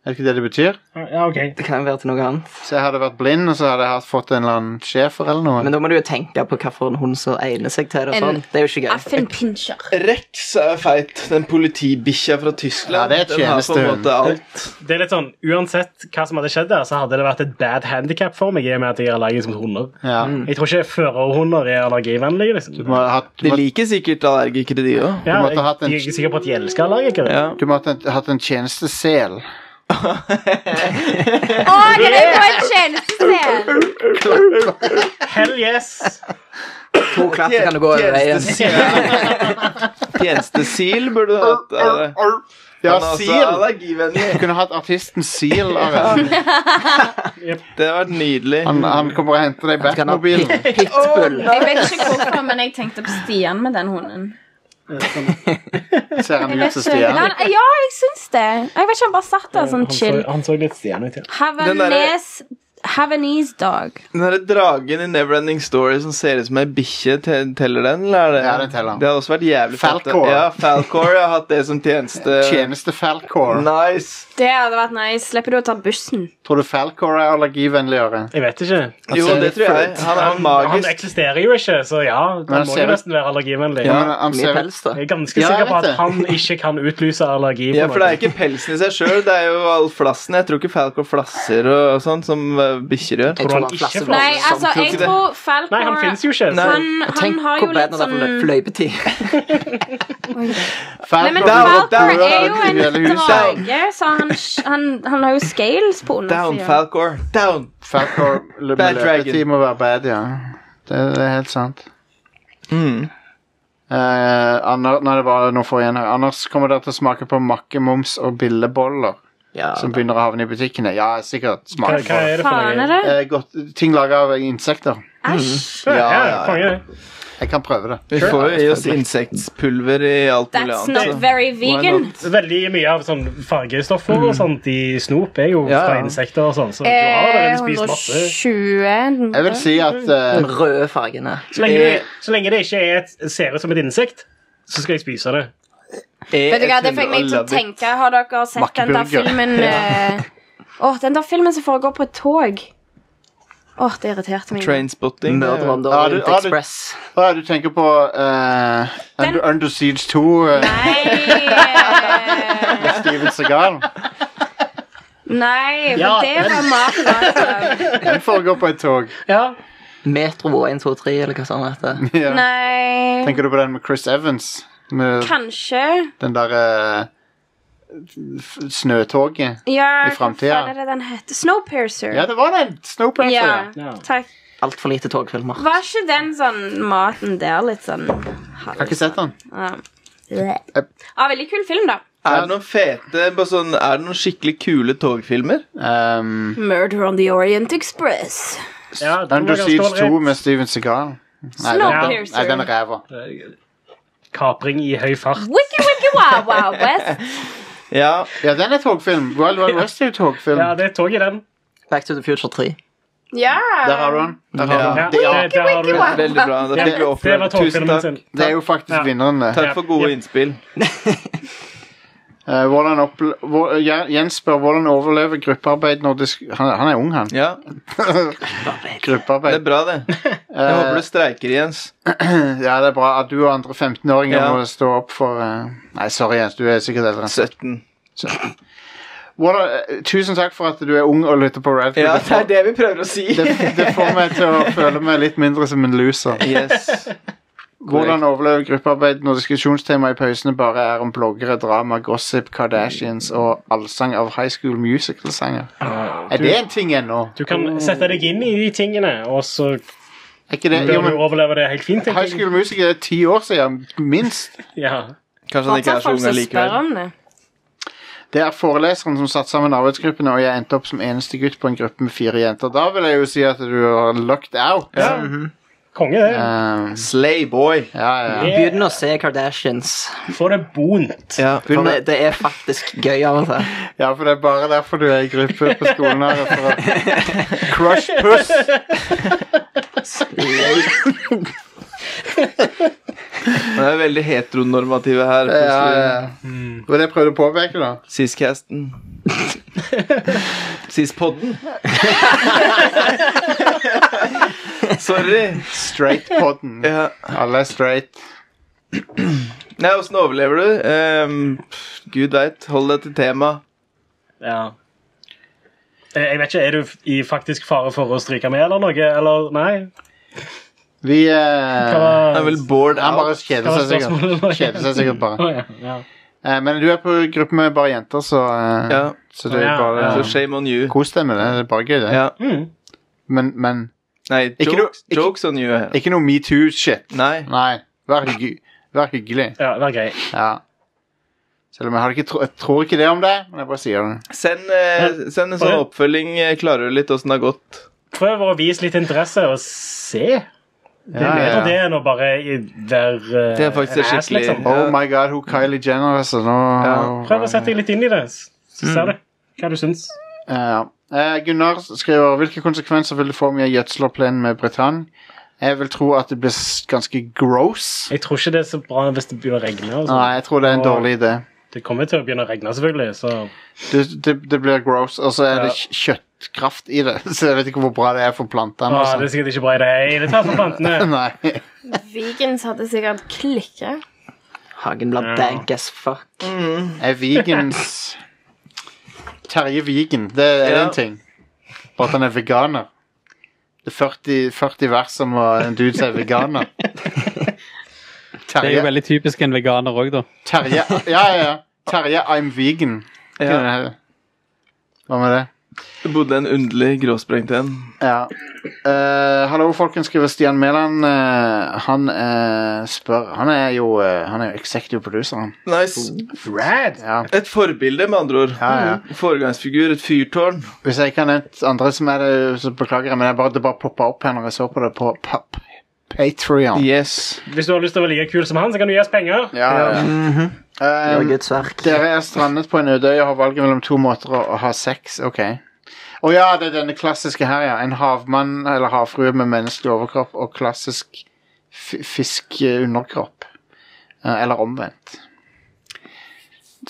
Speaker 1: Er det ikke det det betyr?
Speaker 3: Ja, ok.
Speaker 7: Det kan jo være til noe annet.
Speaker 1: Så jeg hadde vært blind, og så hadde jeg hatt- fått en eller annen schæfer eller noe.
Speaker 7: Men da må du jo tenke på hvilken hund som egner seg til det. og sånn.
Speaker 10: En-
Speaker 7: Det er jo ikke gøy.
Speaker 10: Affenpinscher.
Speaker 4: Rex er feit. Den politibikkja fra Tyskland.
Speaker 1: Ja, det er
Speaker 4: den har på en
Speaker 1: tjenestehund.
Speaker 4: måte alt.
Speaker 3: Det er litt sånn, Uansett hva som hadde skjedd, der, så hadde det vært et bad handicap for meg. i og med at jeg er allergisk mot hunder.
Speaker 1: Ja.
Speaker 3: Jeg tror ikke førerhunder er allergivennlige. liksom.
Speaker 1: Du må ha hatt, du
Speaker 4: De
Speaker 1: må,
Speaker 4: liker sikkert allergikere, de òg.
Speaker 3: Ja,
Speaker 1: måtte
Speaker 3: jeg,
Speaker 1: hatt en-
Speaker 3: jeg er ikke sikker på at jeg elsker allergikere.
Speaker 4: Ja.
Speaker 1: du må ha hatt- hatt en tjenestesel.
Speaker 10: Å, det er jo en tjenestesel!
Speaker 3: Hell yes!
Speaker 7: To klapp så kan du gå over veien.
Speaker 4: Tjenestesil burde du hatt. Are.
Speaker 1: Ja,
Speaker 4: Men altså,
Speaker 1: Seal! Du
Speaker 4: allergivennlig.
Speaker 1: kunne hatt artisten Seal. Are.
Speaker 4: Det har vært nydelig.
Speaker 1: Han, han kommer og henter deg i
Speaker 7: Du kan ha pit,
Speaker 1: Batmobilen.
Speaker 7: pitbull.
Speaker 10: Jeg vet ikke hvorfor, men jeg tenkte på Stian med den hunden.
Speaker 1: Ser han ut
Speaker 10: Jeg vet
Speaker 1: som
Speaker 10: ikke,
Speaker 1: Stian?
Speaker 10: han, ja, jeg syns det. Jeg vet ikke, han bare satt der sånn chill.
Speaker 3: Han så litt stjerne ut, ja.
Speaker 4: Den derre-
Speaker 10: Havanese Havanese dog.
Speaker 4: Den derre dragen i Neverending Story som ser ut som ei bikkje, te- teller den? Eller er det?
Speaker 1: Ja, den teller.
Speaker 4: Det hadde også vært jævlig fett.
Speaker 1: Falcor.
Speaker 4: Ja, Falcor. Jeg har hatt det som tjeneste.
Speaker 1: Eh, Tjeneste Falcor.
Speaker 4: Nice.
Speaker 10: Det hadde vært nice. Slipper du å ta bussen.
Speaker 1: Tror du Falcor er allergivennligere?
Speaker 3: Jeg vet ikke.
Speaker 1: Altså,
Speaker 4: Jo, det tror jeg. Han er
Speaker 3: Han
Speaker 4: magisk.
Speaker 3: eksisterer jo ikke, så ja,
Speaker 1: Men
Speaker 3: da
Speaker 1: han
Speaker 3: må
Speaker 1: ser
Speaker 3: det
Speaker 1: ut-
Speaker 3: nesten være allergivennlig.
Speaker 1: Ja, men han
Speaker 7: Mye
Speaker 1: ser
Speaker 7: pels, da.
Speaker 3: Jeg er ganske
Speaker 1: Ja, jeg
Speaker 3: sikker på
Speaker 1: vet
Speaker 3: at
Speaker 1: det.
Speaker 3: han ikke kan utløse allergi. på
Speaker 4: Ja, for det er
Speaker 3: noe.
Speaker 4: ikke pelsen i seg sjøl, det er jo all flassen. Jeg tror ikke Falcor flasser og sånn som eh, bikkjer gjør.
Speaker 3: Tror
Speaker 7: Jeg
Speaker 3: han
Speaker 7: tror han
Speaker 3: ikke
Speaker 7: flasser
Speaker 3: flasser?
Speaker 10: Nei, altså, jeg
Speaker 4: ikke det.
Speaker 10: tror Falcor
Speaker 3: Nei, han finnes jo ikke. så-
Speaker 4: Nei.
Speaker 10: Han, han
Speaker 7: Tenk
Speaker 10: har
Speaker 7: hvor
Speaker 10: jo
Speaker 7: bad
Speaker 10: litt
Speaker 7: når det er
Speaker 10: sånn
Speaker 7: for løypetid.
Speaker 1: Falcor
Speaker 10: Nei, men
Speaker 4: Down,
Speaker 10: Falcor
Speaker 4: down,
Speaker 10: er jo en
Speaker 1: down, down.
Speaker 10: drage, så han, han, han har jo scales på
Speaker 4: Down,
Speaker 10: undersiden.
Speaker 4: Falcor. Down!
Speaker 1: Falcor med
Speaker 4: Bad
Speaker 1: løpetid
Speaker 4: dragon.
Speaker 1: må være bad, ja. Det, det er helt sant.
Speaker 4: Mm.
Speaker 1: Eh, Ander, nei, det var noe for igjen her. Anders kommer dere til å smake på makkemums og billeboller
Speaker 7: Ja,
Speaker 1: som begynner å havne i butikkene. Ja, sikkert.
Speaker 3: Hva,
Speaker 1: Smak
Speaker 3: hva er det for
Speaker 10: Faen
Speaker 3: noe?
Speaker 10: er det?
Speaker 1: Eh, godt, ting laget av insekter.
Speaker 10: Æsj.
Speaker 3: Ja,
Speaker 4: Ja,
Speaker 3: ja,
Speaker 4: ja,
Speaker 3: konge.
Speaker 1: Jeg kan prøve det.
Speaker 4: Vi får jo i oss insektpulver i alt mulig
Speaker 10: That's not
Speaker 4: annet. så.
Speaker 10: very vegan.
Speaker 3: Veldig mye av sånn fargestoffer og sånt i snop er jo
Speaker 4: Ja,
Speaker 3: fra
Speaker 4: ja.
Speaker 3: insekter og sånn, så du har
Speaker 10: Eh,
Speaker 3: allerede spist masse.
Speaker 10: 120
Speaker 1: Jeg vil si at
Speaker 7: den
Speaker 1: eh,
Speaker 7: røde fargene.
Speaker 3: Så lenge, det, så lenge det ikke er et, ser ut som et insekt, så skal jeg spise det.
Speaker 10: Vet du hva, det fikk meg til å tenke Har dere sett den der
Speaker 1: Makkburger.
Speaker 10: filmen eh, Åh, den der filmen som foregår på et tog Åh, det irriterte meg
Speaker 4: Trainspotting. det er jo-
Speaker 7: Murder on the
Speaker 1: Ja, du-
Speaker 7: Orient
Speaker 1: ja, du-
Speaker 7: Express.
Speaker 1: Hva er det du tenker på? eh, Under, Under Siege 2, eh,
Speaker 10: Nei eh,
Speaker 1: Steven
Speaker 10: (laughs)
Speaker 1: Segal.
Speaker 10: Nei, for
Speaker 3: Ja,
Speaker 10: det var mat
Speaker 1: Den foregår på et tog.
Speaker 3: Ja,
Speaker 7: Metro 123, eller hva sånn
Speaker 1: (laughs)
Speaker 7: heter.
Speaker 1: Ja.
Speaker 10: Nei,
Speaker 1: Tenker du på den med Chris Evans? Med
Speaker 10: kanskje
Speaker 1: den derre Snøtoget?
Speaker 10: Ja,
Speaker 1: I
Speaker 10: hva
Speaker 1: fremtiden.
Speaker 10: faen er det den heter? Snowpiercer
Speaker 1: Ja, det var den! Snowpiercer.
Speaker 10: Ja,
Speaker 3: Ja.
Speaker 10: takk
Speaker 7: Altfor lite togfilmer.
Speaker 10: Var ikke den sånn maten der litt sånn
Speaker 1: Jeg har ikke Eh. sett den.
Speaker 10: Ja, Ja, veldig kul film da
Speaker 4: Er det noen fete bare sånn, Er det noen skikkelig kule togfilmer?
Speaker 1: Um,
Speaker 10: Murder on the Orient Express
Speaker 3: ja det var
Speaker 1: Under
Speaker 3: ganske
Speaker 1: Siege 2
Speaker 3: allerede.
Speaker 1: med Steven Segal. Nei, den, den,
Speaker 10: Snowpiercer
Speaker 1: nei, den er ræva.
Speaker 3: Kapring i høy fart.
Speaker 10: Wiki Wiki Wow Wow West.
Speaker 1: (laughs)
Speaker 4: Ja.
Speaker 1: Ja, den er togfilm. Wild Wild West er jo togfilm.
Speaker 3: Ja, det er tog i den.
Speaker 7: Back to the Future 3.
Speaker 10: Ja.
Speaker 1: Der har du den. Der har du
Speaker 3: Ja,
Speaker 1: den. Det, ja,
Speaker 3: det, det, har du.
Speaker 4: Veldig bra. Dette
Speaker 3: Ja,
Speaker 4: fikk vi
Speaker 3: det var
Speaker 4: oppleve. Tusen
Speaker 3: togfilmen
Speaker 4: takk.
Speaker 3: sin.
Speaker 1: det er jo faktisk
Speaker 3: Ja.
Speaker 1: vinneren, eh. det.
Speaker 4: Takk for gode innspill.
Speaker 1: Eh, hvordan opple hvor, Ja, Jens spør hvordan overlever gruppearbeid når det sk- han, han er ung, han.
Speaker 4: Ja, Det er
Speaker 1: Gruppearbeid.
Speaker 4: bra, det. Jeg håper du streiker, Jens.
Speaker 1: Eh, (clears throat) Ja, det er bra at du og andre 15-åringer
Speaker 4: Ja.
Speaker 1: må stå opp for eh, Nei, sorry, Jens. Du er sikkert eldre.
Speaker 4: 17.
Speaker 1: Hvordan, eh, tusen takk for at du er ung og lytter på Radcliffe.
Speaker 4: Ja, det er det vi prøver å si.
Speaker 1: det, det får meg til å føle meg litt mindre som en loser.
Speaker 4: Yes.
Speaker 1: Hvordan overleve gruppearbeid når diskusjonstemaet i pausene bare er om bloggere, drama, gossip, Kardashians og allsang av High School Musical-sanger?
Speaker 4: Ah,
Speaker 1: Er det en ting ennå?
Speaker 3: Du kan sette deg inn i de tingene, og så
Speaker 1: Er ikke det? Jo,
Speaker 3: bør du
Speaker 1: men
Speaker 3: overleve det helt fint.
Speaker 1: High
Speaker 3: tenker jeg.
Speaker 1: School Musical er ti år siden, minst.
Speaker 3: Ja.
Speaker 1: Sånn
Speaker 4: Kanskje han ikke er så
Speaker 10: Fortsatt folk
Speaker 4: ung
Speaker 10: som spør
Speaker 4: allikevel.
Speaker 10: om det.
Speaker 1: Det er foreleseren som satte sammen arbeidsgruppene, og jeg endte opp som eneste gutt på en gruppe med fire jenter. Da vil jeg jo si at du har lucked out.
Speaker 3: ja. Konge, det.
Speaker 1: Um,
Speaker 4: Slayboy.
Speaker 1: ja, ja.
Speaker 3: Yeah.
Speaker 7: Begynn å se Kardashians.
Speaker 3: Få det bont.
Speaker 4: Ja.
Speaker 7: For det, det er faktisk gøy av og til.
Speaker 1: ja, for det er bare derfor du er i gruppe på skolen her. For å crush puss!
Speaker 4: Det er veldig heteronormative her.
Speaker 1: Ja, ja.
Speaker 3: Mm.
Speaker 1: Det var det jeg prøvde å påpeke, da.
Speaker 4: Siscasten. Sispodden. Sorry.
Speaker 1: Straight-podden.
Speaker 4: Ja.
Speaker 1: Alle er straight.
Speaker 4: Nei, åssen overlever du? Ehm, pff, Gud veit. Hold deg til tema.
Speaker 3: Ja. Eh, Jeg vet ikke, Er du i faktisk fare for å stryke med eller noe? Eller nei?
Speaker 1: Vi eh,
Speaker 3: Hva
Speaker 4: Det er
Speaker 3: var,
Speaker 4: vel bored
Speaker 1: Han bare
Speaker 4: out.
Speaker 1: kjeder
Speaker 3: hva var
Speaker 1: seg sikkert.
Speaker 3: spørsmålet?
Speaker 1: Kjeder seg sikkert bare.
Speaker 3: Å, ja, ja.
Speaker 1: Eh, men du er på gruppe med bare jenter, så, eh,
Speaker 4: Ja.
Speaker 1: så det er
Speaker 3: Ja,
Speaker 1: bare
Speaker 3: ja.
Speaker 4: Så shame on you.
Speaker 1: Kos deg med det. Det er bare gøy, det.
Speaker 4: Ja.
Speaker 3: Mm.
Speaker 1: Men, men
Speaker 4: Nei,
Speaker 1: Ikke
Speaker 4: jokes,
Speaker 1: noe- ikke-
Speaker 4: jokes on you. her.
Speaker 1: ikke noe metoo-shit.
Speaker 4: Nei.
Speaker 1: Nei. Vær, hygg vær hyggelig.
Speaker 3: ja, det var grei.
Speaker 1: Ja. Selv om jeg, har ikke tro jeg tror ikke det om deg, men jeg bare sier det.
Speaker 4: Send, eh, send en sånn oppfølging. eh, Klarer du litt åssen det har gått?
Speaker 3: Prøv å vise litt interesse og se. Det
Speaker 1: Ja,
Speaker 3: er bedre
Speaker 1: ja,
Speaker 3: det
Speaker 1: ja.
Speaker 3: enn å bare i- være eh,
Speaker 4: Det er faktisk
Speaker 3: en ass,
Speaker 4: skikkelig-
Speaker 3: liksom.
Speaker 1: Oh my god, hun Kylie Jenner, altså. Nå
Speaker 4: Ja.
Speaker 3: Prøv å sette deg litt inn i det, så
Speaker 1: Mm.
Speaker 3: ser du hva du syns.
Speaker 1: Ja. Eh, Gunnar skriver Hvilke konsekvenser vil det få om jeg gjødsler plenen med Britann? Jeg vil tro at det blir s- ganske gross.
Speaker 3: Jeg tror ikke det er så bra hvis det begynner å regne. Og sånn.
Speaker 1: Nei, jeg tror det er en
Speaker 3: Og-
Speaker 1: dårlig idé.
Speaker 3: Det kommer til å begynne å regne, selvfølgelig. Så
Speaker 1: Det, det, det blir gross, og så er det
Speaker 3: Ja.
Speaker 1: kj- kjøtt, kraft i det, (laughs) så jeg vet ikke hvor bra det er for plantene. og
Speaker 3: Åh, det er
Speaker 1: sånt.
Speaker 3: sikkert ikke bra i det hele tatt for plantene.
Speaker 1: (laughs) Nei.
Speaker 10: Vegans hadde sikkert klikka.
Speaker 7: Hagen blir
Speaker 3: Ja.
Speaker 7: dank as fuck.
Speaker 1: Er vegans Terje Vigen, det er
Speaker 4: Ja.
Speaker 1: en ting. Bare at han er veganer. Det er 40, 40 vers om å- en dude som er veganer.
Speaker 12: Det er jo
Speaker 1: Terje,
Speaker 12: veldig typisk en veganer òg, da.
Speaker 1: Terje Ja, ja, ja. Terje I'm vegan.
Speaker 4: Ja.
Speaker 1: Hva med det?
Speaker 4: Det bodde en underlig gråsprengt en.
Speaker 1: Ja. Eh, hallo, folkens, skriver Stian Mæland. Eh, han eh, spør Han er jo eh, Han er jo executive producer, han.
Speaker 4: Nice.
Speaker 1: Rad. Ja.
Speaker 4: Et forbilde, med andre ord.
Speaker 1: Ja, ja.
Speaker 4: Mm. Foregangsfigur, et fyrtårn.
Speaker 1: Hvis jeg ikke har nevnt andre som er det, så beklager jeg, men jeg bare, det bare poppa opp her når jeg så på det på pa- Patreon.
Speaker 4: Yes.
Speaker 3: Hvis du har lyst til å være like kul som han, så kan du gi oss penger.
Speaker 1: Ja, ja.
Speaker 7: Gjør
Speaker 1: Um,
Speaker 7: Guds verk.
Speaker 1: dere er strandet på en øde øy og har valget mellom to måter å, å ha sex. Ok. Å ja, det er denne klassiske her, ja. En havmann eller havfrue med menneskelig overkropp og klassisk fi- fisk eh, underkropp. Eh, Eller omvendt.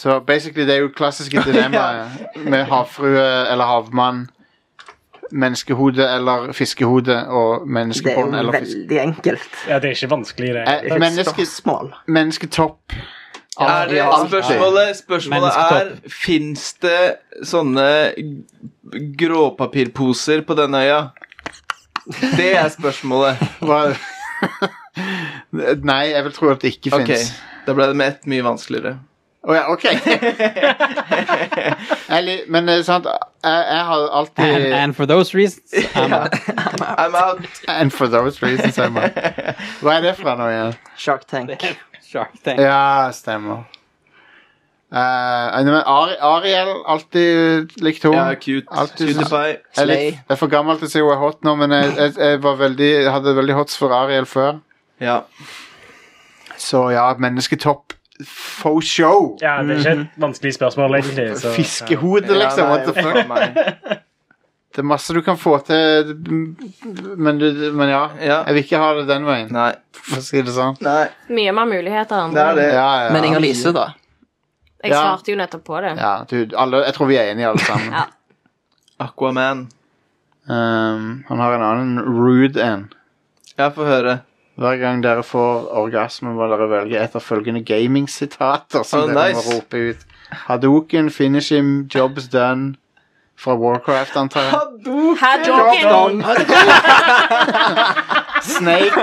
Speaker 1: Så basically, det er jo klassiske
Speaker 7: (laughs)
Speaker 1: dilemmaet med havfrue eller havmann. Menneskehode eller fiskehode og
Speaker 7: Det er jo
Speaker 1: menneskebånd eller fisk...
Speaker 7: veldig enkelt.
Speaker 3: Ja, det er ikke vanskelig, det.
Speaker 1: Eh,
Speaker 7: Det er ikke et
Speaker 1: menneske,
Speaker 7: spørsmål.
Speaker 1: mennesketopp.
Speaker 4: Er det
Speaker 1: Alltid.
Speaker 4: spørsmålet spørsmålet er Fins det sånne g- gråpapirposer på denne øya? Det er spørsmålet.
Speaker 1: Hva- (laughs) Nei, jeg vil tro at det ikke
Speaker 4: Ok,
Speaker 1: finnes
Speaker 4: Da ble det med ett mye vanskeligere.
Speaker 1: Å ja,
Speaker 4: (laughs)
Speaker 1: ok. Jeg li- Men eh, sant, jeg, jeg har
Speaker 12: And,
Speaker 1: alltid
Speaker 12: and for those reasons I'm out.
Speaker 4: I'm out.
Speaker 1: And for those reasons, I'm out. Hva er det fra nå igjen?
Speaker 7: Shark Tank.
Speaker 12: Shark Tank.
Speaker 1: Ja, stemmer. Eh, men Ari, Ariel, alltid likt
Speaker 4: Ja,
Speaker 1: henne.
Speaker 4: cute.
Speaker 1: Alltid
Speaker 4: Cute pie.
Speaker 1: Jeg er, litt, jeg er for gammel til å si hun er hot nå, men jeg, jeg, jeg var veldig, jeg hadde veldig hots for Ariel før.
Speaker 4: Ja.
Speaker 1: Så ja, mennesketopp. Faux show!
Speaker 3: Ja, det er ikke et vanskelig spørsmål, egentlig. Så,
Speaker 1: Fiskehode,
Speaker 4: Ja,
Speaker 1: liksom.
Speaker 4: nei,
Speaker 1: What the fuck?
Speaker 4: faen meg.
Speaker 1: Det er masse du kan få til, men, du, men ja.
Speaker 4: Ja.
Speaker 1: Jeg vil ikke ha det den veien,
Speaker 4: Nei.
Speaker 1: (laughs) for å si det sånn.
Speaker 4: Nei.
Speaker 10: Mye mer muligheter enn
Speaker 4: Det
Speaker 10: andre.
Speaker 4: er det.
Speaker 1: Ja, ja.
Speaker 7: Men Inger-Lise, da?
Speaker 10: Jeg
Speaker 1: Ja.
Speaker 10: svarte jo nettopp på det.
Speaker 1: Ja, du, alle, jeg tror vi er enige, alle sammen.
Speaker 7: (laughs)
Speaker 10: Ja.
Speaker 4: Aquaman.
Speaker 1: Ehm, han har en annen rude en.
Speaker 4: Ja, få høre.
Speaker 1: Hver gang dere får orgasme, må dere velge et av følgende gaming-sitater som
Speaker 4: Oh,
Speaker 1: dere
Speaker 4: nice.
Speaker 1: må rope ut. Hadoken, finish him, job's done. Fra Warcraft, antar jeg.
Speaker 10: Haddocken!
Speaker 1: Snake.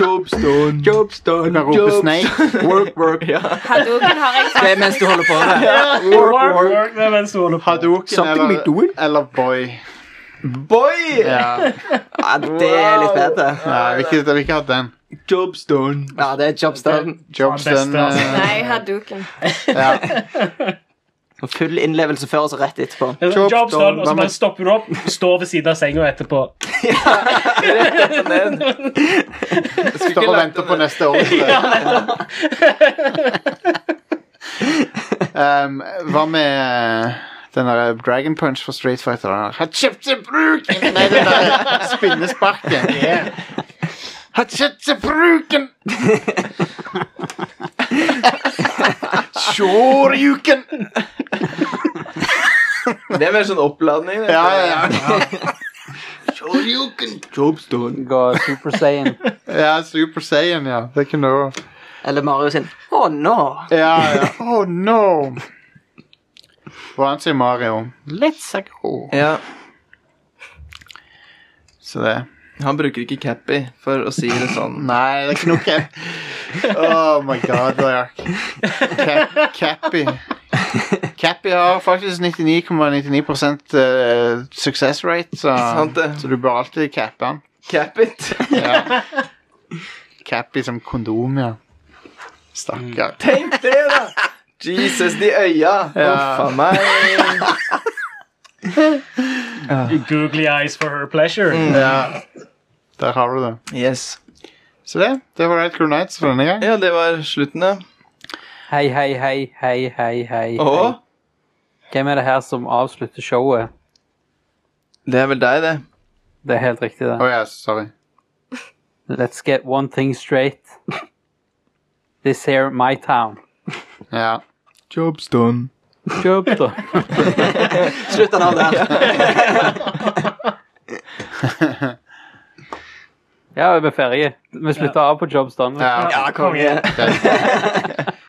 Speaker 4: Jobstone.
Speaker 1: Du kan rope Snake.
Speaker 4: Work, work. (laughs) Ja.
Speaker 10: Haddoken har jeg
Speaker 7: Det er mens du holder på med det.
Speaker 3: Work, work, det er mens du holder på.
Speaker 1: Hadoken
Speaker 7: Something we
Speaker 1: eller,
Speaker 7: doing?
Speaker 1: eller Boy.
Speaker 4: Boy!
Speaker 1: (laughs) Ja.
Speaker 7: Ja, det er litt bedre.
Speaker 1: Nei, jeg vil ikke, jeg vil ikke ha den.
Speaker 4: Jobstone.
Speaker 7: Ja, det er jobs done.
Speaker 1: Job's
Speaker 3: Faen, beste,
Speaker 1: done.
Speaker 3: altså.
Speaker 1: eh,
Speaker 10: Nei, Haddoken.
Speaker 1: ja.
Speaker 7: Full innlevelse før og så rett etterpå.
Speaker 3: Det er sånn
Speaker 1: Job
Speaker 3: Job
Speaker 1: done.
Speaker 3: done, og så bare stopper du opp, står ved siden av senga etterpå.
Speaker 1: Står og venter på neste (laughs) år. (laughs) um, hva med eh, den der Dragon Punch for Street Fighter? Den der, Hatshepse bruken! Nei, den der (laughs) spinnesparken. Hatshepse bruken! Shoryuken!
Speaker 4: Det er mer sånn oppladning. det.
Speaker 1: Ja, ja, ja. Shoryuken!
Speaker 4: Jobstone.
Speaker 12: Går Super Saiyan.
Speaker 1: Ja, Super Saiyan, ja. Det kunne det også.
Speaker 7: Eller Mario sin. Å, nå!
Speaker 1: Ja, ja. (laughs) Oh no! Hva annet sier Mario? Let's go!
Speaker 4: Ja.
Speaker 1: Så det
Speaker 4: Han bruker ikke Cappy for å si det sånn.
Speaker 1: Nei, det er ikke noe
Speaker 4: (laughs)
Speaker 1: cap. Oh my god, Lark. Cap, Cappy. Cappy har faktisk 99,99 eh, success rate, så,
Speaker 4: (laughs) Sant det.
Speaker 1: så du bør alltid cappe han.
Speaker 4: Cap it.
Speaker 1: Ja. Cappy som kondom, ja. Stakkar.
Speaker 4: (laughs) Tenk det, da! Jesus, de øya.
Speaker 1: Ja.
Speaker 4: Huff a meg.
Speaker 3: Googly eyes for her pleasure.
Speaker 1: Ja. Der har du det.
Speaker 4: Yes.
Speaker 1: Så det, det var Red Crew Nights for denne gang.
Speaker 4: Ja, det var slutten, ja.
Speaker 12: Hei, hei, hei, hei, hei, hei. hei.
Speaker 4: Og
Speaker 12: Hvem er det her som avslutter showet?
Speaker 4: det er vel deg, det.
Speaker 12: Det er helt riktig,
Speaker 1: Å
Speaker 12: det.
Speaker 1: ja, sorry.
Speaker 12: Let's get one thing straight. This here my town.
Speaker 1: Ja.
Speaker 4: Jobstone.
Speaker 13: Kjøp, da.
Speaker 7: Slutt den av der.
Speaker 1: (laughs) Ah,
Speaker 5: Ja, vi er ferdige. Vi slutter av på Jobs Done.
Speaker 3: Ah, Ja,
Speaker 7: Ja, konge.